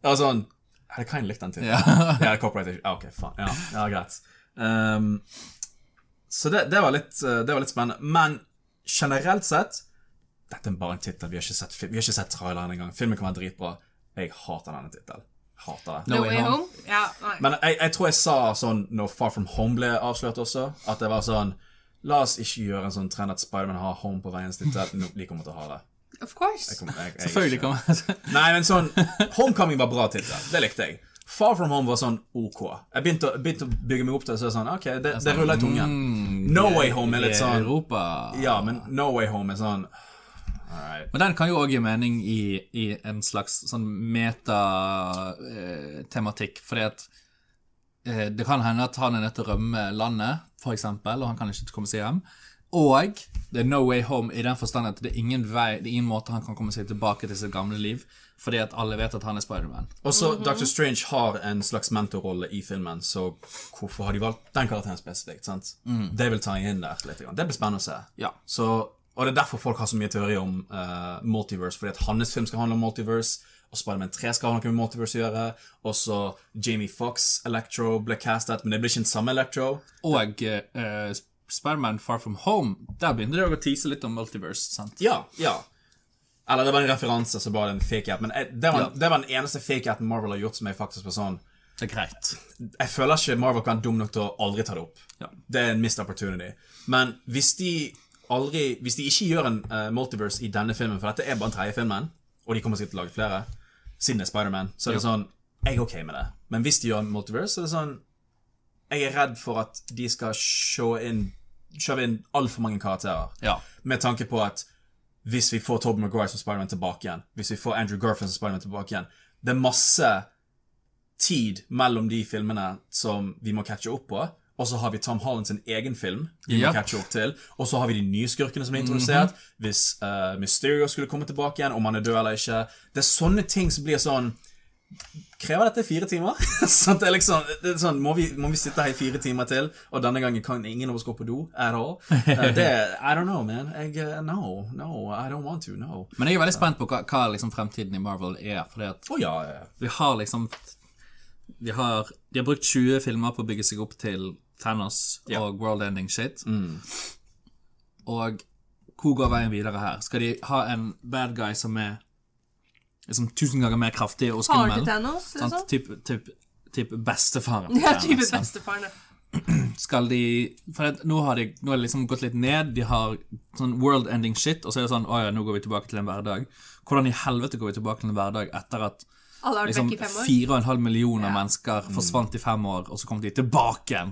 [SPEAKER 2] Det var sånn Jeg hadde kind of likt den tittelen.
[SPEAKER 1] ja.
[SPEAKER 2] Ja, copyright issue. Ah, ok, faen. Ja, ja greit. Ehm, så det, det, var litt, eh, det var litt spennende. Men generelt sett Dette er bare en tittel. Vi har ikke sett, fi- vi har ikke sett traileren engang. Filmen kan være dritbra. Jeg hater denne tittelen. Hater det.
[SPEAKER 1] No Way Home.
[SPEAKER 3] Ja, nei.
[SPEAKER 2] Men jeg, jeg tror jeg sa sånn når Far From Home ble avslørt også, at det var sånn La oss ikke gjøre en sånn trend at Spiderman har Home på veiens tittel. No, de kommer til å ha det.
[SPEAKER 3] of course.
[SPEAKER 2] Jeg kommer- jeg- jeg-
[SPEAKER 1] Selvfølgelig kan man
[SPEAKER 2] Nei, men sånn Homecoming var bra tittel. Det likte jeg. Far From Home var sånn OK. Jeg begynte å, begynte å bygge meg opp til det, så er det sånn OK, det, det ruller i tungen. No Way Home er litt sånn
[SPEAKER 1] Europa.
[SPEAKER 2] Ja, men No Way Home er sånn All right.
[SPEAKER 1] Men den kan jo òg gi mening i, i en slags sånn metatematikk, fordi at eh, det kan hende at han er nødt til å rømme landet, for eksempel, og han kan ikke komme seg hjem. Og det er no way home i den forstand at det er ingen vei, det er ingen måte han kan komme seg tilbake til sitt gamle liv, fordi at alle vet at han er Spiderman.
[SPEAKER 2] Og så Dr. Strange har en slags mentorrolle i filmen, så hvorfor har de valgt den karakteren spesifikt? sant? Det vil ta inn der litt. grann. Det blir spennende å se.
[SPEAKER 1] Ja.
[SPEAKER 2] Så, og det er derfor folk har så mye teori om eh, multiverse, fordi at hans film skal handle om multiverse, og Spiderman 3 skal ha noe med multiverse å gjøre, og så Jamie Fox, Electro, ble castet, men det blir ikke den samme Electro.
[SPEAKER 1] Og eh, Spiderman Far From Home, der begynner det jo å tease litt om multiverse, sant?
[SPEAKER 2] Ja, ja. Eller det var en referanse, så bare en fake-app, men eh, det var,
[SPEAKER 1] Ja.
[SPEAKER 2] det var den eneste fake-appen Marvel har gjort som jeg faktisk var sånn,
[SPEAKER 1] Det er greit.
[SPEAKER 2] jeg føler ikke Marvel kan være dum nok til å aldri ta det opp.
[SPEAKER 1] Ja.
[SPEAKER 2] Det er en missed opportunity. Men hvis de aldri Hvis de ikke gjør en eh, multiverse i denne filmen, for dette er bare den tredje filmen, og de kommer sikkert til å lage flere, siden det er Spiderman, så er det sånn Jeg er ok med det. Men hvis de gjør en multiverse, så er det sånn Jeg er redd for at de skal show inn Shove inn altfor mange karakterer.
[SPEAKER 1] Ja.
[SPEAKER 2] Med tanke på at hvis vi får Tobey Maguire som Spiderman tilbake igjen, hvis vi får Andrew Garfield som Spiderman tilbake igjen Det er masse tid mellom de filmene som vi må catche opp på. Og så har vi Tom Holland sin egen film, vi
[SPEAKER 1] Ja.
[SPEAKER 2] må catche opp til. Og så har vi de nye skurkene som er introdusert. Hvis eh, Mysterio skulle komme tilbake igjen, om han er død eller ikke. Det er sånne ting som blir sånn Krever dette fire timer? sånn, at det er liksom, det er sånn, må, vi, må vi sitte her i fire timer til, og denne gangen kan ingen av oss gå på do at all? Eh, det, I don't know, man. Jeg, eh, no, no, I don't want to, no.
[SPEAKER 1] Men jeg er veldig spent på hva, hva liksom fremtiden i Marvel er. Fordi at
[SPEAKER 2] Å ja, ja.
[SPEAKER 1] vi har liksom vi har, De har brukt 20 filmer på å bygge seg opp til Thanos og world ending shit. Og hvor går veien videre her? Skal de ha en bad guy som er liksom tusen ganger mer kraftig og
[SPEAKER 3] Faren
[SPEAKER 1] skummel?
[SPEAKER 3] til Thanos,
[SPEAKER 1] Sant?
[SPEAKER 3] liksom?
[SPEAKER 1] Typ, typ, typ bestefaren. til
[SPEAKER 3] Ja,
[SPEAKER 1] Thanos,
[SPEAKER 2] altså.
[SPEAKER 3] type
[SPEAKER 1] sant?
[SPEAKER 3] bestefaren. ja.
[SPEAKER 1] Skal de For at nå har de nå har det liksom gått litt ned. De har sånn world ending shit, og så er det sånn Å ja, nå går vi tilbake til en hverdag. Hvordan i helvete går vi tilbake til en hverdag etter at
[SPEAKER 3] Alle har vært
[SPEAKER 1] liksom
[SPEAKER 3] vekk i fem år.
[SPEAKER 1] 4,5 millioner
[SPEAKER 3] Ja.
[SPEAKER 1] mennesker forsvant i fem år, og så kom de tilbake igjen.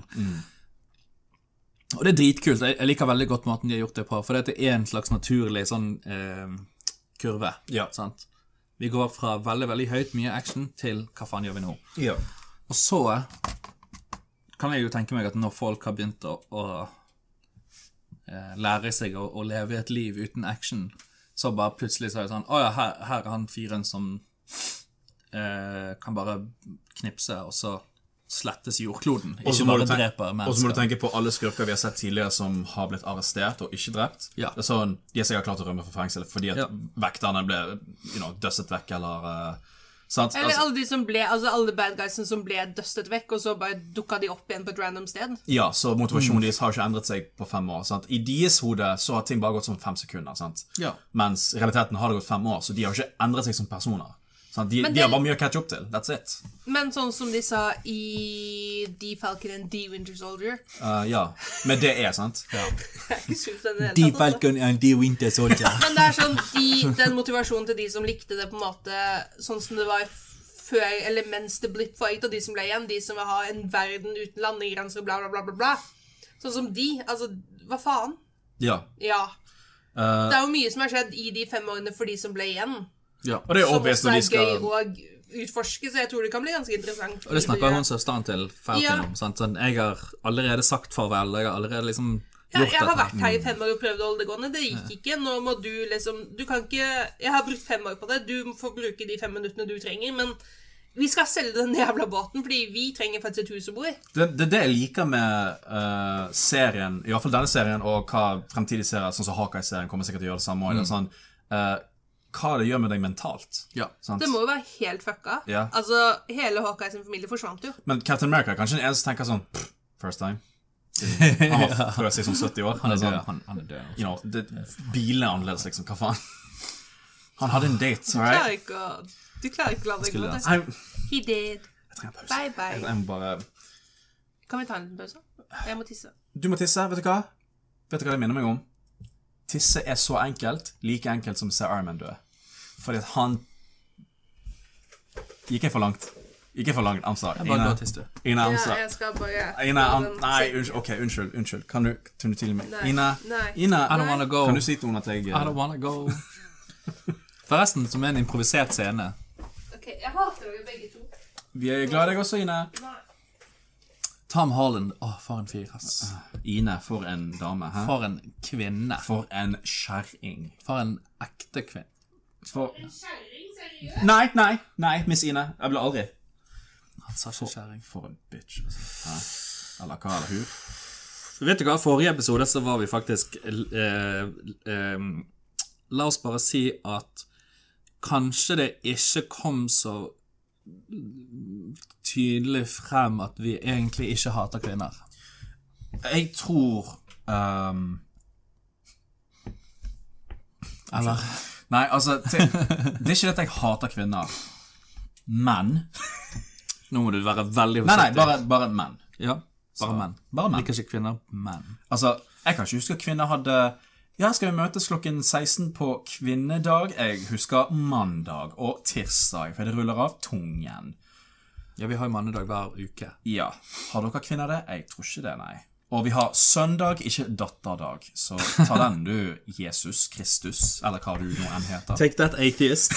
[SPEAKER 1] Og det er dritkult. Jeg jeg liker veldig godt måten de har gjort det på, for det er en slags naturlig sånn eh, kurve.
[SPEAKER 2] Ja.
[SPEAKER 1] Sant? Vi går fra veldig, veldig høyt, mye action, til hva faen gjør vi nå?
[SPEAKER 2] ja.
[SPEAKER 1] Og så kan jeg jo tenke meg at når folk har begynt å, å eh, lære seg å, å leve et liv uten action, så bare plutselig så er det sånn Å ja, her, her er han fyren som eh, kan bare knipse, og så slettes jordkloden.
[SPEAKER 2] Og
[SPEAKER 1] Ikke
[SPEAKER 2] så må
[SPEAKER 1] bare
[SPEAKER 2] du tenke-
[SPEAKER 1] dreper
[SPEAKER 2] Og så må du
[SPEAKER 1] mennesker.
[SPEAKER 2] tenke på alle skurker vi har sett tidligere som har blitt arrestert og ikke drept.
[SPEAKER 1] Ja.
[SPEAKER 2] Det er sånn, De har sikkert klart å rømme fra fengsel fordi at
[SPEAKER 1] Ja.
[SPEAKER 2] vekterne ble you know, døsset vekk, eller eh, sant?
[SPEAKER 3] Eller
[SPEAKER 2] Altså,
[SPEAKER 3] alle de som ble, altså alle bad guysene som ble dustet vekk, og så bare dukka de opp igjen på et random sted.
[SPEAKER 2] ja, så
[SPEAKER 3] Mm.
[SPEAKER 2] motivasjonen deres har ikke endret seg på fem år. sant? I deres hode så har ting bare gått sånn fem sekunder. sant?
[SPEAKER 1] Ja.
[SPEAKER 2] Mens i realiteten har det gått fem år, så de har ikke endret seg som personer. sant? De,
[SPEAKER 3] Men
[SPEAKER 2] de har
[SPEAKER 3] det-
[SPEAKER 2] bare mye å catche opp til. That's it.
[SPEAKER 3] Men sånn som de sa i The Falcon and The Winter Soldier
[SPEAKER 2] Eh, ja. Men det er sant.
[SPEAKER 3] Det er ikke sunt den i det hele tatt. altså.
[SPEAKER 1] and the Winter Soldier.
[SPEAKER 3] Men det er sånn de, den motivasjonen til de som likte det, på en måte sånn som det var før, eller mens det ble fight, og de som ble igjen, de som vil ha en verden uten landegrenser, bla, bla, bla, bla, bla. Sånn som de. Altså, hva faen?
[SPEAKER 2] Ja.
[SPEAKER 3] Ja.
[SPEAKER 2] Eh,
[SPEAKER 3] Det er jo mye som har skjedd i de fem årene for de som ble igjen.
[SPEAKER 1] ja.
[SPEAKER 2] og det er
[SPEAKER 3] Som
[SPEAKER 2] obvious
[SPEAKER 3] også
[SPEAKER 2] når de
[SPEAKER 3] er
[SPEAKER 2] skal
[SPEAKER 3] gøy å utforske, så jeg tror det kan bli ganske interessant.
[SPEAKER 1] Og det snakker hun søsteren til Falcon
[SPEAKER 3] Ja.
[SPEAKER 1] om. Sant? Sånn, jeg har allerede sagt farvel. Jeg har allerede liksom
[SPEAKER 3] Ja,
[SPEAKER 1] gjort
[SPEAKER 3] jeg har
[SPEAKER 1] dette. Mm.
[SPEAKER 3] vært her i fem år og prøvd å holde det gående. Det gikk ikke. Nå må du liksom Du kan ikke Jeg har brukt fem år på det. Du får bruke de fem minuttene du trenger, men vi skal selge den jævla båten, fordi vi trenger faktisk et hus å bo i.
[SPEAKER 2] Det det er det jeg liker med eh, serien, i hvert fall denne serien, og hva fremtidige serier, sånn som Hawkeye-serien, kommer sikkert til å gjøre det samme. også, eller
[SPEAKER 3] Mm.
[SPEAKER 2] Sånn, eh, hva det gjør med deg mentalt.
[SPEAKER 1] Ja. sånn,
[SPEAKER 2] Sant?
[SPEAKER 3] Det må jo være helt fucka.
[SPEAKER 2] Ja.
[SPEAKER 3] Altså, hele Hawkeye sin familie forsvant jo.
[SPEAKER 2] Men Captain America er kanskje den eneste som tenker sånn "Pff, First time. Han var frøs i sånn 70 år.
[SPEAKER 1] Han er død.
[SPEAKER 2] sånn,
[SPEAKER 1] Han, han er død. nå.
[SPEAKER 2] you know, det, Bilen er annerledes, liksom. Hva faen? Han hadde en date, all
[SPEAKER 3] Du
[SPEAKER 2] right?
[SPEAKER 3] klarer ikke å Du klarer ikke å la det gå.
[SPEAKER 1] Skulle
[SPEAKER 3] det.
[SPEAKER 2] I'm,
[SPEAKER 3] He did.
[SPEAKER 2] jeg trenger en pause.
[SPEAKER 3] Bye, bye.
[SPEAKER 2] Jeg, jeg må bare
[SPEAKER 3] Kan vi ta en liten pause? Jeg må tisse.
[SPEAKER 2] Du må tisse, vet du hva? Vet du hva det minner meg om? Tisse er så enkelt, like enkelt som å se Iron Man dø. Fordi at han Gikk jeg for langt? Gikk jeg for langt? I'm sorry.
[SPEAKER 1] Bare gå og
[SPEAKER 2] Ine,
[SPEAKER 1] tiss, du.
[SPEAKER 2] Ine, I'm
[SPEAKER 3] Ja,
[SPEAKER 2] sorry.
[SPEAKER 3] jeg skal bare
[SPEAKER 2] Ine, I'm, nei, unnskyld. Ok, unnskyld. unnskyld. Kan du, kan du tilgi meg?
[SPEAKER 3] Nei,
[SPEAKER 2] Ine,
[SPEAKER 3] nei.
[SPEAKER 2] Ine
[SPEAKER 1] I don't wanna go.
[SPEAKER 2] kan du si til henne at jeg
[SPEAKER 1] I don't wanna go. Forresten, som er en improvisert scene.
[SPEAKER 3] Ok, jeg hater dere begge to.
[SPEAKER 2] Vi er glad i deg også, Ine.
[SPEAKER 1] Tom Holland. Å, for en fyr, ass.
[SPEAKER 2] Ine, for en dame. Hæ?
[SPEAKER 1] For en kvinne.
[SPEAKER 2] For en kjerring.
[SPEAKER 1] For en ekte kvinne.
[SPEAKER 2] For
[SPEAKER 3] Kjerring, seriøst?
[SPEAKER 2] Nei, nei, nei, Miss Ine. Jeg ble aldri
[SPEAKER 1] Han sa ikke kjerring.
[SPEAKER 2] For en bitch, altså. Hæ? Eller hva, eller hun?
[SPEAKER 1] Vet du hva, forrige episode så var vi faktisk eh, eh, La oss bare si at kanskje det ikke kom så tydelig frem at vi egentlig ikke hater kvinner.
[SPEAKER 2] Jeg tror ehm,
[SPEAKER 1] Eller?
[SPEAKER 2] Nei, altså til, Det er ikke det at jeg hater kvinner. Men
[SPEAKER 1] Nå må du være veldig
[SPEAKER 2] Nei, nei,
[SPEAKER 1] forsiktig.
[SPEAKER 2] bare, bare menn.
[SPEAKER 1] ja, bare menn.
[SPEAKER 2] Bare menn.
[SPEAKER 1] Liker ikke kvinner, menn.
[SPEAKER 2] Altså, Jeg kan ikke huske at kvinner hadde Ja, skal vi møtes klokken 16 på kvinnedag? Jeg husker mandag og tirsdag, for det ruller av tungen.
[SPEAKER 1] Ja, vi har jo mannedag hver uke.
[SPEAKER 2] Ja. Har dere kvinner det? Jeg tror ikke det, nei. Og vi har søndag, ikke datterdag. Så ta den, du Jesus Kristus, eller hva du nå enn heter.
[SPEAKER 4] Take that atheist.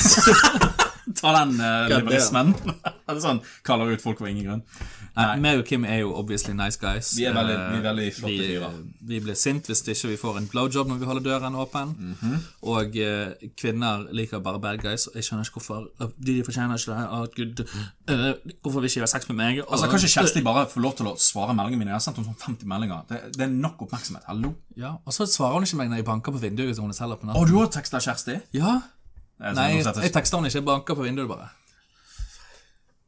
[SPEAKER 2] Ta den eh,
[SPEAKER 4] Hva er det?
[SPEAKER 2] liberismen. Det er sånn kaller ut folk for ingen grunn.
[SPEAKER 1] Nei, meg og Kim er jo obviously nice guys.
[SPEAKER 2] Vi er veldig-
[SPEAKER 1] Eh,
[SPEAKER 2] vi er veldig flotte
[SPEAKER 1] vi- eh,
[SPEAKER 2] fyrer.
[SPEAKER 1] Vi blir sint hvis ikke vi får en blowjob når vi holder døren åpen.
[SPEAKER 2] Mhm.
[SPEAKER 1] Og eh, kvinner liker bare bad guys. Og jeg skjønner ikke hvorfor eh, de de fortjener ikke det. Og Gud, eh, hvorfor vil ikke de ha sex med meg? Og,
[SPEAKER 2] Altså, Kanskje Kjersti bare får lov til å svare meldingene mine. Jeg har sendt henne sånn 50 meldinger. Det, det er nok oppmerksomhet. Hallo?
[SPEAKER 1] ja, og så svarer hun ikke meg når jeg banker på vinduet hvis hun er selv på
[SPEAKER 2] Og
[SPEAKER 1] natten.
[SPEAKER 2] du har teksta Kjersti?
[SPEAKER 1] Ja?
[SPEAKER 2] Jeg
[SPEAKER 1] Nei, jeg
[SPEAKER 2] sånn, nå setter-
[SPEAKER 1] tekster henne ikke. Jeg banker på vinduet, bare.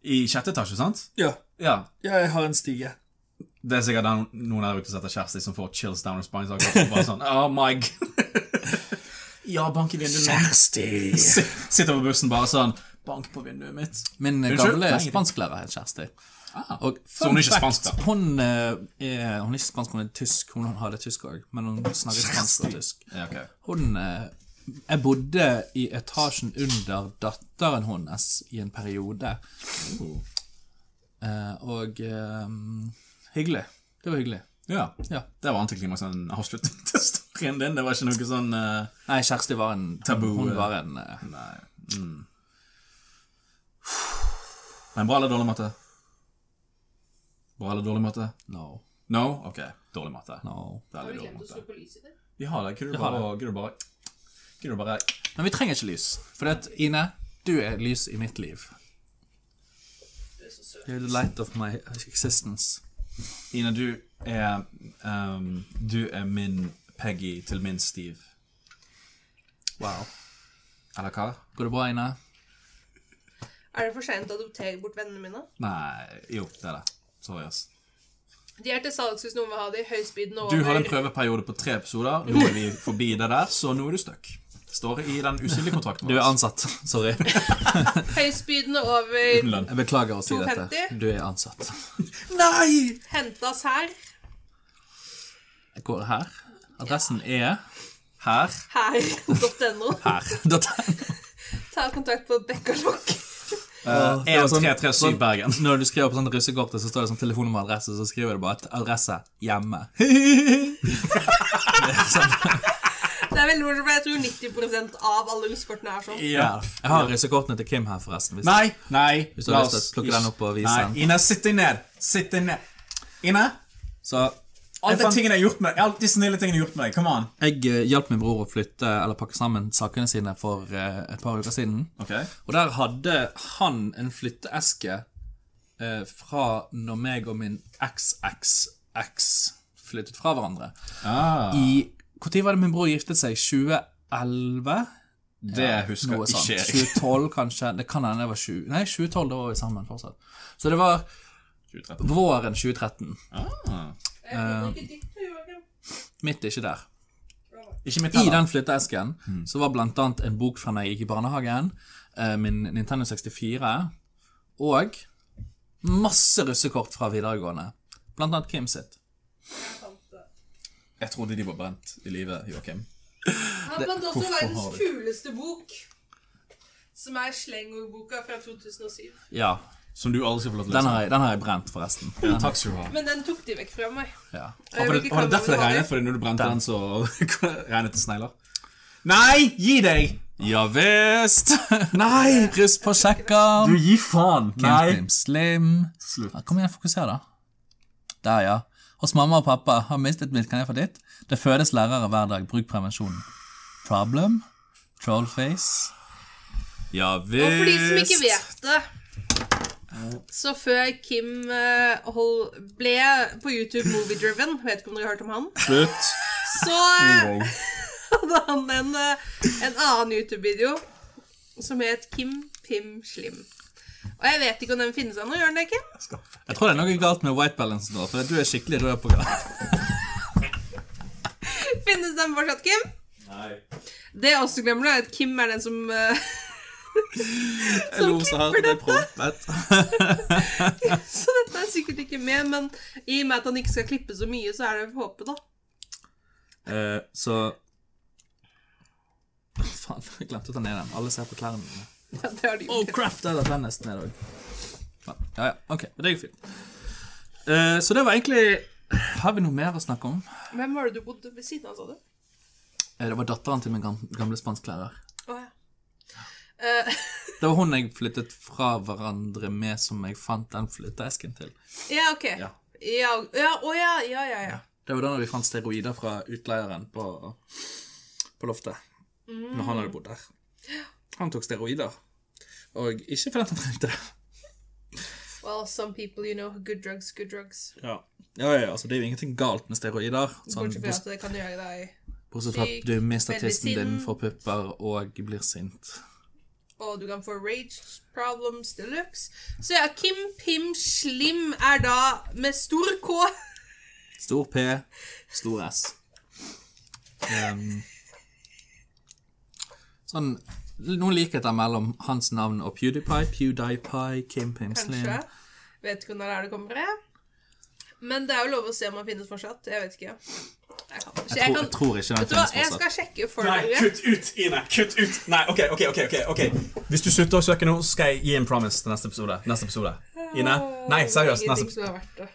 [SPEAKER 2] I sjette etasje, sant?
[SPEAKER 4] Ja.
[SPEAKER 2] Ja.
[SPEAKER 4] ja, jeg har en stige.
[SPEAKER 2] Det er sikkert den- noen der ute som heter Kjersti, som får chills down her spine. Så akkurat bare sånn, oh my god. ja, bank i vinduet nå.
[SPEAKER 4] Kjersti!
[SPEAKER 2] Si- Sitter på bussen bare sånn Bank på vinduet mitt.
[SPEAKER 1] Min eh,
[SPEAKER 2] Unnskyld?
[SPEAKER 1] gamle
[SPEAKER 2] Nei, ingenting.
[SPEAKER 1] spansklærer het Kjersti. Og
[SPEAKER 2] Så
[SPEAKER 1] fun
[SPEAKER 2] hun er
[SPEAKER 1] fact,
[SPEAKER 2] ikke spansk, da?
[SPEAKER 1] Hun, eh, er, hun er ikke spansk, hun er tysk. Hun hadde tysk òg, men hun snakket spansk og tysk.
[SPEAKER 2] Ja, ok.
[SPEAKER 1] Hun eh, Jeg bodde i etasjen under datteren hennes i en periode. Eh, og eh, Hyggelig. Det var hyggelig.
[SPEAKER 2] Ja.
[SPEAKER 1] Ja.
[SPEAKER 2] Det var antiklimaks en avslutning til storyen din. Det var ikke noe sånn eh,
[SPEAKER 1] Nei, Kjersti var en
[SPEAKER 2] Tabu,
[SPEAKER 1] Hun
[SPEAKER 2] eh.
[SPEAKER 1] var en eh,
[SPEAKER 2] Nei. Mm. Men bra eller dårlig matte? Bra eller dårlig matte?
[SPEAKER 1] No.
[SPEAKER 2] No? Ok, dårlig matte.
[SPEAKER 1] no.
[SPEAKER 2] Veldig dårlig matte. Vi har det. Kunne du
[SPEAKER 1] har
[SPEAKER 2] bare, kunne du bare, kunne du bare
[SPEAKER 1] Men vi trenger ikke lys. For det at, Ine, du er lys i mitt liv. You're the light of my existence.
[SPEAKER 2] Ine, du er ehm, Du er min Peggy til min Steve.
[SPEAKER 1] Wow.
[SPEAKER 2] Eller hva?
[SPEAKER 1] Går det bra, Ine?
[SPEAKER 3] Er det for seint å adoptere bort vennene mine?
[SPEAKER 2] Nei Jo, det er det. Sorry, ass.
[SPEAKER 3] De er til salgs hvis noen vil ha de høyspydende
[SPEAKER 2] Du hadde en
[SPEAKER 3] over.
[SPEAKER 2] prøveperiode på tre episoder. Nå er vi forbi det der, så nå er du stuck. Står i den usynlige kontrakten
[SPEAKER 1] Du er ansatt. Sorry.
[SPEAKER 3] Høyspydende over
[SPEAKER 2] Lønn.
[SPEAKER 1] Jeg beklager å si dette.
[SPEAKER 3] 250?
[SPEAKER 1] Du er ansatt.
[SPEAKER 2] Nei!
[SPEAKER 3] hentas her.
[SPEAKER 1] Jeg går her. Adressen er
[SPEAKER 2] Her.
[SPEAKER 3] Her.no.
[SPEAKER 1] Da-
[SPEAKER 3] Ta kontakt på Bekkalokk.
[SPEAKER 1] det var sånn-
[SPEAKER 2] 1337 Bergen.
[SPEAKER 1] Når du skriver på sånn russekortet, så står det sånn telefonnummer og adresse, så skriver du bare at adresse hjemme.
[SPEAKER 3] Det er veldig morsomt, for jeg tror 90 av alle russekortene er sånn.
[SPEAKER 2] Ja.
[SPEAKER 1] Jeg har russekortene til Kim her, forresten. Hvis
[SPEAKER 2] Nei, nei.
[SPEAKER 1] du har lyst til å plukke den opp og vise
[SPEAKER 2] Nei,
[SPEAKER 1] den.
[SPEAKER 2] Ine, sitt deg ned. Sitt deg ned. Ine,
[SPEAKER 1] Så
[SPEAKER 2] alle
[SPEAKER 1] Jeg fant-
[SPEAKER 2] tingene jeg har gjort med Alt de snille tingene jeg har gjort med deg. Come on.
[SPEAKER 1] jeg eh, hjalp min bror å flytte eller pakke sammen sakene sine for eh, et par uker siden. Og der hadde han en flytteeske eh, fra når meg og min XXX flyttet fra hverandre.
[SPEAKER 2] Ah,
[SPEAKER 1] I Når var det min bror giftet seg? 2011?
[SPEAKER 2] det husker
[SPEAKER 1] Noe
[SPEAKER 2] ikke
[SPEAKER 1] sånt.
[SPEAKER 2] jeg.
[SPEAKER 1] 2012, kanskje. Det kan hende det var 20... Nei, 2012, da var vi sammen fortsatt. Så det var
[SPEAKER 2] 2013.
[SPEAKER 1] våren 2013.
[SPEAKER 2] Ah.
[SPEAKER 1] Mitt ikke der.
[SPEAKER 2] Ikke mitt
[SPEAKER 1] I
[SPEAKER 2] heller.
[SPEAKER 1] den flytteesken
[SPEAKER 2] Mm.
[SPEAKER 1] så var blant annet en bok fra når jeg gikk i barnehagen, eh, min Nintendo 64, og masse russekort fra videregående. Blant annet Kim sitt.
[SPEAKER 2] Jeg trodde de var brent i livet, Joakim.
[SPEAKER 3] Han fant også verdens
[SPEAKER 2] har du-
[SPEAKER 3] kuleste bok, som er slengordboka fra 2007.
[SPEAKER 1] Ja.
[SPEAKER 2] Som du aldri skal få lov til å
[SPEAKER 1] Den
[SPEAKER 2] lese.
[SPEAKER 1] har jeg, den har jeg brent, forresten.
[SPEAKER 2] Ja, Takk skal du ha.
[SPEAKER 3] Men den tok de vekk fra meg.
[SPEAKER 1] Ja.
[SPEAKER 3] Jeg
[SPEAKER 2] Var det,
[SPEAKER 3] vil ikke
[SPEAKER 2] var det
[SPEAKER 3] kalle
[SPEAKER 2] derfor det
[SPEAKER 3] meg
[SPEAKER 2] regnet? Fordi når du brente den, så regnet det snegler? Nei! Gi deg!
[SPEAKER 1] Ja visst!
[SPEAKER 2] Nei!
[SPEAKER 1] Russ på kjekkan.
[SPEAKER 2] Gi faen!
[SPEAKER 1] Kim Slim Slim.
[SPEAKER 2] Slutt.
[SPEAKER 1] Ja, Kom igjen, fokuser, da. Der, ja. Hos mamma og pappa har mistet mitt, kan jeg få ditt? Det fødes lærere hver dag. Bruk prevensjonen. Problem? Trollface? Ja visst.
[SPEAKER 3] Og for de som ikke vet det så før Kim eh, hold, ble på YouTube moviedriven, vet ikke om dere har hørt om han,
[SPEAKER 2] Slutt.
[SPEAKER 3] så eh, hadde han en, eh, en annen YouTube-video som het Kim Pim Slim. Og jeg vet ikke om den finnes ennå, gjør den det, Kim?
[SPEAKER 1] Jeg tror det er noe galt med white balance nå, for du er skikkelig rød på gang.
[SPEAKER 3] Finnes den fortsatt, Kim?
[SPEAKER 2] Nei.
[SPEAKER 3] Det jeg også glemmer, er at Kim er den som eh, Som
[SPEAKER 4] Lo så hardt at jeg prompet.
[SPEAKER 3] Så dette er sikkert ikke med, men i og med at han ikke skal klippe så mye, så er det å håpe, da.
[SPEAKER 1] Eh, så Faen, jeg glemte å ta ned den. Alle ser på klærne mine.
[SPEAKER 3] Ja, det har de
[SPEAKER 1] Oh
[SPEAKER 3] gjort.
[SPEAKER 1] crap, der datt den nesten ned òg. Ja ja, ok. men Det gikk fint. Eh, så det var egentlig Har vi noe mer å snakke om?
[SPEAKER 3] Hvem var det du bodde ved siden av, sa du?
[SPEAKER 1] Eh, det var datteren til min gam- gamle spansklærer.
[SPEAKER 3] Å ja. Eh,
[SPEAKER 1] Det var hun jeg flyttet fra hverandre med, som jeg fant den flytteesken til.
[SPEAKER 3] Ja, ok. Ja,
[SPEAKER 1] Ja.
[SPEAKER 3] ja, å ja, ja, ja, ja.
[SPEAKER 1] Det var da vi fant steroider fra utleieren på, på loftet.
[SPEAKER 3] Mm.
[SPEAKER 1] Når han hadde bodd der. Han tok steroider. Og ikke fordi han trengte det.
[SPEAKER 3] Well, some people, you know, good drugs, good drugs.
[SPEAKER 1] Ja. Ja, ja, altså Det er jo ingenting galt med steroider. Sånn,
[SPEAKER 3] Bortsett fra at det kan gjøre deg
[SPEAKER 1] bortsett fra at du mister tissen din, får pupper og blir sint.
[SPEAKER 3] Og du kan få rage problems deluxe. Så ja, Kim Pim Slim er da med stor K.
[SPEAKER 1] Stor P, stor S. Ehm, sånn Noen likheter mellom hans navn og PewDiePie. PewDiePie, Kim Pim Slim.
[SPEAKER 3] Kanskje. Vet ikke når det er det kommer fra. Men det er jo lov å se om han finnes fortsatt. Jeg vet ikke. Jeg kan ikke.
[SPEAKER 1] Jeg tror,
[SPEAKER 3] kan-
[SPEAKER 1] jeg tror ikke den
[SPEAKER 3] Vet du hva,
[SPEAKER 1] finnes
[SPEAKER 3] jeg
[SPEAKER 1] fortsatt.
[SPEAKER 3] skal sjekke for
[SPEAKER 2] Nei,
[SPEAKER 3] dere.
[SPEAKER 2] kutt ut, Ine! Kutt ut! Nei, OK, OK. ok, ok, ok Hvis du slutter å søke nå, så skal jeg gi en promise til neste episode. Neste episode. Ine? Nei, seriøst.
[SPEAKER 3] Ingenting
[SPEAKER 2] Neste
[SPEAKER 3] som er verdt det.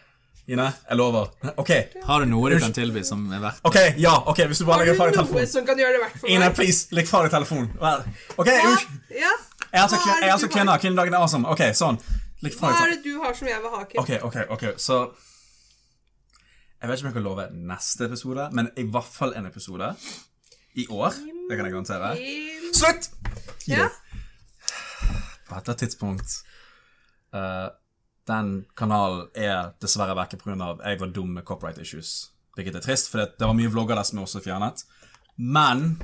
[SPEAKER 2] Ine, jeg lover. OK.
[SPEAKER 1] Har du noe du kan tilby som er verdt
[SPEAKER 2] ok, Ja, ok, hvis du bare
[SPEAKER 3] Har
[SPEAKER 2] legger fra deg
[SPEAKER 3] du noe
[SPEAKER 2] telefonen.
[SPEAKER 3] som kan gjøre det verdt for
[SPEAKER 2] Ine,
[SPEAKER 3] meg?
[SPEAKER 2] please, legg fra deg telefonen. Vel, OK, unnskyld.
[SPEAKER 3] Ja?
[SPEAKER 2] Jeg er altså
[SPEAKER 3] Hva
[SPEAKER 2] kvinne.
[SPEAKER 3] er det
[SPEAKER 2] Jeg er
[SPEAKER 3] du
[SPEAKER 2] altså
[SPEAKER 3] har-
[SPEAKER 2] kvinne. Kvinnedagen er awesome. OK, sånn. Legg fra
[SPEAKER 3] Hva
[SPEAKER 2] deg
[SPEAKER 3] er
[SPEAKER 2] telefonen.
[SPEAKER 3] det du har som jeg vil ha, Kim?
[SPEAKER 2] OK, OK, ok, så Jeg vet ikke om jeg kan love neste episode, men i hvert fall en episode i år. Det kan jeg garantere.
[SPEAKER 3] Kim-
[SPEAKER 2] Slutt! Gi
[SPEAKER 3] Ja?
[SPEAKER 2] deg. På et eller annet tidspunkt eh, Den kanalen er dessverre vekke pga. jeg var dum med copyright issues. Hvilket er trist, for det, det var mye vlogger der som jeg også fjernet. Men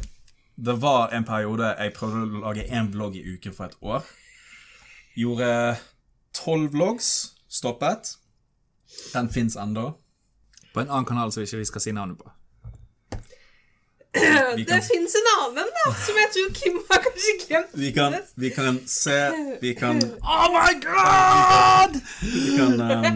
[SPEAKER 2] det var en periode jeg prøvde å lage én vlogg i uken for et år. Gjorde tolv vlogs. Stoppet. Den fins ennå.
[SPEAKER 1] på en annen kanal som ikke vi skal si navnet på?
[SPEAKER 2] Vi
[SPEAKER 3] Det
[SPEAKER 2] kan-
[SPEAKER 3] fins en annen, da, som jeg tror Kim har kanskje glemt.
[SPEAKER 2] Vi kan, vi kan se Vi kan
[SPEAKER 1] Oh my god!
[SPEAKER 2] Vi kan eh,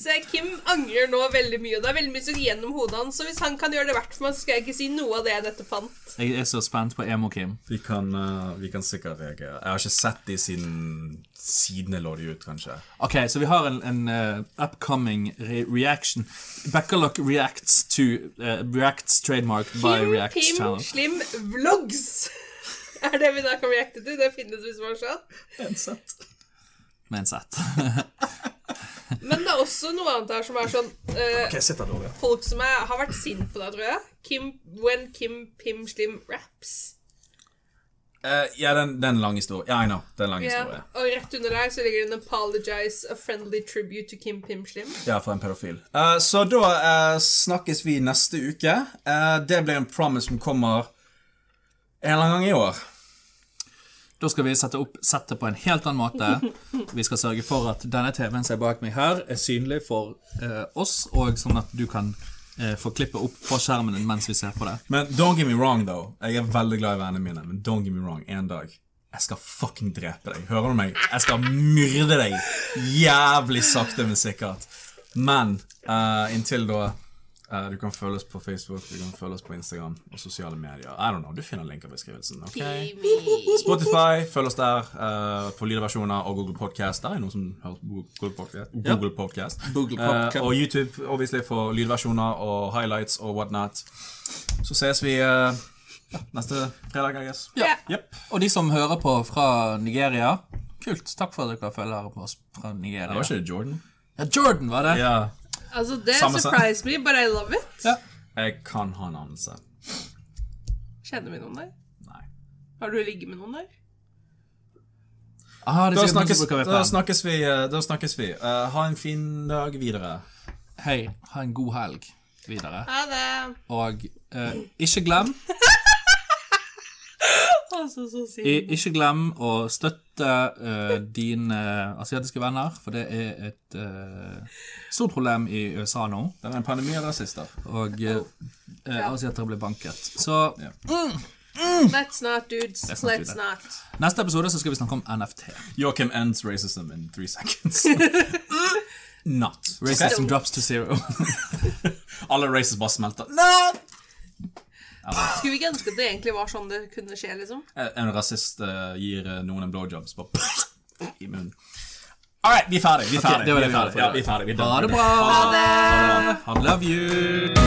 [SPEAKER 3] Så jeg- Kim angrer nå veldig mye. og Det er veldig mye som går gjennom hodet hans. Så hvis han kan gjøre det verdt for meg, så skal jeg ikke si noe av det jeg nettopp fant.
[SPEAKER 1] Jeg er så spent på Emo-Kim.
[SPEAKER 2] Vi kan, eh, vi kan sikkert reagere. Jeg har ikke sett de siden siden jeg lå de ut, kanskje.
[SPEAKER 1] Ok, så vi har en, en eh, upcoming re reaction. Backlog reacts to eh, Reacts trademark by
[SPEAKER 3] Kim
[SPEAKER 1] Reacts
[SPEAKER 3] Pim
[SPEAKER 1] channel.
[SPEAKER 3] Slim Vlogs er det vi da kan reacte til. Det finnes hvis man skjønner.
[SPEAKER 1] Med en sett.
[SPEAKER 3] Men det er også noe annet her som er sånn eh,
[SPEAKER 2] Jeg sitter dårlig.
[SPEAKER 3] Folk som er, har vært sint på deg, tror jeg. Kim, when Kim Pim Slim raps.
[SPEAKER 2] Eh, ja, den, den lange historien. Ja, I know. Den lange
[SPEAKER 3] Ja,
[SPEAKER 2] historien.
[SPEAKER 3] og rett under der så ligger det en 'Apologize, a friendly tribute to Kim Pim Slim'.
[SPEAKER 2] Ja, for en pedofil. Eh, så da eh, snakkes vi neste uke. Eh, det blir en promise som kommer en eller annen gang i år.
[SPEAKER 1] Da skal vi sette opp settet på en helt annen måte. Vi skal sørge for at denne TV-en som er bak meg her, er synlig for eh, oss, og sånn at du kan eh, få klippet opp på skjermen din mens vi ser på det.
[SPEAKER 2] Men don't get me wrong, though. Jeg er veldig glad i vennene mine, men don't get me wrong. En dag jeg skal fucking drepe deg. Hører du meg? Jeg skal myrde deg. Jævlig sakte, men sikkert. Men eh, inntil da eh, Du kan følge oss på Facebook, du kan følge oss på Instagram og sosiale medier. I don't know, Du finner linker i beskrivelsen. ok? Spotify, følg oss der eh, på lydversjoner og Google Podcast. Der er noen som hører på Google Podcast. Google Podcast.
[SPEAKER 1] Google
[SPEAKER 2] Eh,
[SPEAKER 1] Podcast.
[SPEAKER 2] og YouTube, obviously, for lydversjoner og highlights og whatnot. Så ses vi eh, ja, neste fredag, I guess.
[SPEAKER 3] Ja.
[SPEAKER 2] Jep.
[SPEAKER 1] Og de som hører på fra Nigeria, kult. Takk for at dere følger på oss fra Nigeria.
[SPEAKER 2] Det var ikke det Jordan?
[SPEAKER 1] Ja, Jordan var det.
[SPEAKER 2] Ja.
[SPEAKER 3] Altså, det
[SPEAKER 2] Samme sak.
[SPEAKER 3] surprised me, but I love it.
[SPEAKER 1] Ja.
[SPEAKER 2] Jeg kan ha en anelse.
[SPEAKER 3] Kjenner vi noen der?
[SPEAKER 2] Nei.
[SPEAKER 3] Har du ligget med noen der?
[SPEAKER 1] Aha, det er sikkert
[SPEAKER 2] Da
[SPEAKER 1] noen
[SPEAKER 2] snakkes,
[SPEAKER 1] som bruker
[SPEAKER 2] da
[SPEAKER 1] VPN.
[SPEAKER 2] snakkes vi. eh, Da snakkes vi. Eh, ha en fin dag videre.
[SPEAKER 1] Hei, ha en god helg videre.
[SPEAKER 3] Ha det.
[SPEAKER 1] Og eh, ikke glem
[SPEAKER 3] Altså, så
[SPEAKER 1] i,
[SPEAKER 3] sykt.
[SPEAKER 1] Ikke glem å støtte eh, dine asiatiske venner, for det er et eh, stort problem i USA nå.
[SPEAKER 2] Det er en pandemi av rasister.
[SPEAKER 1] Og eh, eh, asiater blir banket. Så
[SPEAKER 3] Let's not, dudes.
[SPEAKER 1] Let's not do
[SPEAKER 3] Let's
[SPEAKER 1] that.
[SPEAKER 3] not.
[SPEAKER 1] neste episode så skal vi snakke om NFT.
[SPEAKER 2] Joachim ends racism in three seconds. Not.
[SPEAKER 1] Racism drops to zero.
[SPEAKER 2] Alle racists bare smelter.
[SPEAKER 3] Skulle vi ikke ønske at det egentlig var sånn det kunne skje, liksom?
[SPEAKER 2] Eh, En rasist eh, gir eh, noen en blowjob, så bare i munnen. All right, vi er ferdig. Vi er ferdig.
[SPEAKER 1] det var
[SPEAKER 2] vi
[SPEAKER 1] det
[SPEAKER 2] er
[SPEAKER 1] vi hadde
[SPEAKER 2] ferdig.
[SPEAKER 1] for i dag.
[SPEAKER 2] Ja, vi er ferdig. Vi er done.
[SPEAKER 1] Ha det bra!
[SPEAKER 2] Ha det bra.
[SPEAKER 1] Love you!